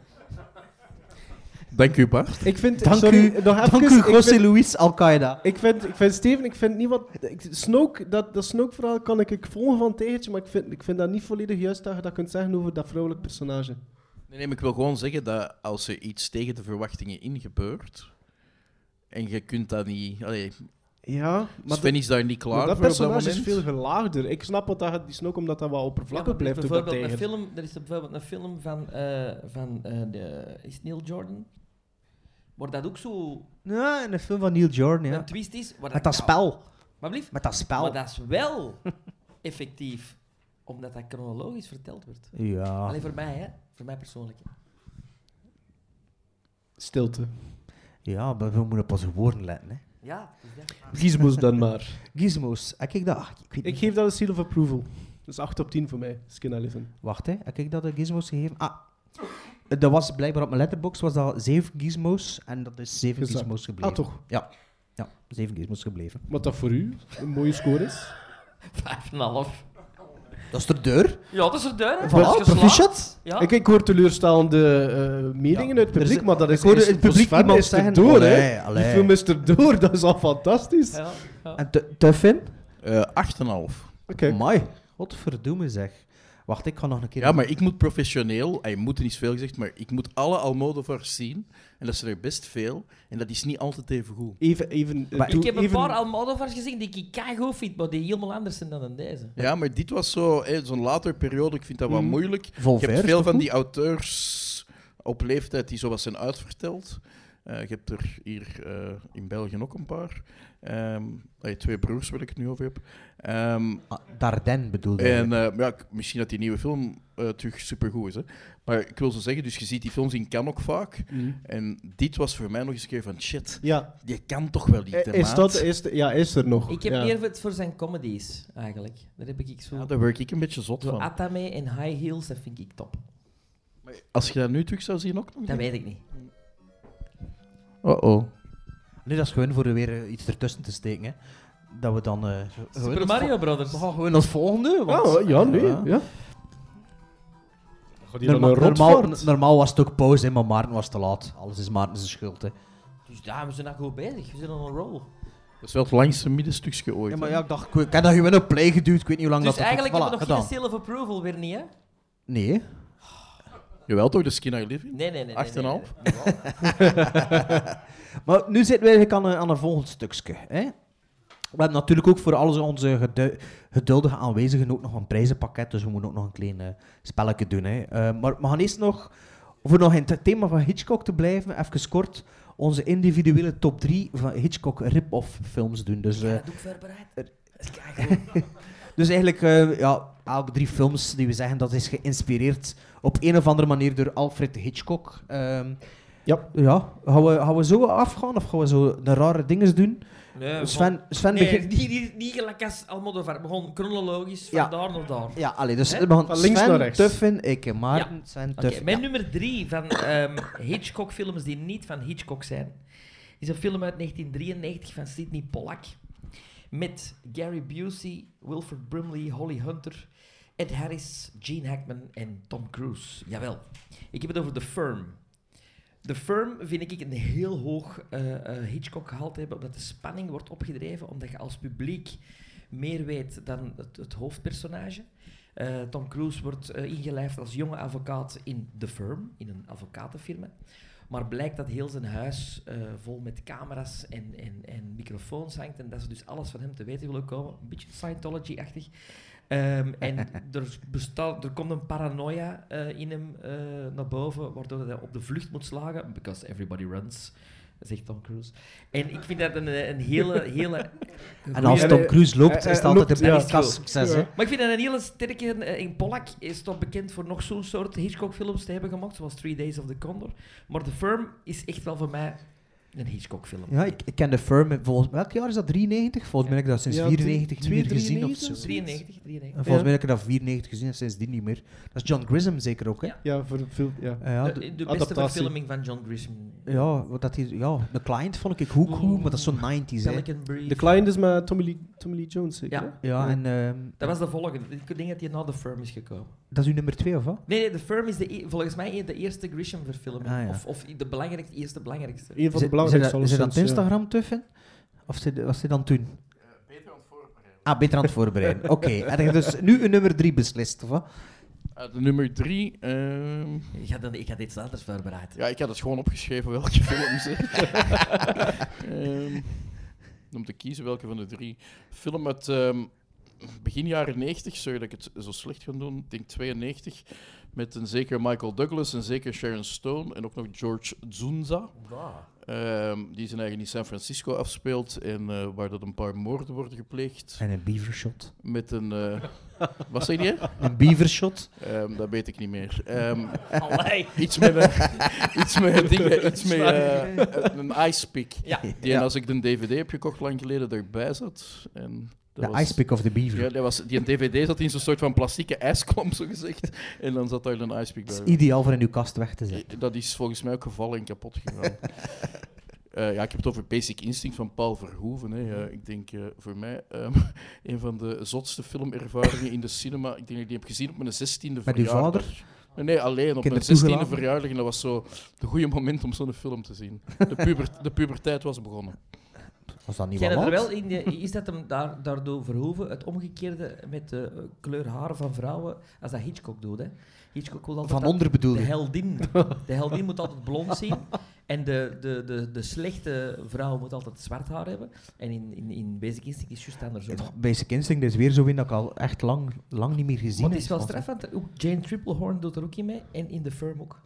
Dank u, Bart.
Ik vind,
Dank
sorry,
u,
nog
dank
even,
u,
ik
José
vind-
Luis Al-Qaeda.
Ik vind, ik vind Steven, ik vind niet wat. Ik, Snoke, dat, dat Snoke-verhaal kan ik, ik volgen van het tegeltje, maar ik vind, ik vind dat niet volledig juist dat je dat kunt zeggen over dat vrouwelijk personage.
Nee, nee, maar ik wil gewoon zeggen dat als er iets tegen de verwachtingen in gebeurt, en je kunt dat niet... Allee,
Ja, maar,
Sven is daar niet
dat,
klaar
maar dat
voor op
personage
moment.
is veel gelaagder. Ik snap wat dat je- die Snoke, omdat dat wat oppervlakkig
Ja, maar
blijft. ook dat
bijvoorbeeld een
tijger.
film, er is bijvoorbeeld een film van, eh, van eh, de, is het Neil Jordan. Waar dat ook zo
Ja, in de film van Neil Jordan, ja.
een twist is. Waar
Met dat
nou-
spel.
Maar blieft.
Met dat
Maar
spel.
dat is wel effectief. Omdat dat chronologisch verteld wordt.
Ja.
Alleen voor mij, hè. Voor mij persoonlijk. hè.
Stilte.
Ja, maar we moeten op onze woorden letten, hè.
Ja, het is dat.
Gizmos dan maar.
Gizmos. Heb ik dat? Ah, ik weet
Ik
niet.
geef dat een seal of approval. Dus 8 op 10 voor mij, Skin Eleven.
Wacht, hè. Heb ik dat de gizmos gegeven? Ah. Dat was blijkbaar op mijn letterbox was dat zeven gizmos en dat is zeven
Gezakt.
gizmos gebleven.
Ah, toch?
Ja. Ja, zeven gizmos gebleven.
Wat dat voor u een mooie score is.
Vijf en een half.
Dat is de deur.
Ja, dat is er deur.
Voilà, proficiat.
Ja.
Ik, ik hoor teleurstaande eh, meningen uit het
er is-
publiek, maar dat is
ik hoorde
is-
het publiek
voor Sven
iemand
is er
zeggen,
door,
allee,
hè?
allee.
Die film is er door, dat is al fantastisch.
Ja, ja.
En tu- Tuffin?
Eh, 8,5.
Oké.
Mai. Godverdomme zeg. Wacht, ik ga nog een keer...
Ja, maar ik moet professioneel, hij moet er niet veel gezegd, maar ik moet alle Almodovars zien. En dat is er best veel. En dat is niet altijd even goed.
Even, even, eh,
Maar
toe-
Ik heb een
even-
paar Almodovars gezien die ik keigoed vind, maar die helemaal anders zijn dan in deze.
Ja, maar dit was zo, hè, zo'n later periode, ik vind dat wat moeilijk.
Volver
je
is
hebt veel
toch
van
goed?
die auteurs op leeftijd die zo wat zijn uitverteld. Eh je hebt er hier eh, in België ook een paar. Ehm, allee, twee broers waar ik het nu over heb. Ehm,
Ah, Dardenne bedoelde
En
ik.
eh, ja, k- misschien dat die nieuwe film eh, terug supergoed is. Hè? Maar ik wil zo zeggen, dus je ziet die films in Cannes ook vaak. En dit was voor mij nog eens een keer van shit.
Ja,
Je kan toch wel niet, hè,
Eh, is
maat?
dat... Is, de- ja, is er nog.
Ik heb
ja.
meer voor- voor zijn comedies, eigenlijk. Daar heb ik zo...
Ja, daar word ik een beetje zot
Zo
van.
Atame en High Heels, dat vind ik top.
Als je dat nu terug zou zien ook nog? Oh,
Dat weet ik niet.
Oh-oh.
Nee, dat is gewoon voor er weer eh, iets ertussen te steken, hè. Dat we dan... eh, gewoon
Super
als
Mario Brothers.
vo- We gaan gewoon als volgende, want...
Oh, ja, nee. Ja.
Ja.
Gaat hier dan
Norma-
een
normaal,
rotvaart?
normaal was het ook pauze, hè, maar Maarten was te laat. Alles is Maarten zijn schuld, hè.
Dus ja, we zijn daar goed bezig. We zijn on een roll.
Dat is wel het langste middenstukje ooit.
Ja, maar
hè.
ja, ik dacht, ik heb dat gewoon op play geduwd, ik weet niet hoe lang
Dus
dat dat
eigenlijk hebben we nog
gedaan.
geen seal of approval weer niet, hè?
Nee.
Jawel toch, de Skin I Live In?
Nee, nee, nee. nee,
Acht en
nee.
nou.
half?
Maar nu zitten we eigenlijk aan een, aan een volgend stukje. Hè? We hebben natuurlijk ook voor alles onze gedu- geduldige aanwezigen ook nog een prijzenpakket, dus we moeten ook nog een klein eh, spelletje doen. Hè? Eh, maar we gaan eerst nog, voor nog in het thema van Hitchcock te blijven, even kort onze individuele top 3 van Hitchcock rip-off films doen. Dus, eh,
Ja, dat doe ik voorbereid. Dat is keigoed.
dus eigenlijk, eh, ja, elke drie films die we zeggen, dat is geïnspireerd op een of andere manier door Alfred Hitchcock. Ehm,
Ja.
ja, gaan we, gaan we zo afgaan of gaan we zo de rare dingen doen?
Nee, we gaan-
Sven, Sven
Eh, Nee,
begint...
niet, niet, niet gelijk als Almodovar. We gaan chronologisch van
Ja.
daar naar daar.
Ja, allee, dus
Hè?
we gaan
Van links
Sven,
naar rechts.
Tuffen, ik en Maarten, Sven,
Oké,
Tuffen.
mijn
dus, ja.
nummer drie van ehm, Hitchcock-films die niet van Hitchcock zijn, is een film uit 1993 van Sidney Pollack. Met Gary Busey, Wilford Brimley, Holly Hunter, Ed Harris, Gene Hackman en Tom Cruise. Jawel. Ik heb het over The Firm. The Firm vind ik een heel hoog eh, eh, Hitchcock gehaald hebben, omdat de spanning wordt opgedreven, omdat je als publiek meer weet dan het, het hoofdpersonage. Eh, Tom Cruise wordt eh, ingelijfd als jonge advocaat in The Firm, in een advocatenfirma. Maar blijkt dat heel zijn huis eh, vol met camera's en, en, en microfoons hangt en dat ze dus alles van hem te weten willen komen. Een beetje Scientology-achtig. Ehm, en er, bestaat, er komt een paranoia eh, in hem eh, naar boven, waardoor hij op de vlucht moet slagen. Because everybody runs, zegt Tom Cruise. En ik vind dat een, eh, een hele, hele
En als Tom Cruise loopt,
Eh, eh,
is het altijd
loopt,
een
ja.
prijskast succes. hè.
Ja.
Maar ik vind dat een hele sterke... eh, In Pollack is toch bekend voor nog zo'n soort Hitchcock-films te hebben gemaakt, zoals Three Days of the Condor. Maar The Firm is echt wel voor mij een Hitchcock-film.
Ja, ik, ik ken de firm. Volgens, welk jaar is dat? 93? Volgens mij heb ik dat sinds
Ja,
94 niet meer gezien of
93,
Dus
zo.
93, 93.
En volgens mij heb ik dat 94 gezien en sindsdien niet meer. Dat is John Grissom zeker ook, hè?
Ja.
Ja, voor veel... Ja.
Eh, ja,
De,
de-
de beste
adaptatie.
verfilming van John Grisham.
ja, wat dat hier, ja, de client vond ik
Mm.
ook goed, maar dat is zo'n 90s, hè?
Pelican Brief.
De Client is met Tommy Lee, Tommy Lee Jones, zeker?
Ja.
hè?
Ja, en ehm,
Dat was de volgende. Ik denk dat hij na The Firm is gekomen.
dat is uw nummer 2 of wat?
Nee, nee The Firm is de, e- volgens mij een- de eerste Grisham-verfilming.
Ah, ja.
of, of de belangrijkste, eerste belangrijkste.
Een van de
Zit-
belangrijkste.
Is dat aan het
alleszins, ja.
Instagram tuffen? Of zit- was hij dan toen? beter aan het voorbereiden. Ah, beter aan het voorbereiden. Oké, en je dus nu een nummer 3 beslist, of wat?
Eh, de nummer drie. ehm,
Ik had, dan, ik had iets anders voorbereid.
Ja, ik had het gewoon opgeschreven welke films. hè. Ehm, om te kiezen welke van de drie. Film uit ehm, begin jaren 90, sorry dat ik het zo slecht ga doen. Ik denk 92. Met een zekere Michael Douglas, een zekere Sharon Stone en ook nog George Zunza. Ehm, die zijn eigen in San Francisco afspeelt en eh, waar dat een paar moorden worden gepleegd.
En een beavershot.
Met een. eh, wat zeg je?
Een beavershot?
Ehm, dat weet ik niet meer. Ehm, iets met een, iets met een ding, iets met eh, een icepick.
Ja.
Die en als ik de DVD heb gekocht lang geleden erbij zat. En dat
De
was-
icepick of the beaver.
Ja, dat was, die een DVD zat in zo'n soort van plastieke ijsklomp, zo gezegd. En dan zat daar een icepick
Dat is
bij.
ideaal voor in uw kast weg te zetten.
Dat is volgens mij ook gevallen en kapot gegaan. Eh, ja, ik heb het over Basic Instinct van Paul Verhoeven. Hè. Eh, ik denk eh, voor mij ehm, een van de zotste filmervaringen in de cinema. Ik denk dat ik die heb gezien op mijn 16e
Met uw vader?
Nee, nee, alleen op mijn
Kinderen
16e
toegelaten?
verjaardag. En dat was zo het goede moment om zo'n film te zien. De, puber, de puberteit was begonnen.
Was dat niet
Zijn
wat
er
laat?
wel in de- is dat hem daar, daardoor verhoeven, het omgekeerde met de eh, kleur haren van vrouwen, als dat Hitchcock doet. Hè. Hitchcock wil altijd
Van
dat-
onder bedoel
de
je?
heldin. De heldin moet altijd blond zien. En de, de, de, de slechte vrouw moet altijd zwart haar hebben. En in, in, in Basic Instinct is het juist andersom.
Het Basic Instinct is weer zo in dat ik al echt lang, lang niet meer gezien
Maar het is wel
heb.
straf, want ook Jane Triplehorn doet er ook in mee. En in The Firm ook.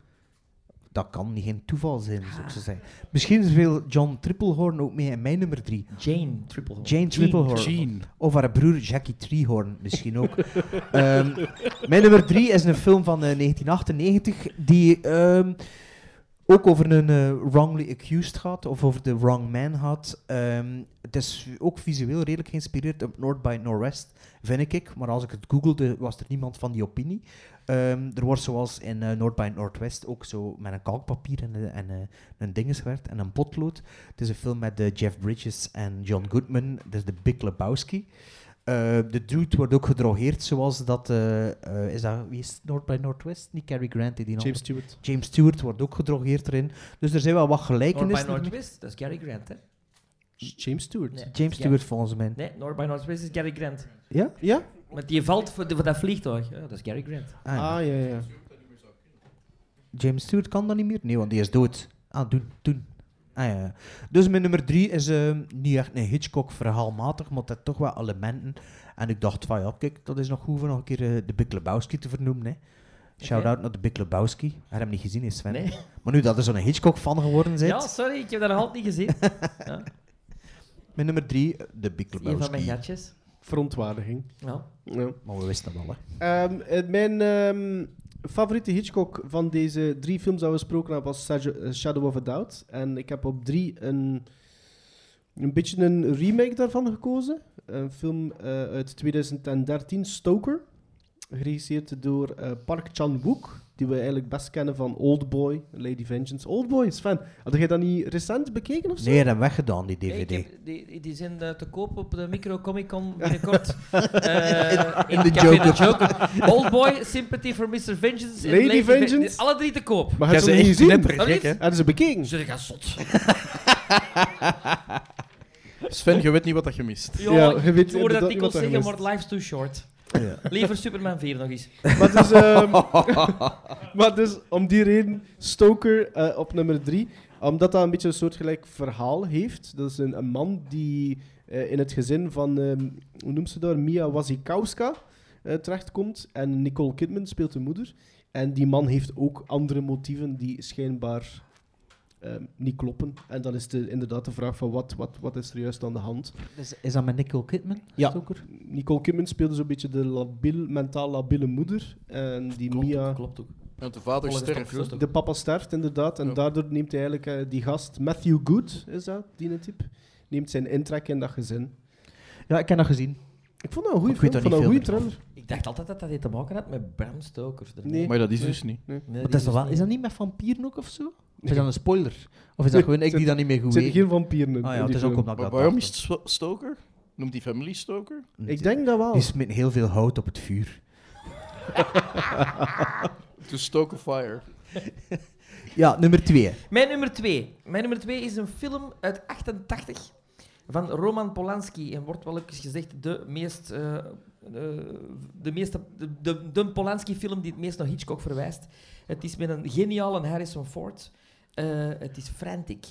Dat kan niet geen toeval zijn, zou ik zo zeggen. Misschien speelt John Triplehorn ook mee in mijn nummer drie.
Jane Triplehorn.
Jane Triplehorn.
Gene.
Of haar broer Jackie Treehorn misschien ook. Ehm, mijn nummer drie is een film van eh, 1998 die ehm, ook over een eh, wrongly accused gaat, of over de wrong man gaat. Ehm, het is ook visueel redelijk geïnspireerd op North by Northwest, vind ik. Maar als ik het googelde, was er niemand van die opinie. Ehm, er wordt zoals in eh North by Northwest ook zo met een kalkpapier en, eh, en eh, een dinges gewerkt en een potlood. Het is een film met eh, Jeff Bridges en John Goodman. Dat is de Big Lebowski. Eh, de dude wordt ook gedrogeerd, zoals dat... eh, eh, is dat... Wie is het? North by Northwest? Niet Cary Grant, die die andere.
James Stewart.
James Stewart wordt ook gedrogeerd erin. Dus er zijn wel wat
North by
gelijkenissen.
Northwest, dat is Gary Grant, hè?
James Stewart.
Nee.
James
Ja.
Stewart volgens mij.
Nee, North by Northwest is Gary Grant.
Ja?
Ja?
Want die valt voor, de- voor dat vliegtuig. Ja, dat is Gary Grant.
Ah, ja.
Ah, ja, ja.
James Stewart kan dat niet meer? Nee, want die is dood. Ah, doen, doen. Ah, ja, ja. Dus mijn nummer drie is eh, niet echt een Hitchcock-verhaalmatig, maar het heeft toch wel elementen. En ik dacht van, ja, kijk, dat is nog goed voor nog een keer eh, de Big Lebowski te vernoemen. Hè. Shout-out naar de Big Lebowski. Hij heeft hem niet gezien, is Sven.
Nee.
Maar nu dat er zo'n Hitchcock-fan geworden bent,
Ja, sorry, ik heb dat nog altijd niet gezien. Ja,
mijn nummer drie, eh, de Big
een van mijn
Lebowski.
gatjes.
Verontwaardiging.
Nou,
Ja.
Maar we wisten dat wel, hè.
Ehm, eh, mijn ehm, favoriete Hitchcock van deze drie films dat we besproken hebben was Saj- eh, Shadow of a Doubt. En ik heb op drie een, een beetje een remake daarvan gekozen. Een film eh, uit 2013, Stoker. Geregisseerd door eh, Park Chan-wook, die we eigenlijk best kennen van Oldboy, Lady Vengeance. Oldboy, Sven, had jij dat niet recent bekeken of zo?
Nee, hij heeft hem weggedaan, die
ik
DVD.
heb- die, die zijn eh, te koop op de Micro Comic Con binnenkort. Eh, in
de
Café
Joker.
Joker. Old Boy, Sympathy for Mr. Vengeance. en
Lady
Ven-
Vengeance.
alle drie te koop.
Maar heb je ze niet gezien?
gek, hè?
Hadden ze bekeken?
Zeg, ga zot.
Sven, je weet niet wat dat je mist.
Ja,
Ja, je
ik
weet
hoor dat
inderdaad
ik
niet wat er
zeggen,
gemist.
maar life's too short.
Ja.
Liever Superman 4 nog eens.
Maar dus, ehm, maar dus om die reden Stoker eh, op nummer 3. Omdat dat een beetje een soortgelijk verhaal heeft. Dat is een, een man die eh, in het gezin van, ehm, hoe noemt ze daar, Mia Wasikowska eh, terechtkomt. En Nicole Kidman speelt de moeder. En die man heeft ook andere motieven die schijnbaar ehm, niet kloppen. En dan is de, inderdaad de vraag van wat, wat, wat is er juist aan de hand.
Is, is dat met Nicole Kidman?
Ja.
Stoker?
Nicole Kidman speelde zo'n beetje de labiel, mentaal labiele moeder. En die
Klopt
Mia...
ook, klopt ook.
Want de vader
Volgens Tom
sterft. hè.
Cruise
De papa sterft inderdaad, en
Ja.
daardoor neemt hij eigenlijk eh, die gast, Matthew Good, is dat, die type, neemt zijn intrek in dat gezin.
Ja, ik heb dat gezien.
Ik vond dat een goede
Ik weet
film,
dat
ik vond dat een goede
niet
trailer.
Ik dacht altijd dat dat dit te maken had met Bram Stoker.
Nee.
Maar dat is dus niet.
Nee,
Maar
die
dat is, toch wel,
niet.
is dat niet met vampieren ook of zo? Of is dat een spoiler? Of is dat gewoon ik die dat niet meer goed
Er zitten
weet?
geen vampieren in.
Ah
in
ja, het
die
is ook
film.
omdat ik
Maar
dat
waarom is
dacht.
het Sto- Stoker? Noemt die familie Stoker?
Ik denk dat wel.
Die smitten heel veel hout op het vuur.
To Stoker Fire.
Ja, nummer twee.
Mijn nummer 2. Mijn nummer 2 is een film uit 88 van Roman Polanski. En wordt wel ook eens gezegd de meest. eh, eh, de, meeste, de, de, de Polanski-film die het meest naar Hitchcock verwijst. Het is met een geniale Harrison Ford. Eh, het is Frantic.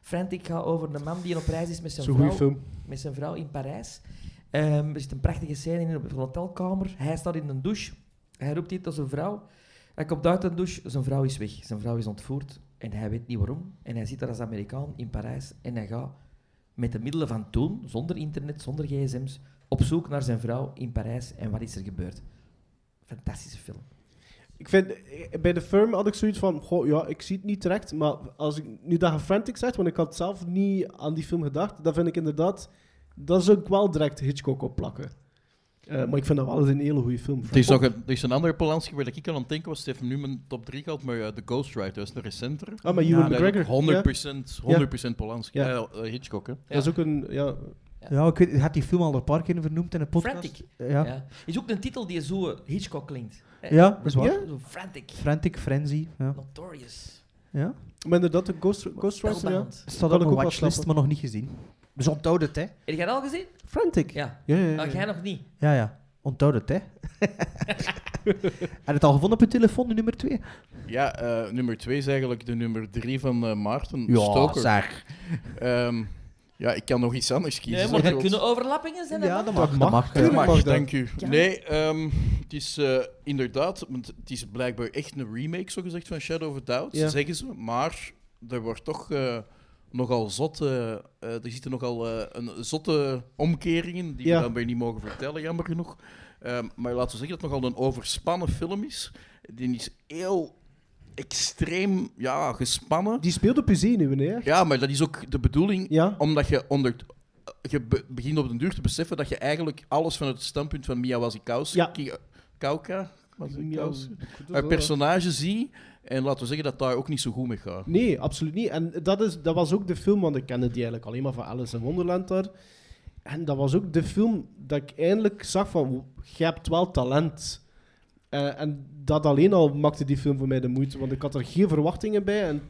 Frantic gaat over een man die op reis is met zijn
Zo'n
vrouw
goede film.
met zijn vrouw in Parijs. Ehm, er zit een prachtige scène in op een hotelkamer. Hij staat in een douche. Hij roept iets aan zijn vrouw. Hij komt uit de douche, zijn vrouw is weg. Zijn vrouw is ontvoerd en hij weet niet waarom. En hij zit daar als Amerikaan in Parijs en hij gaat met de middelen van toen, zonder internet, zonder gsm's, op zoek naar zijn vrouw in Parijs en wat is er gebeurd. Fantastische film.
Ik vind, eh, bij de firm had ik zoiets van, goh, ja, ik zie het niet direct, maar als ik nu dat je Frantic zegt, want ik had zelf niet aan die film gedacht, dan vind ik inderdaad, dat zou ik wel direct Hitchcock opplakken. Eh, maar ik vind dat wel eens een hele goede film.
Er is, nog een, er is een andere Polanski waar ik aan aan het denken was. Die heeft nu mijn top 3 gehad, maar eh, The Ghost Rider dat is een recentere.
Ah, maar Ewan
Ja,
McGregor. ja.
100%, 100 Polanski.
Ja.
Eh, eh, Hitchcock, hè.
Dat is ook een, ja,
Ja, ik weet, je hebt die film al een paar keer vernoemd in een podcast.
Frantic.
Ja, ja.
Ja. Is ook een titel die zo eh, Hitchcock klinkt. hè.
dat is waar.
Ja?
Zo frantic,
Frantic Frenzy. Ja.
notorious,
ja.
maar inderdaad, de Ghost, Ghost Rider, ja.
spelbound.
Staat
Kan
op
ik
een
ook wel
watchlist,
snappen.
maar nog niet gezien. Dus onthoud het, hè.
Heb jij dat al gezien?
Frantic.
Ja.
Ja, ja,
Ah, jij nog niet?
ja. ja. Onthoud het, hè. Heb je het al gevonden op je telefoon, nummer 2?
Ja, eh, nummer 2 is eigenlijk de nummer 3 van eh, Maarten,
Ja,
Stoker.
zeg.
Ehm, ja, ik kan nog iets anders kiezen.
Nee, maar er
Zoals-
kunnen overlappingen zijn. hè,
Ja,
man.
dat mag. Dat
mag.
mag.
Ja,
Tuurlijk
mag,
mag dat.
dank u. Nee, ehm, het is eh, inderdaad, want het is blijkbaar echt een remake, zogezegd, van Shadow of a Doubt,
Ja.
zeggen ze. Maar er wordt toch eh, nogal zotte... eh, er zitten nogal eh, een zotte omkeringen, die
Ja.
we dan weer niet mogen vertellen, jammer genoeg. Ehm, maar laten we zeggen dat het nogal een overspannen film is. Die is heel extreem ja, gespannen.
Die speelt op je zenuwen, hè? echt.
Ja, maar dat is ook de bedoeling
Ja.
omdat je onder. Je be- begint op den duur te beseffen dat je eigenlijk alles van het standpunt van Mia Wasikowska.
Ja.
Ki- Kauka? Wasikowska? Haar
Haar
personage zie. En laten we zeggen dat daar ook niet zo goed mee gaat.
Nee, absoluut niet. En dat, is, dat was ook de film, want ik kende die eigenlijk alleen maar van Alice in Wonderland daar. En dat was ook de film dat ik eindelijk zag van, je hebt wel talent. Eh, en dat alleen al maakte die film voor mij de moeite, want ik had er geen verwachtingen bij. En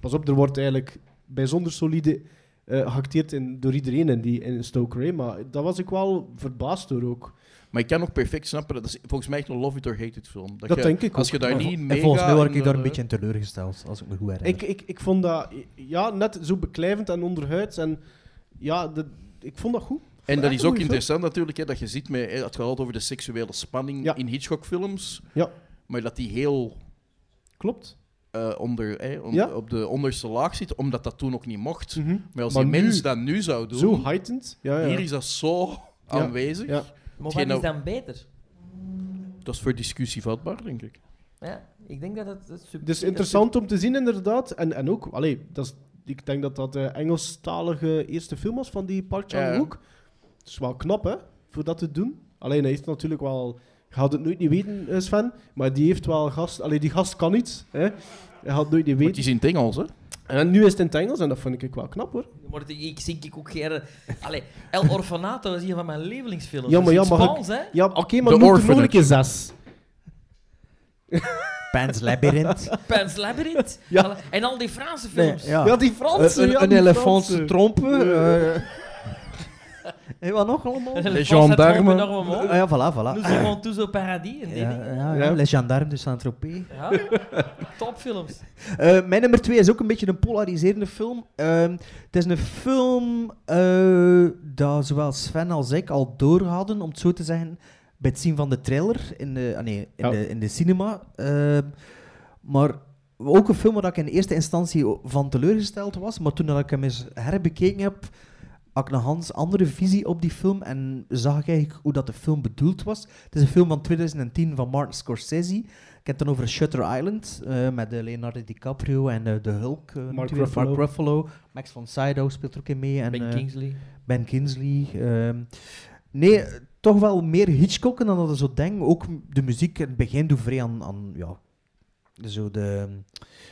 pas op, er wordt eigenlijk bijzonder solide eh geacteerd in, door iedereen in, die, in Stoker. hè. Maar daar was ik wel verbaasd door ook.
Maar ik kan ook perfect snappen dat is volgens mij echt een love it or hate it film.
Dat
je-
denk ik
Als
ook.
je daar
Maar
niet mee
En volgens mij
gaat
word
en
ik daar
dan,
een
eh,
beetje in teleurgesteld, als ik me goed herinner.
Ik, ik, ik vond dat ja, net zo beklijvend en onderhuids. En ja, dat- ik vond dat goed.
En dat
Echt
is ook
een goeie film.
interessant natuurlijk, hè, dat je ziet, met, hè, het gaat altijd over de seksuele spanning
Ja.
in Hitchcock-films.
Ja.
Maar dat die heel
Klopt.
eh, onder, hè, on-
Ja. Mhm.
op de onderste laag zit, omdat dat toen ook niet mocht. Maar als
Maar
die
nu-
mens dat nu zou doen,
Zo heightened. Ja, ja.
Hier is dat zo aanwezig.
Ja.
Maar wat
Hetgeen
is
dat-
dan beter?
Dat is voor discussie vatbaar, denk ik.
Ja, ik denk dat het... het sub-
Dus
dat
interessant om te zien, inderdaad. En, en ook, allee, dat is, ik denk dat dat de Engelstalige eerste film was van die Park
Ja.
Chan-wook. Het is wel knap, hè, voor dat te doen. Alleen hij heeft natuurlijk wel... Je had het nooit niet weten, eh, Sven. Maar die heeft wel gast... Allee, die gast kan iets, hè. Hij had het nooit niet
Maar het
weten.
is in het Engels, hè?
En nu is het in het Engels en dat vond ik wel knap, hoor.
sub- Maar het- ik zink ik ook geen... Allee, El Orfanato is een van mijn lievelingsfilms.
Ja, maar
Dat is
ja,
in
maar
Spaans, hè?
Ja, oké,
maar
maar
De
de
noem er nog een Orphanage.
zes.
Pan's Labyrinth.
Pan's Labyrinth.
Ja.
Allee, En al die Franse
Nee,
films.
ja. Eh,
Ja, die Fransen.
een
ja,
een
die
elefantse
Fransen.
trompen. eh. Hé, wat nog allemaal?
En
Les
Fransen had
gendarmes.
gewoon enorm omhoog.
Ah ja, voilà, voilà.
Nous irons tous au paradis. en die
Ja,
dingen.
ja,
Ja.
ja. Les Gendarmes de Saint-Tropez.
Ja. Topfilms.
Eh, mijn nummer twee is ook een beetje een polariserende film. Ehm, het is een film eh dat zowel Sven als ik al door hadden, om het zo te zeggen, bij het zien van de trailer in de, ah nee, in
Ja.
de, in de cinema. Ehm, maar ook een film waar ik in eerste instantie o- van teleurgesteld was, maar toen dat ik hem eens herbekeken heb, had ik een hans andere visie op die film en zag ik eigenlijk hoe dat de film bedoeld was. Het is een film van 2010 van Martin Scorsese. Ik heb het dan over Shutter Island, eh, met eh, Leonardo DiCaprio en eh, de Hulk. eh, natuurlijk,
Ruffalo.
Mark Ruffalo. Max von Sydow speelt er ook in mee. En,
Ben
eh,
Kingsley.
ben Kingsley. ehm. nee, eh, toch wel meer Hitchcocken dan dat ik zo denk. Ook m- de muziek in het begin doet vrij aan, aan ja, de- zo de,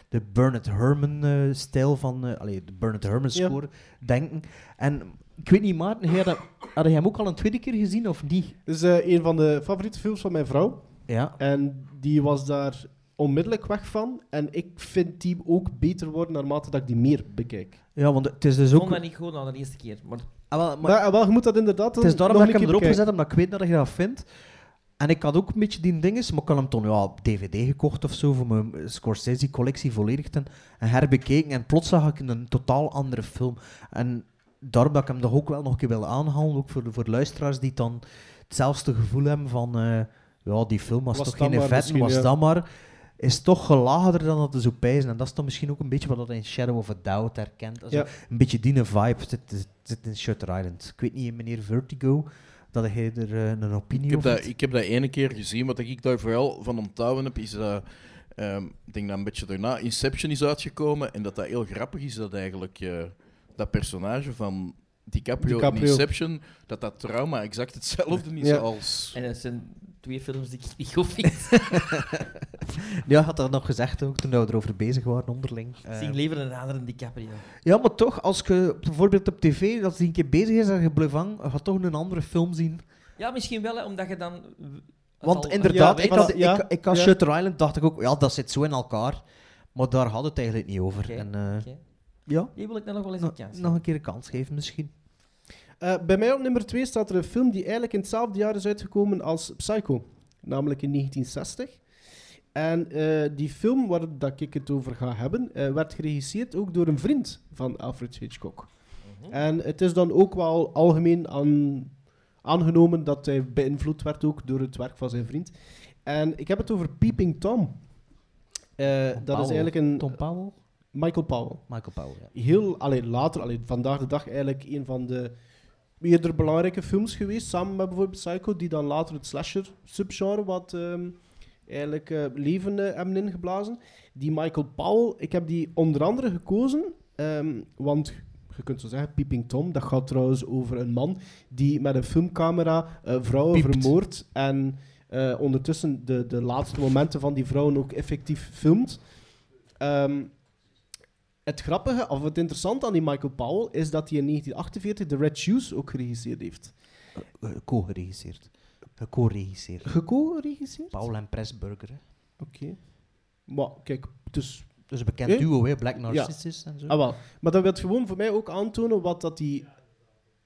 de Bernard Herman-stijl van... eh allee, de Bernard
Ja.
Herman-score denken. En ik weet niet, Maarten, jij dat- had je hem ook al een tweede keer gezien of niet?
Dat is eh, een van de favoriete films van mijn vrouw.
Ja.
En die was daar onmiddellijk weg van. En ik vind die ook beter worden naarmate dat ik die meer bekijk.
Ja, want het is dus
Ik vond
ook...
dat niet goed na de eerste keer. Maar
Ah, wel,
Maar,
maar
eh, wel, je moet dat inderdaad
het is daarom
nog
dat ik hem
een keer
erop gezet
bekijken.
heb, omdat ik weet dat je dat vindt. En ik had ook een beetje die dinges, maar ik had hem toen ja, op DVD gekocht of zo, voor mijn eh, Scorsese-collectie volledig ten, en herbekeken. En plots zag ik een totaal andere film. En daarom dat ik hem toch ook wel nog een keer wil aanhalen, ook voor, voor luisteraars die dan hetzelfde gevoel hebben van... eh, ja, die film was,
Was
toch
dat
geen
maar
vet,
misschien,
was
ja.
dat maar... is toch gelagerder dan dat de zou pijzen. En dat is dan misschien ook een beetje wat dat in Shadow of a Doubt herkent. Also,
Ja.
Een beetje die vibe zit, zit- zit in Shutter Island. Ik weet niet, meneer Vertigo, dat hij er eh, een opinie
Ik heb,
over
dat,
heeft?
ik heb dat ene keer gezien. Wat ik daar vooral van onthouden heb, is dat... ehm, ik denk dat een beetje daarna Inception is uitgekomen. En dat dat heel grappig is, dat eigenlijk eh, dat personage van DiCaprio,
DiCaprio.
in Inception, dat dat trauma exact hetzelfde is
Ja.
als...
En dat eh, zijn twee films die ik niet goed vind.
Ja, had dat nog gezegd ook toen we erover bezig waren onderling.
Ik
Eh,
zie liever een andere DiCaprio.
ja, maar toch, als je bijvoorbeeld op tv, als die een keer bezig is en je blijft hangen, je gaat toch een andere film zien.
Ja, misschien wel, hè, omdat je dan... eh, het
Want
al-
inderdaad,
ja,
ik,
voilà,
had,
ja,
ik, ik had
ja.
Shutter Island, dacht ik ook, ja, dat zit zo in elkaar. Maar daar had het eigenlijk niet over.
Oké,
En, eh,
oké.
Ja,
Die wil ik dan nog wel eens een
nog,
kans
nog een keer een kans geven misschien.
Eh, bij mij op nummer 2 staat er een film die eigenlijk in hetzelfde jaar is uitgekomen als Psycho, namelijk in 1960. En eh, die film waar dat ik het over ga hebben, eh, werd geregisseerd ook door een vriend van Alfred Hitchcock.
Mhm.
En het is dan ook wel algemeen aan, aangenomen dat hij beïnvloed werd ook door het werk van zijn vriend. En ik heb het over Peeping Tom. Eh, dat
Powell.
is eigenlijk een
Tom Powell?
Michael Powell
Michael Powell, ja.
heel alleen later, alleen vandaag de dag eigenlijk een van de eerder belangrijke films geweest, samen met bijvoorbeeld Psycho, die dan later het slasher subgenre wat ehm, eigenlijk eh, leven eh, hebben ingeblazen. Die Michael Powell, ik heb die onder andere gekozen, ehm, want je kunt zo zeggen, Peeping Tom, dat gaat trouwens over een man die met een filmcamera eh, vrouwen
Piept.
vermoordt en eh, ondertussen de, de laatste momenten van die vrouwen ook effectief filmt. Ehm, het grappige, of het interessante aan die Michael Powell, is dat hij in 1948 The Red Shoes ook geregisseerd heeft.
Eh, Co-geregisseerd. Co-regisseerd.
Geco-regisseerd?
Powell en Pressburger, hè.
Oké. Maar kijk, dus...
Dus een bekend
Eh?
duo, hè. Black Narcissus en zo.
Ah, wel. Maar dat wil gewoon voor mij ook aantonen wat dat die...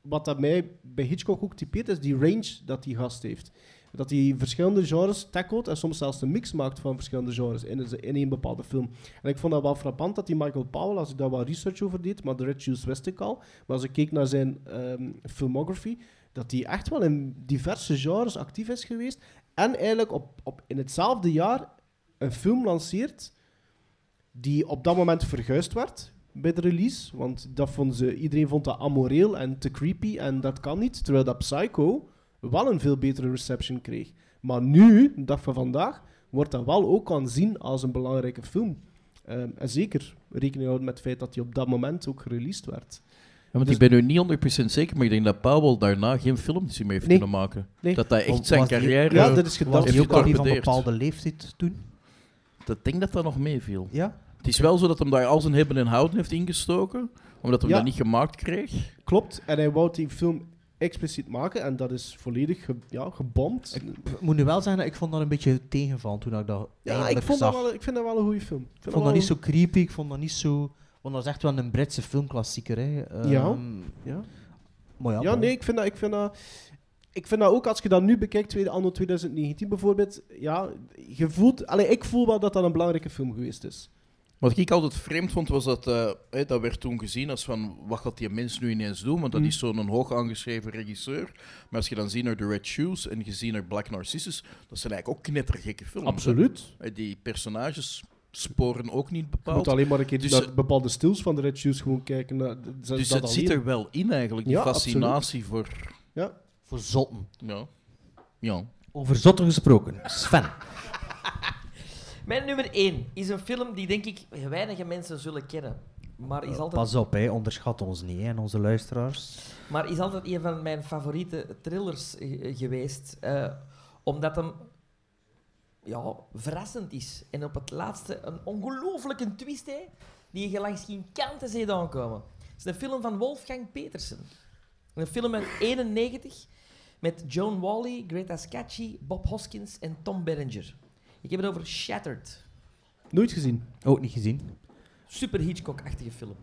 Wat dat mij bij Hitchcock ook typeert, is die range dat die gast heeft. Dat hij verschillende genres tackelt en soms zelfs een mix maakt van verschillende genres in een, in een bepaalde film. En ik vond dat wel frappant dat die Michael Powell, als ik daar wat research over deed, maar The Red Shoes wist ik al, maar als ik keek naar zijn ehm, filmography, dat hij echt wel in diverse genres actief is geweest en eigenlijk op, op, in hetzelfde jaar een film lanceert die op dat moment verguisd werd bij de release, want dat vonden ze, iedereen vond dat amoreel en te creepy en dat kan niet, terwijl dat Psycho wel een veel betere reception kreeg. Maar nu, de dag van vandaag, wordt dat wel ook aanzien als een belangrijke film. Ehm, en zeker rekening houden met het feit dat hij op dat moment ook gereleased werd.
Ja, want
Dus-
ik ben nu niet 100% zeker, maar ik denk dat Powell daarna geen films meer heeft
Nee.
kunnen maken.
Nee.
Dat hij echt
Want
zijn
was die-
carrière...
Ja, dat is
Was
gedacht.
die
Heeft
ook al niet van
getorpedeerd.
bepaalde leeftijd toen?
Dat denk dat dat nog meeviel.
Ja.
Het is wel zo dat hem daar al zijn hebben en houden heeft ingestoken, omdat hij
Ja.
dat niet gemaakt kreeg.
Klopt, en hij wou die film expliciet maken en dat is volledig ge- ja, gebomd.
Ik moet nu wel zeggen, dat ik vond dat een beetje tegenvallen toen ik dat
Ja, ik,
eindelijk
vond
zag.
dat wel, ik vind dat wel een goede film.
Ik vond dat niet zo creepy, ik vond dat niet zo... Want dat is echt wel een Britse filmklassieker, hè.
Ja.
Ehm,
Ja.
Maar ja,
Ja, nee, ik vind dat... Ik vind dat ik vind dat ook, als je dat nu bekijkt, tweede anno 2019 bijvoorbeeld, ja, je voelt... Allee, ik voel wel dat dat een belangrijke film geweest is.
Wat ik altijd vreemd vond, was dat eh, hè, dat werd toen gezien als van wat gaat die mens nu ineens doen? Want dat
Mm.
is zo'n hoog aangeschreven regisseur. Maar als je dan ziet naar The Red Shoes en je ziet naar Black Narcissus, dat zijn eigenlijk ook knettergekke films. hè. Eh, Die personages sporen ook niet
Je
bepaald.
moet alleen maar een keer
Dus,
naar
eh,
bepaalde stils van de Red Shoes gewoon kijken. naar- dat- dat
dus dat zit
alleen.
er wel in eigenlijk, die
Ja,
fascinatie voor...
Ja.
Voor zotten.
Ja. ja.
Over zotten gesproken. Sven.
Mijn nummer 1 is een film die denk ik weinige mensen zullen kennen. Maar is, altijd,
Pas op, hè. onderschat ons niet hè, en onze luisteraars.
maar is altijd een van mijn favoriete thrillers eh, geweest. eh, omdat hem ja, verrassend is. En op het laatste een ongelooflijke twist hè, die je langs geen kanten ziet aankomen. Het is een film van Wolfgang Petersen. Een film uit 91 met Joan Wally, Greta Scacchi, Bob Hoskins en Tom Berenger. Ik heb het over Shattered.
Nooit gezien.
Ook niet gezien.
Super Hitchcock-achtige film.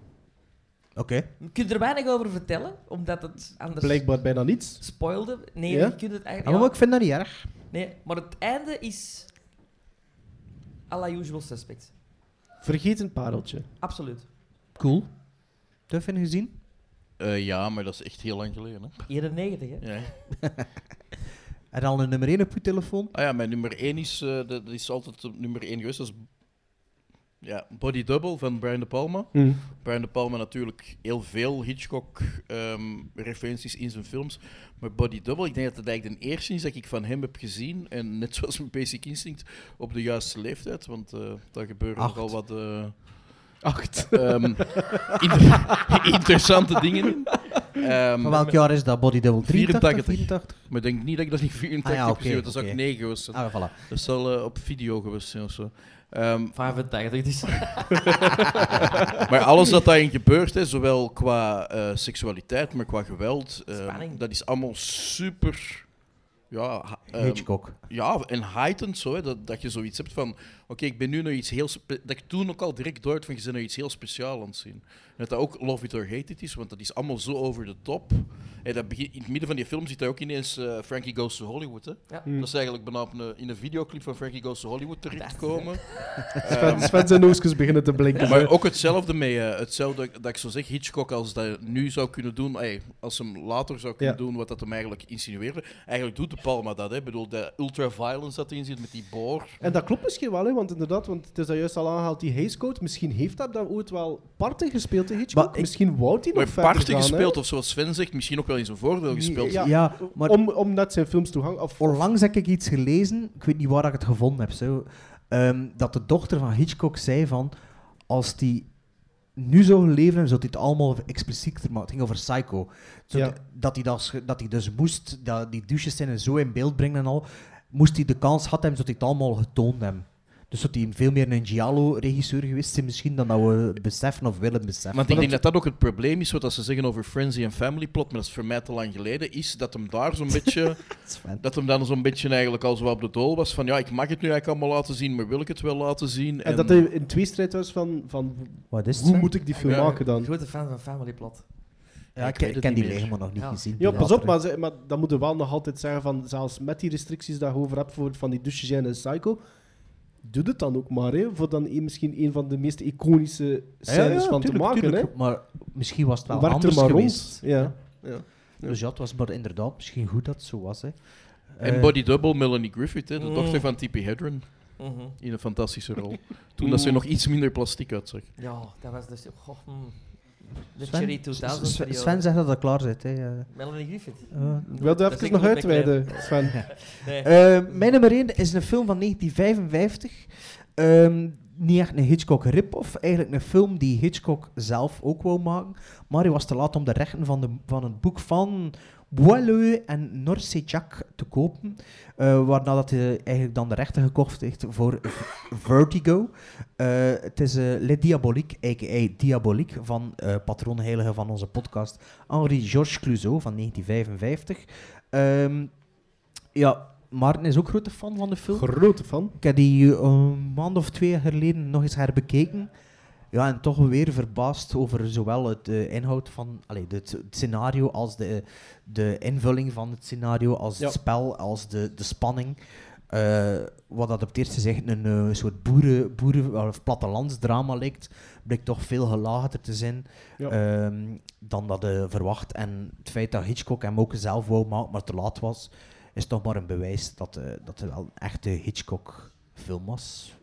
Oké.
Je kunt er weinig over vertellen, omdat het anders
Blijkbaar bijna niets.
spoilde. Nee,
Ja?
je kunt het
Ah,
eigenlijk...
maar
ja.
ik vind dat niet erg.
nee, maar het einde is... à la usual suspects.
Vergeet een pareltje.
Absoluut.
Cool. Tuffin gezien?
Eh, ja, maar dat is echt heel lang geleden. Hè?
91, hè?
Ja.
Er al een nummer 1 op je telefoon.
Ah ja, mijn nummer 1 is, eh, dat dat is altijd op nummer 1 geweest. Dat is ja, Body Double van Brian De Palma.
Mm.
Brian De Palma natuurlijk heel veel Hitchcock-referenties in zijn films. Maar Body Double, ik denk dat het eigenlijk de eerste is dat ik van hem heb gezien. En net zoals met Basic Instinct, op de juiste leeftijd. Want eh daar gebeuren
Acht.
nogal wat... eh,
Acht.
ehm, inter- interessante dingen in. Ehm,
Van welk jaar is dat? Body Double 83?
84.
84?
maar ik denk niet dat ik dat in 84
Ah ja,
heb
oké,
gezien, want dat is
oké.
ook 9 geweest.
Ah, voilà.
Dat is al eh, op video geweest zijn of zo. Ehm,
85, dus...
maar alles wat daarin gebeurt, hè, zowel qua eh, seksualiteit, maar qua geweld, ehm,
Spanning.
dat is allemaal super. Ja, ha- ehm,
Hitchcock.
ja, en heightened zo, hè, dat, dat je zoiets hebt van, oké, ik ben nu naar iets heel... spe- Dat ik toen ook al direct door van, je bent naar iets heel speciaals aan het zien. En dat dat ook Love It or Hate It is, want dat is allemaal zo over de top. En dat begin, in het midden van die film zit daar ook ineens eh, Frankie Goes to Hollywood. Hè.
Ja.
Dat is eigenlijk bijna op een, in een videoclip van Frankie Goes to Hollywood terechtkomen.
Sven, Sven zijn oogjes beginnen te blinken.
Ehm. Maar ook hetzelfde mee, eh, hetzelfde dat ik zo zeg, Hitchcock als dat nu zou kunnen doen, ey, als hem later zou kunnen
Ja.
doen wat dat hem eigenlijk insinueerde. Eigenlijk doet de Palma dat, hè. Ik bedoel, de ultraviolence dat erin zit met die boor.
En dat klopt misschien wel, hè, want inderdaad, want het is dat juist al aangehaald, die Hays Code. Misschien heeft dat dan ooit wel parten gespeeld in Hitchcock.
Maar ik-
misschien wou hij nog
Maar
verder
parten
gaan, hè.
gespeeld, of zoals Sven zegt, misschien ook wel in zijn voordeel gespeeld.
Ja,
Ja, maar-
om, om net zijn films te hangen. Of,
Onlangs heb ik iets gelezen, ik weet niet waar ik het gevonden heb, zo, ehm, dat de dochter van Hitchcock zei van, als die nu zou leven, hebben, zou hij het allemaal explicieter maken. Het ging over Psycho. Zo
Ja.
d- Dat hij dat, dat hij dus moest, dat die douches zijn en zo in beeld brengen en al, moest hij de kans had hebben, zou hij het allemaal getoond hebben. Dus dat hij veel meer een Giallo-regisseur geweest is misschien dan dat we beseffen of willen beseffen.
Want ik denk dat dat ook het probleem is, wat dat ze zeggen over Frenzy en Family Plot, maar dat is voor mij te lang geleden, is dat hem daar zo'n beetje...
Sven.
Dat hem dan zo'n beetje eigenlijk al zo op de dool was van ja, ik mag het nu eigenlijk allemaal laten zien, maar wil ik het wel laten zien?
en dat hij in twee strijd was van, van
Wat Ehm. is het?
hoe
Sven?
moet ik die film
Ja.
maken dan?
Grote fan van Family Plot.
Ja,
Ik
ik,
weet
ik
het
ken
niet
die
meer.
helemaal nog niet
Ja.
gezien.
Ja,
die
pas op,
latere.
maar, ze- maar dat moeten we wel nog altijd zeggen van, zelfs met die restricties daarover hebt voor van die douches en Psycho, doe het dan ook maar, hè, voor dan een- misschien een van de meest iconische scènes van
tuurlijk,
te maken.
tuurlijk. Maar misschien was het
hè.
wel
Werk er
anders
maar
geweest.
rond. Ja. Ja.
Dus ja, het was maar inderdaad misschien goed dat het zo was. Hè.
En
Eh,
Body Double, Melanie Griffith, hè, de
Mm.
dochter van Tippi Hedren.
Mhm.
In een fantastische rol. Toen dat ze
Mm.
nog iets minder plastiek uitzag.
Ja, dat was dus... Goh, mm, de
Sven-
Cherry
S-
2000
Sven,
periode.
Sven zegt dat dat klaar zit. Hè. Eh,
Melanie Griffith.
eh.
Ik wil
Dat
dat
is
even
ik
nog
moet
uitweiden, Sven.
Nee.
Eh, mijn nummer 1 is een film van 1955. Ehm, niet echt een Hitchcock rip-off. Eigenlijk een film die Hitchcock zelf ook wou maken. Maar hij was te laat om de rechten van, de, van het boek van Boileau en Norsejak te kopen. eh, waarna dat hij eigenlijk dan de rechten gekocht heeft voor V- Vertigo. Eh, het is eh Le Diabolique, a.k.a. Diabolique, van eh patroonheilige van onze podcast Henri-Georges Clouseau van 1955. Ehm, ja, Maarten is ook grote fan van de film.
Grote fan.
Ik heb die eh, een maand of twee jaar geleden nog eens herbekeken. Ja, en toch weer verbaasd over zowel het eh, inhoud van allee, het, het scenario als de, de invulling van het scenario, als
Ja.
het spel, als de, de spanning. Eh, wat dat op het eerste zicht een eh, soort boeren, boeren of plattelandsdrama lijkt, blijkt toch veel gelaagder te zijn
Ja.
ehm, dan dat hij verwacht. En het feit dat Hitchcock hem ook zelf wou maken, maar te laat was, is toch maar een bewijs dat, eh, dat het wel een echte Hitchcock-film was.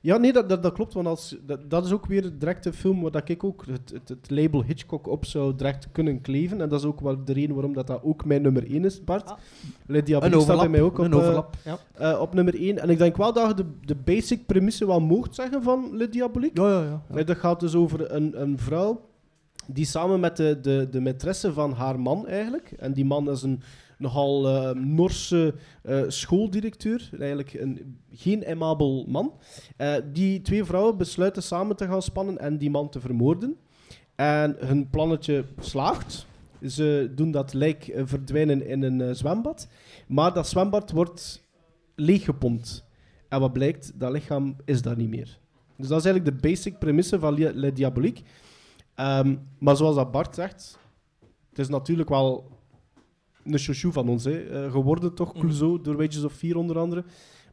Ja, nee, dat, dat, dat klopt, want als, dat, dat is ook weer direct een film waar dat ik ook het, het, het label Hitchcock op zou direct kunnen kleven. En dat is ook wel de reden waarom dat, dat ook mijn nummer 1 is, Bart.
Ah.
Le Diabolique staat bij mij ook op,
een
eh,
overlap. Ja.
eh, op nummer 1. En ik denk wel dat je de, de basic premisse wel mocht zeggen van Le Diabolique.
Ja, ja, ja.
Eh, Dat gaat dus over een, een vrouw die samen met de, de, de maîtresse van haar man eigenlijk, en die man is een nogal eh, Norse eh, schooldirecteur, eigenlijk een, geen aimabel man, Eh, die twee vrouwen besluiten samen te gaan spannen en die man te vermoorden. En hun plannetje slaagt. Ze doen dat lijk eh, verdwijnen in een eh, zwembad, maar dat zwembad wordt leeggepompt. En wat blijkt, dat lichaam is daar niet meer. Dus dat is eigenlijk de basic premisse van Le Le Diabolique. Ehm, maar zoals dat Bart zegt, het is natuurlijk wel een chouchou van ons hè, eh, geworden, toch?
Mhm.
Clouseau, door Wages of Fear onder andere.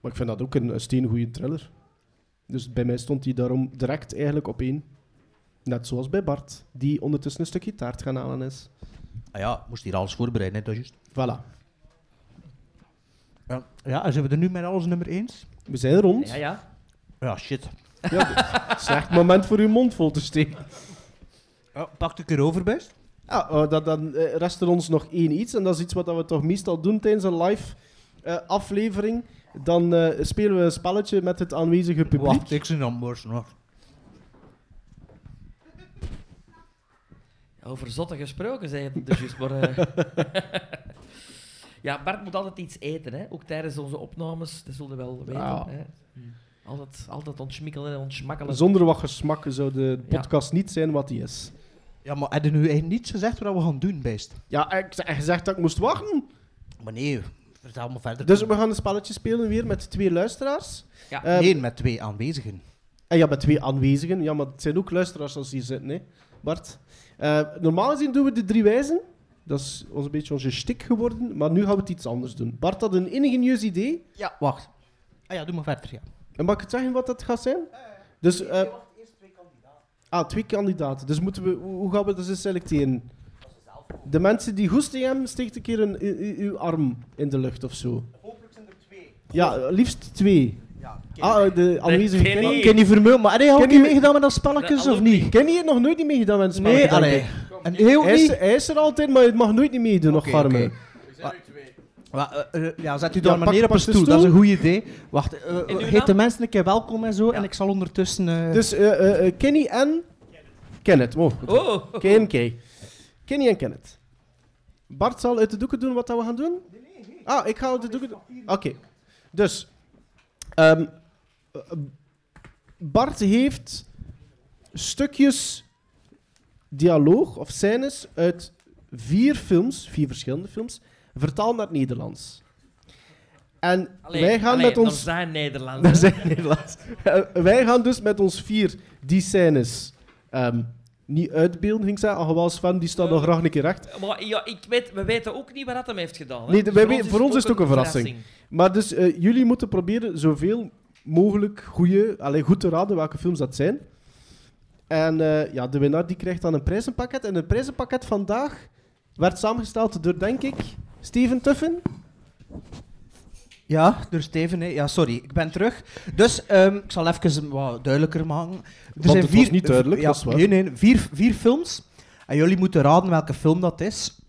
Maar ik vind dat ook een, een steengoeie thriller. Dus bij mij stond hij daarom direct eigenlijk op één. Net zoals bij Bart, die ondertussen een stukje taart gaan halen is.
Ah ja, moest hier alles voorbereiden, hè, dat is juist.
Voilà.
Ja. ja, en zijn we er nu met alles nummer eens?
We zijn rond.
Ja, ja.
Ja, shit.
Slecht moment voor uw mond vol te steken.
Pak ik erover, best?
Ja, eh, dat, dan eh, rest er ons nog één iets. En dat is iets wat dat we toch meestal doen tijdens een live eh, aflevering. Dan eh, spelen we een spelletje met het aanwezige publiek.
Wacht, ik zie dan morst nog.
Over zotten gesproken, zei het dus juist, maar... eh, ja, Bart moet altijd iets eten, hè. Ook tijdens onze opnames, dat zullen we wel weten.
Ja.
Hè? Altijd, altijd ontschmikkelen en ontsmakkelen.
Zonder wat gesmak zou de
Ja.
podcast niet zijn wat die is.
Ja, maar hebben nu eigenlijk niets gezegd wat we gaan doen, best?
Ja, ik heb gezegd dat ik moest wachten.
Maar nee, vertel me verder.
Dus we gaan een spelletje spelen weer met twee luisteraars.
Ja.
Eh,
nee, met twee aanwezigen.
En ja, met twee aanwezigen. Ja, maar het zijn ook luisteraars als die zitten, hè, Bart. Eh, normaal gezien doen we de drie wijzen. Dat is ons een beetje onze shtick geworden. Maar nu gaan we het iets anders doen. Bart had een ingenieus idee.
Ja, wacht. Ah ja, doe maar verder, ja.
En mag ik het zeggen wat dat gaat zijn? Dus... eh Ah, twee kandidaten. Dus moeten we, hoe hoe gaan we dat ze selecteren? De mensen die goed tegen hem, steekt een keer een, u- u- uw arm in de lucht of zo.
Hopelijk zijn er twee.
Ja, eh, liefst twee.
Ja,
Ah, eh, de aanwezige
Kenny.
Kenny.
Kenny Vermeulen, maar hij had ook
Kenny-
niet meegedaan met dat
Nee,
spelletje,
al
of
ook
niet?
Kenny heeft nog nooit niet meegedaan met een spelletje,
Nee,
denk
allee.
ik.
Een heel
Hij is,
niet.
hij is er altijd, maar het mag nooit niet meedoen, nog
Oké,
Garme.
oké. Wa- eh, eh, Ja, zet u
Ja,
daar maar
pak-
neer op
pak
een
de
stoel, dat is
stoel.
een goed idee. Wacht, eh, eh,
nu
heet
dan?
de mensen een keer welkom en zo,
Ja.
en ik zal ondertussen... eh,
Dus eh, eh, eh, Kenny en... Kenneth. Oh, goed.
Oh,
K en K. Kenny en Kenneth. Bart zal uit de doeken doen wat dat we gaan doen? Ah, ik ga uit de doeken doen. Oké. Dus. ehm, eh, Bart heeft stukjes dialoog of scènes uit vier films, vier verschillende films, vertaald naar het Nederlands. En
allee,
wij gaan
allee,
met
Er
ons...
zijn Nederlanders.
Daar zijn Nederlands. Eh, Wij gaan dus met ons vier die scènes ehm, niet uitbeelden, ging ik zeggen. Alhoewel Sven, die staat nog graag een keer recht.
Maar ja, ik weet, we weten ook niet wat dat hem heeft gedaan. hè.
Nee, de- wij weten- voor ons is het ook een Maar dus, eh, jullie moeten proberen zoveel mogelijk goede, allee, goed te raden welke films dat zijn. En eh, ja, de winnaar die krijgt dan een prijzenpakket. En het prijzenpakket vandaag werd samengesteld door, denk ik, Steven Tuffen.
Ja, door Steven. hè. Ja, sorry, ik ben terug. Dus ehm, ik zal even wat duidelijker maken. Er
het was niet duidelijk,
ja,
dat is waar.
Nee, nee, vier, vier films. En jullie moeten raden welke film dat is.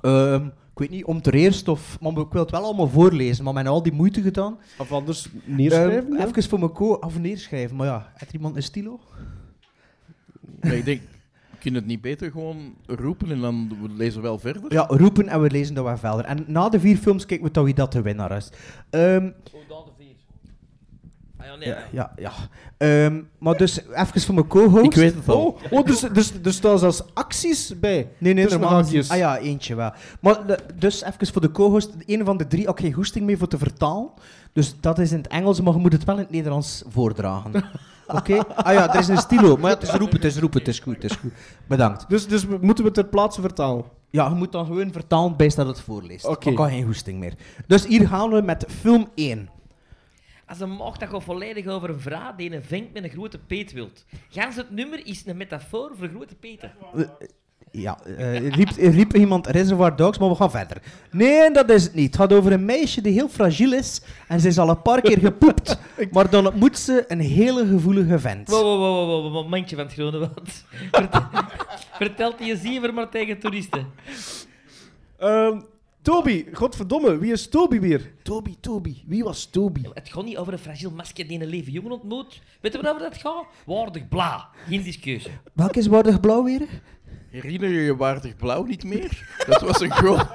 Ehm, ik weet niet, om ter eerst of... Maar ik wil het wel allemaal voorlezen, maar men heeft al die moeite gedaan.
Of anders neerschrijven.
Ehm,
ja.
even voor mijn co... Of neerschrijven, maar ja. Heeft er iemand een stilo?
Ja, ik denk, we kunnen het niet beter gewoon roepen en dan we lezen wel verder?
Ja, roepen en we lezen dat wel verder. En na de vier films kijken we dan wie dat de winnaar is. Ehm,
Hoe dan Oh, de vier? Ah ja, nee.
ja, ja. ja. Ehm, maar dus even voor mijn co-host.
Ik weet het al.
Oh, oh dus, dus, dus daar zelfs acties bij.
Nee, nee,
Tussen
normaal.
haakjes.
Ah ja, eentje wel. Maar de- dus even voor de co-host, een van de drie had geen goesting mee voor te vertalen. Dus dat is in het Engels, maar je moet het wel in het Nederlands voordragen. Oké? Ah ja, er is een stilo. Maar ja, het is roepen, het is roepen, het is goed, het is goed. Bedankt.
Dus, dus we- moeten we ter plaatse vertalen.
Ja, je moet dan gewoon vertalen bij dat het voorleest.
Oké.
Oké. Ik had geen goesting meer. Dus hier gaan we met film 1.
Als een mocht dat gaat volledig over een vrouw die een vinkt met een grote peet wilt. Gans het nummer is een metafoor voor grote peten.
Ja, eh, er riep, er riep iemand Reservoir Dogs, maar we gaan verder. Nee, dat is het niet. Het gaat over een meisje die heel fragiel is en ze is al een paar keer gepoept. Maar dan ontmoet ze een hele gevoelige vent.
Wow, wow, wow, wow, wow, wow, momentje van het Groenewald. Vertel- Vertelt die je ziever maar tegen toeristen.
Ehm, Toby, godverdomme, wie is Toby weer? Toby, Toby, wie was Toby?
Het gaat niet over een fragiel masker die een leven jongen ontmoet. Weet je waarover dat gaat? Waardig bla. Geen discussie.
Welk is waardig blauw weer?
Herinner je je waardig blauw niet meer? Dat was een groot...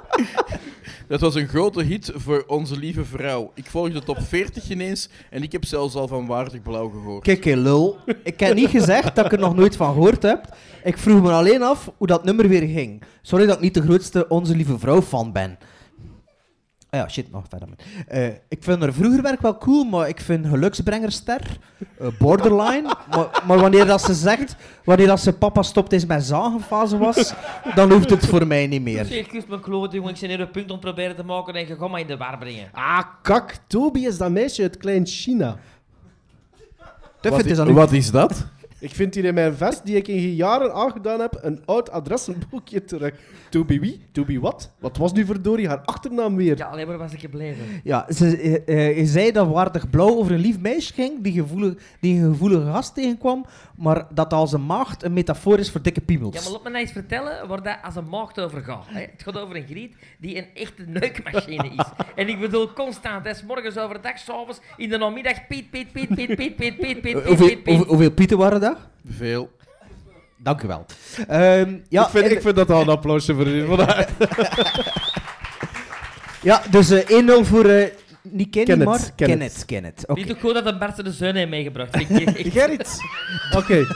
Dat was een grote hit voor onze lieve vrouw. Ik volgde de top 40 ineens en ik heb zelfs al van Waardig Blauw gehoord.
Kijk, hé, lul. Ik heb niet gezegd dat ik er nog nooit van gehoord heb. Ik vroeg me alleen af hoe dat nummer weer ging. Sorry dat ik niet de grootste Onze Lieve Vrouw fan ben. Ah ja, shit, nog verder. met. Eh, ik vind haar vroeger werk wel cool, maar ik vind Geluksbrengerster, eh, Borderline. maar, maar wanneer dat ze zegt, wanneer dat ze papa stopt is met zagenfase was, dan hoeft het voor mij niet meer.
Zeg, kus mijn kloot, jongen. Ik zit hier een punt om proberen te maken en je gaat mij in de war brengen.
Ah, kak, Toby is dat meisje uit Klein China.
Tuff, het is aan u.
wat is dat?
Ik vind hier in mijn vest, die ik in jaren aangedaan heb, een oud adressenboekje terug. To be wie? To be what? Wat was nu verdorie haar achternaam weer?
Ja, alleen maar was ik gebleven.
Ja, ze, eh, eh, je zei dat Waardig Blauw over een lief meisje ging die, gevoelig, die een gevoelige gast tegenkwam, maar dat als een maagd een metafoor is voor dikke piemels.
Ja, maar laat me nou eens vertellen waar dat als een maagd over gaat. Hè. Het gaat over een griet die een echte neukmachine is. En ik bedoel constant, hè, 's morgens overdag, s'avonds, in de namiddag, piet, piet, piet, piet, piet, piet, piet, piet,
Eh, hoeveel,
piet, piet,
hoeveel-
piet.
hoeveel pieten waren dat?
Veel.
Dank u wel. Ehm, ja,
ik, vind,
en-
ik vind dat al een applausje voor u. Voilà.
ja, dus eh, 1-0 voor eh niet Kenny,
Kenneth,
maar
Kenneth.
Kenneth. Kenneth.
Vind
Oké,
je het ook goed dat een Bart de Zeun heeft meegebracht? Vind ik echt-
Gerrit. Oké.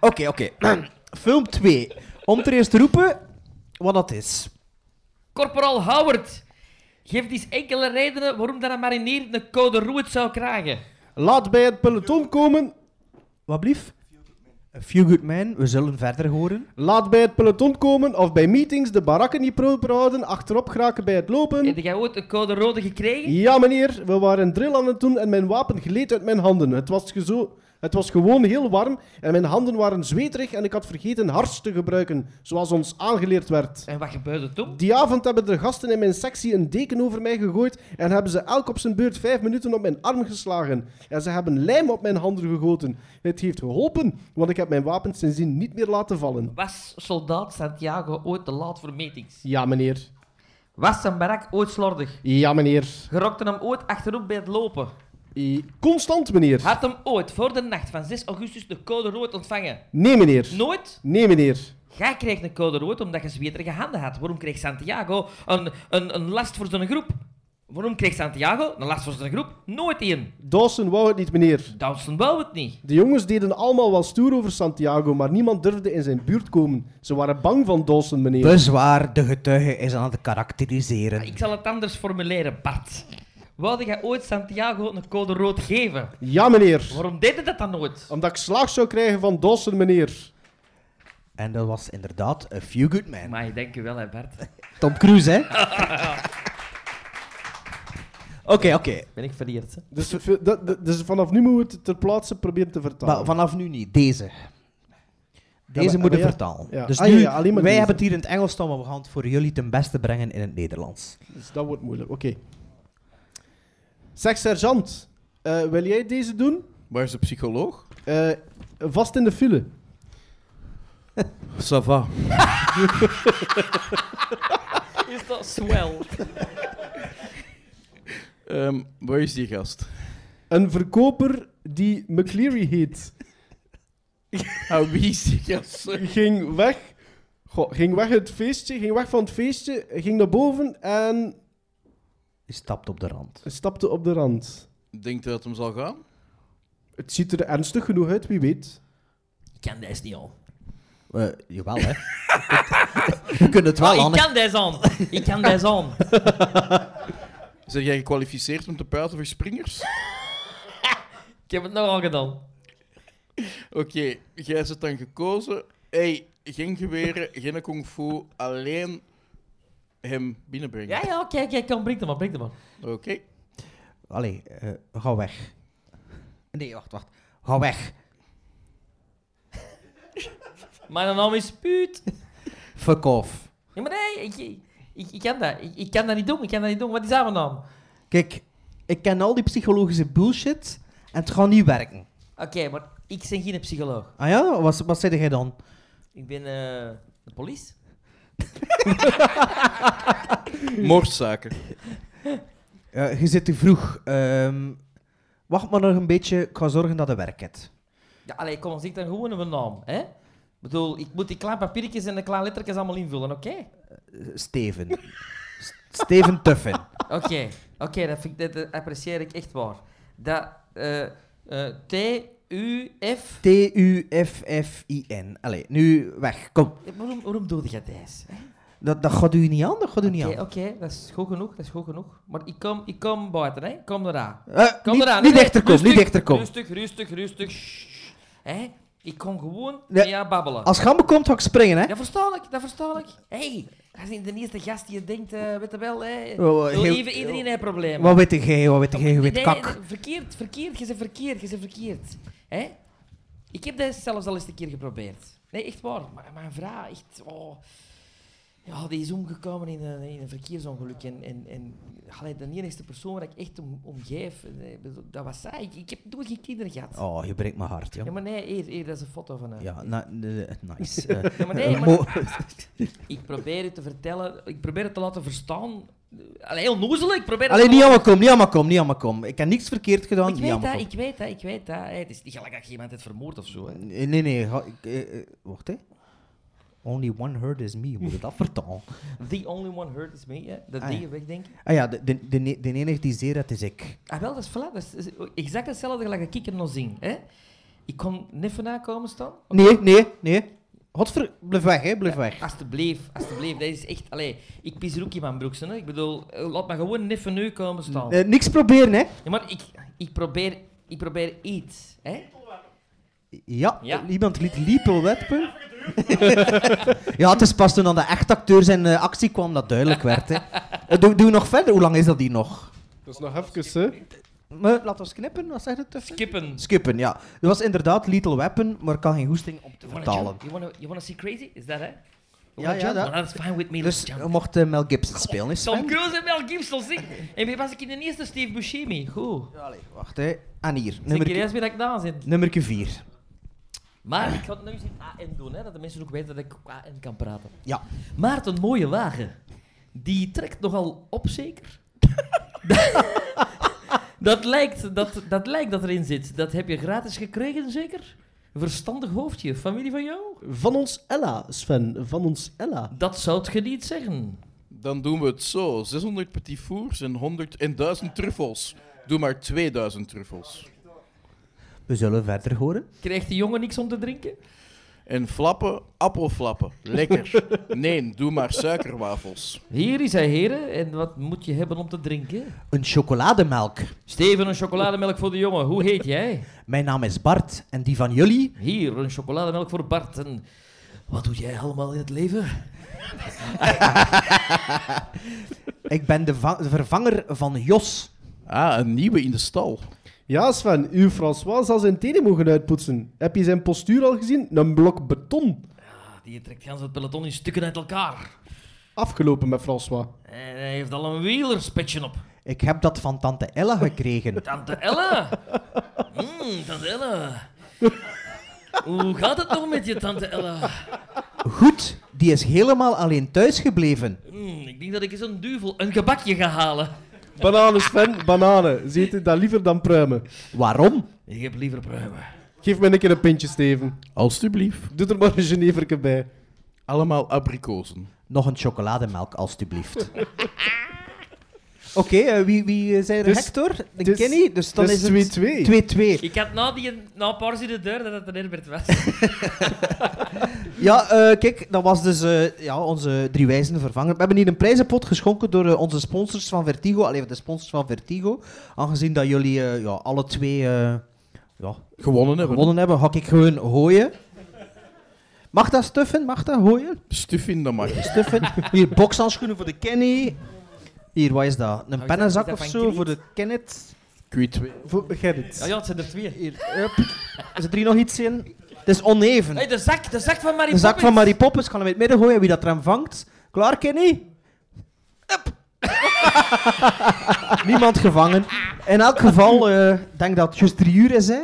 oké. oké. Film 2. Om te eerst te roepen wat dat is.
Corporal Howard geeft eens enkele redenen waarom dat een marinier een code roet zou krijgen.
Laat bij het peloton komen.
Wat blief? A few good men, we zullen verder horen.
Laat bij het peloton komen of bij meetings de barakken niet proper houden. Achterop geraken bij het
Heb
lopen.
jij ooit een code rode gekregen?
Ja, meneer, we waren een drill aan het doen en mijn wapen gleed uit mijn handen. Het was, gezo- het was gewoon heel warm en mijn handen waren zweterig en ik had vergeten hars te gebruiken, zoals ons aangeleerd werd.
En wat gebeurde toen?
Die avond hebben de gasten in mijn sectie een deken over mij gegooid en hebben ze elk op zijn beurt vijf minuten op mijn arm geslagen. En ze hebben lijm op mijn handen gegoten. Het heeft geholpen, want ik heb mijn wapen sindsdien niet meer laten vallen.
Was soldaat Santiago ooit te laat voor meetings?
Ja, meneer.
Was zijn barak ooit slordig?
Ja, meneer.
Gerokte hem ooit achterop bij het lopen?
I- Constant, meneer.
Had hem ooit voor de nacht van 6 augustus de code rood ontvangen?
Nee, meneer.
Nooit?
Nee, meneer.
Jij kreeg een code rood omdat je zweterige handen had. Waarom kreeg Santiago een, een, een last voor zijn groep? Waarom kreeg Santiago een last voor zijn groep? Nooit één.
Dawson wou het niet, meneer.
Dawson wou het niet.
De jongens deden allemaal wel stoer over Santiago, maar niemand durfde in zijn buurt komen. Ze waren bang van Dawson, meneer.
Dus- Bezwaar, de getuige is aan het karakteriseren.
Ik zal het anders formuleren, Bart. Woude jij ooit Santiago een code rood geven?
Ja, meneer.
Waarom deed je dat dan nooit?
Omdat ik slaag zou krijgen van Dawson, meneer.
En dat was inderdaad A Few Good Men.
Maar denk je wel, hè, Bart.
Tom Cruise, hè? Oké, oké.
Ben ik vereerd, hè?
Dus, v- dat- dat- dus vanaf nu moeten we het ter plaatse proberen te vertalen.
Maar vanaf nu niet. Deze. Deze
maar-
moeten
maar ja.
vertalen.
Ja.
Dus
Ah,
nu,
ja, ja, alleen maar
wij
deze.
hebben het hier in het Engels staan, maar we gaan het voor jullie ten beste brengen in het Nederlands.
Dus dat wordt moeilijk, oké. Zeg, sergeant, eh, wil jij deze doen?
Waar is de psycholoog?
Eh, vast in de file.
Sava.
Is dat swell?
Ehm, waar is die gast?
Een verkoper die McCleary heet,
Ah, wie is die gast?
ging weg. Goh, ging weg het feestje, ging weg van het feestje, ging naar boven en
Je stapt op de rand.
stapte op de rand.
Denkt u dat hem zal gaan?
Het ziet er ernstig genoeg uit, wie weet.
Ik kan deze niet al.
Eh, jawel, hè. We kunnen het
Oh,
wel,
ik
Anne.
kan deze aan. Ik kan deze aan.
Zijn jij gekwalificeerd om te praten voor springers?
Ik heb het nogal gedaan.
Oké, jij zit dan gekozen. hey, geen geweren, geen kung fu, alleen hem binnenbrengen.
Ja, ja, kijk, kijk, kan. Breng hem maar, breng hem maar.
Oké.
Allee, eh, ga weg. Nee, wacht, wacht. Ga weg.
Mijn naam is Puut.
Fuck off.
Nee, maar nee, ik, ik, ik kan dat. Ik, ik kan dat niet doen, ik kan dat niet doen. Wat is dat mijn naam?
Kijk, ik ken al die psychologische bullshit en het gaat niet werken.
Oké, maar ik ben geen psycholoog.
Ah ja? Wat, wat zei jij dan?
Ik ben eh, de police.
Moordzaken.
Ja, Eh, je zit te vroeg. Ehm, wacht maar nog een beetje. Ik ga zorgen dat het werkt.
Ja, allee, kom, zeg dan gewoon een naam, hè? Ik bedoel, ik moet die kleine papiertjes en de kleine lettertjes allemaal invullen, oké?
Eh, Steven. S- Steven Tuffen.
Oké, oké, dat, vind ik- dat, dat apprecieer ik echt waar. Dat, eh, eh, T, U, F...
T-U-F-F-I-N. Allee, nu weg. Kom.
Waarom, waarom doe je deze?
Dat, dat gaat u niet aan, dat gaat u niet
Oké,
aan.
oké, dat is goed genoeg, dat is goed genoeg. Maar ik kom, ik kom buiten, hè? Ik kom eraan.
Eh,
Kom
niet, niet
eraan. Nee, nee,
dichter komen, niet
rustig,
dichter komen.
Rustig, rustig, rustig. Shh. Hè? Ik kom gewoon
Nee.
met jou babbelen.
Als Gambe komt, ga ik springen, hè.
Dat verstaan ik, dat verstaan ik. hey, dat is niet de eerste gast die je denkt, eh weet je wel, hè?
Oh, eh,
Heel
heel-
even, iedereen heeft problemen.
Wat weet jij, wat weet jij, je weet
Nee,
kak.
nee, verkeerd, verkeerd, je bent verkeerd, je bent verkeerd. Hè? Ik heb deze zelfs al eens een keer geprobeerd. Nee, echt waar. Maar mijn vrouw, echt... Oh. Ja, die is omgekomen in een, in een verkeersongeluk. En, en, en allee, de enige persoon waar ik echt om, om geef, eh, dat was zij. Ik, ik heb nooit geen kinderen gehad.
Oh, je breekt mijn hart,
Ja,
joh.
maar nee, hier, hier, dat is een foto van haar.
Ja, na- de- nice. Eh,
Ja, maar nee,
eh,
maar-
mo-
Ik probeer het te vertellen, ik probeer het te laten verstaan. Allee, heel nozelig, ik probeer het
Allee,
te
niet
laten-
allemaal kom, niet allemaal kom, niet allemaal kom. Ik heb niks verkeerd gedaan,
Ik
niet
weet
allemaal
dat,
kom.
ik weet dat, ik weet dat. Hey, het is niet gelijk dat je iemand hebt vermoord of zo. Hè.
Nee, nee, nee. ga- ik, eh, eh, wacht, hè. Only one hurt is me, je moet dat vertalen.
The only one hurt is me, hè. dat
Ah,
deed
ja.
je weg, denk ik.
Ah ja, de, de, de, ne- de enige die zeer dat is ik.
Ah, wel, dat is, voilà, dat is exact hetzelfde gelijk dat ik er nog zing. Hè. Ik kon net vandaan komen staan.
Nee, nee, nee. Godver... Blijf weg, hè. Blijf weg.
Alsjeblieft, alsjeblieft, dat is echt... Allee, ik pis er ook in mijn broek, hè. Ik bedoel, eh, laat me gewoon net van u komen staan.
Eh, niks proberen, hè.
Ja, maar ik, ik, probeer, ik probeer iets, hè.
Ja,
Ja.
eh, iemand liet Liepel werpen. ja, het is pas toen aan de echte acteur zijn eh, actie kwam dat duidelijk werd. Hè. Eh, Doe, doe nog verder. Hoe lang is dat hier nog?
Dat is nog even, hè.
Maar, laat ons knippen, wat zegt het? Tuffen?
Kippen.
Skippen, ja. Dat was inderdaad Little Weapon, maar ik kan geen goesting om te
You wanna
vertalen.
jump? You wanna, you wanna see crazy? Is that it?
Ja, ja, dat-
Well, that's fine with me.
Dus
Let's
je
jump.
mocht eh, Mel Gibson spelen, is
Tom Cruise en Mel Gibson, zeg. En wie was ik in de eerste? Steve Buscemi. Goed.
Allee, wacht hè. En hier,
Dus ik
nummer,
eerst weer dat ik daar zit.
nummer 4.
Maar ik ga het nu eens in AN doen, hè, dat de mensen ook weten dat ik ook AN kan praten.
Ja.
Maarten Mooie Wagen, die trekt nogal op, zeker? dat, lijkt, dat, dat lijkt dat erin zit. Dat heb je gratis gekregen, zeker? Verstandig hoofdje, familie van jou?
Van ons Ella, Sven. Van ons Ella.
Dat zou je niet zeggen.
Dan doen we het zo. 600 petit fours en, 100, en 1000 truffels. Doe maar 2000 truffels.
We zullen verder horen.
Krijgt die jongen niks om te drinken?
En flappen, appelflappen. Lekker. Nee, doe maar suikerwafels.
Hier is hij, heren. En wat moet je hebben om te drinken?
Een chocolademelk.
Steven, een chocolademelk voor de jongen. Hoe heet jij?
Mijn naam is Bart en die van jullie.
Hier, een chocolademelk voor Bart. En wat doe jij allemaal in het leven?
Ik ben de, va- de vervanger van Jos.
Ah, een nieuwe in de stal.
Ja, Sven, uw François zal zijn tenen mogen uitpoetsen. Heb je zijn postuur al gezien? Een blok beton.
Ah, Die trekt gans het peloton in stukken uit elkaar.
Afgelopen met François.
En hij heeft al een wielerspetje op.
Ik heb dat van tante Ella gekregen.
Tante Ella. Mm, tante Ella. Hoe gaat het nog met je, tante Ella?
Goed, die is helemaal alleen thuis gebleven.
Mm, ik denk dat ik eens een duvel, een gebakje ga halen.
Bananen, Sven, bananen. Ze eten dat liever dan pruimen.
Waarom?
Ik heb liever pruimen.
Geef mij een keer een pintje, Steven.
Alsjeblieft.
Doe er maar een geneverke bij.
Allemaal abrikozen.
Nog een chocolademelk, alstublieft. Oké, eh, wie, wie eh, zei er?
Dus-
Hector? De
dus-
Kenny? Dus dan
dus
is het
2-2.
2-2.
Ik had na, die, na een paar uur de deur dat het een Herbert was.
Ja, eh, kijk, dat was dus eh, ja, onze drie wijzen vervanger. We hebben hier een prijzenpot geschonken door eh, onze sponsors van Vertigo. Alleen de sponsors van Vertigo. Aangezien dat jullie eh, ja, alle twee eh, ja,
Gewonnen hebben.
gewonnen hebben, ga ik gewoon hooien. Mag dat stuffen? Mag dat hooien?
Stuf in de markt.
Stuffen. Hier, bokshandschoenen voor de Kenny. Hier, wat is dat? Een
dat-
pennenzak
is dat
of
van
zo
Griet?
voor de Kenneth.
Q2.
Voor Gerrit.
ja, ja, het zijn er twee.
Hier, hup. Is er hier nog iets in? Het is oneven.
Hey, de zak, de zak van Marie
De zak van
Poppins.
Marie Poppins. Ik ga hem in het midden gooien. Wie dat er hem vangt. Klaar, Kenny? Up. Niemand gevangen. In elk geval, eh, ik denk dat het juist drie uur is, hè?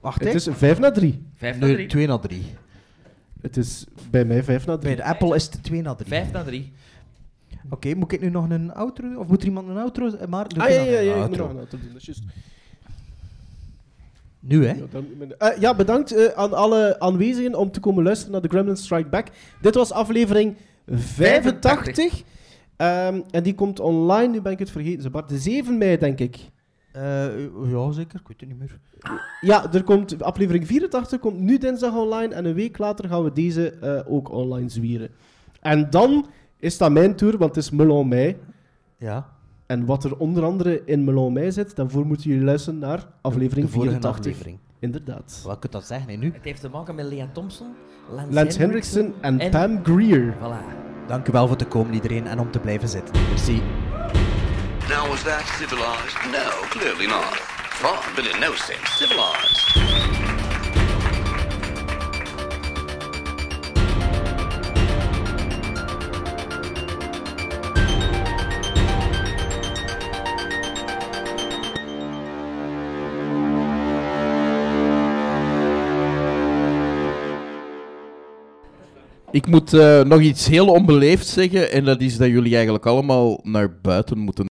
Wacht,
Het
hè?
is 5 na 3.
Vijf naar
Nee,
drie.
twee na drie.
Het is bij mij 5 na 3.
Bij de Apple is het twee na drie.
Vijf naar drie.
Oké, moet ik nu nog een outro? doen? Of moet er iemand een outro? eh, Maar, doe
Ah,
ik
ja,
nog
ja,
een
ja. Ik moet
outro.
nog een auto doen. Dat is juist.
Nu, hè?
Ja, dan- Eh, ja, bedankt eh, aan alle aanwezigen om te komen luisteren naar de Gremlin Strike Back. Dit was aflevering 85. Ehm, en die komt online, nu ben ik het vergeten, ze, Bart. De 7 mei, denk ik.
Eh, ja, zeker. Ik weet het niet meer.
Ja, er komt, aflevering 84 komt nu dinsdag online. En een week later gaan we deze eh, ook online zwieren. En dan is dat mijn tour, want het is Melon Mei.
Ja.
En wat er onder andere in Melon Mei zit, daarvoor moeten jullie luisteren naar aflevering
de vorige
84.
aflevering.
Inderdaad.
Wat kun je dat zeggen, hè, nu?
Het heeft te maken met Lea Thompson, Lance,
Lance
Henriksen.
Henriksen en,
en-
Pam Greer.
Voilà.
Dank u wel voor te komen, iedereen. En om te blijven zitten. Merci.
Now, was that civilized? No, clearly not. Fun, but in no sense civilized.
Ik moet eh, nog iets heel onbeleefd zeggen, en dat is dat jullie eigenlijk allemaal naar buiten moeten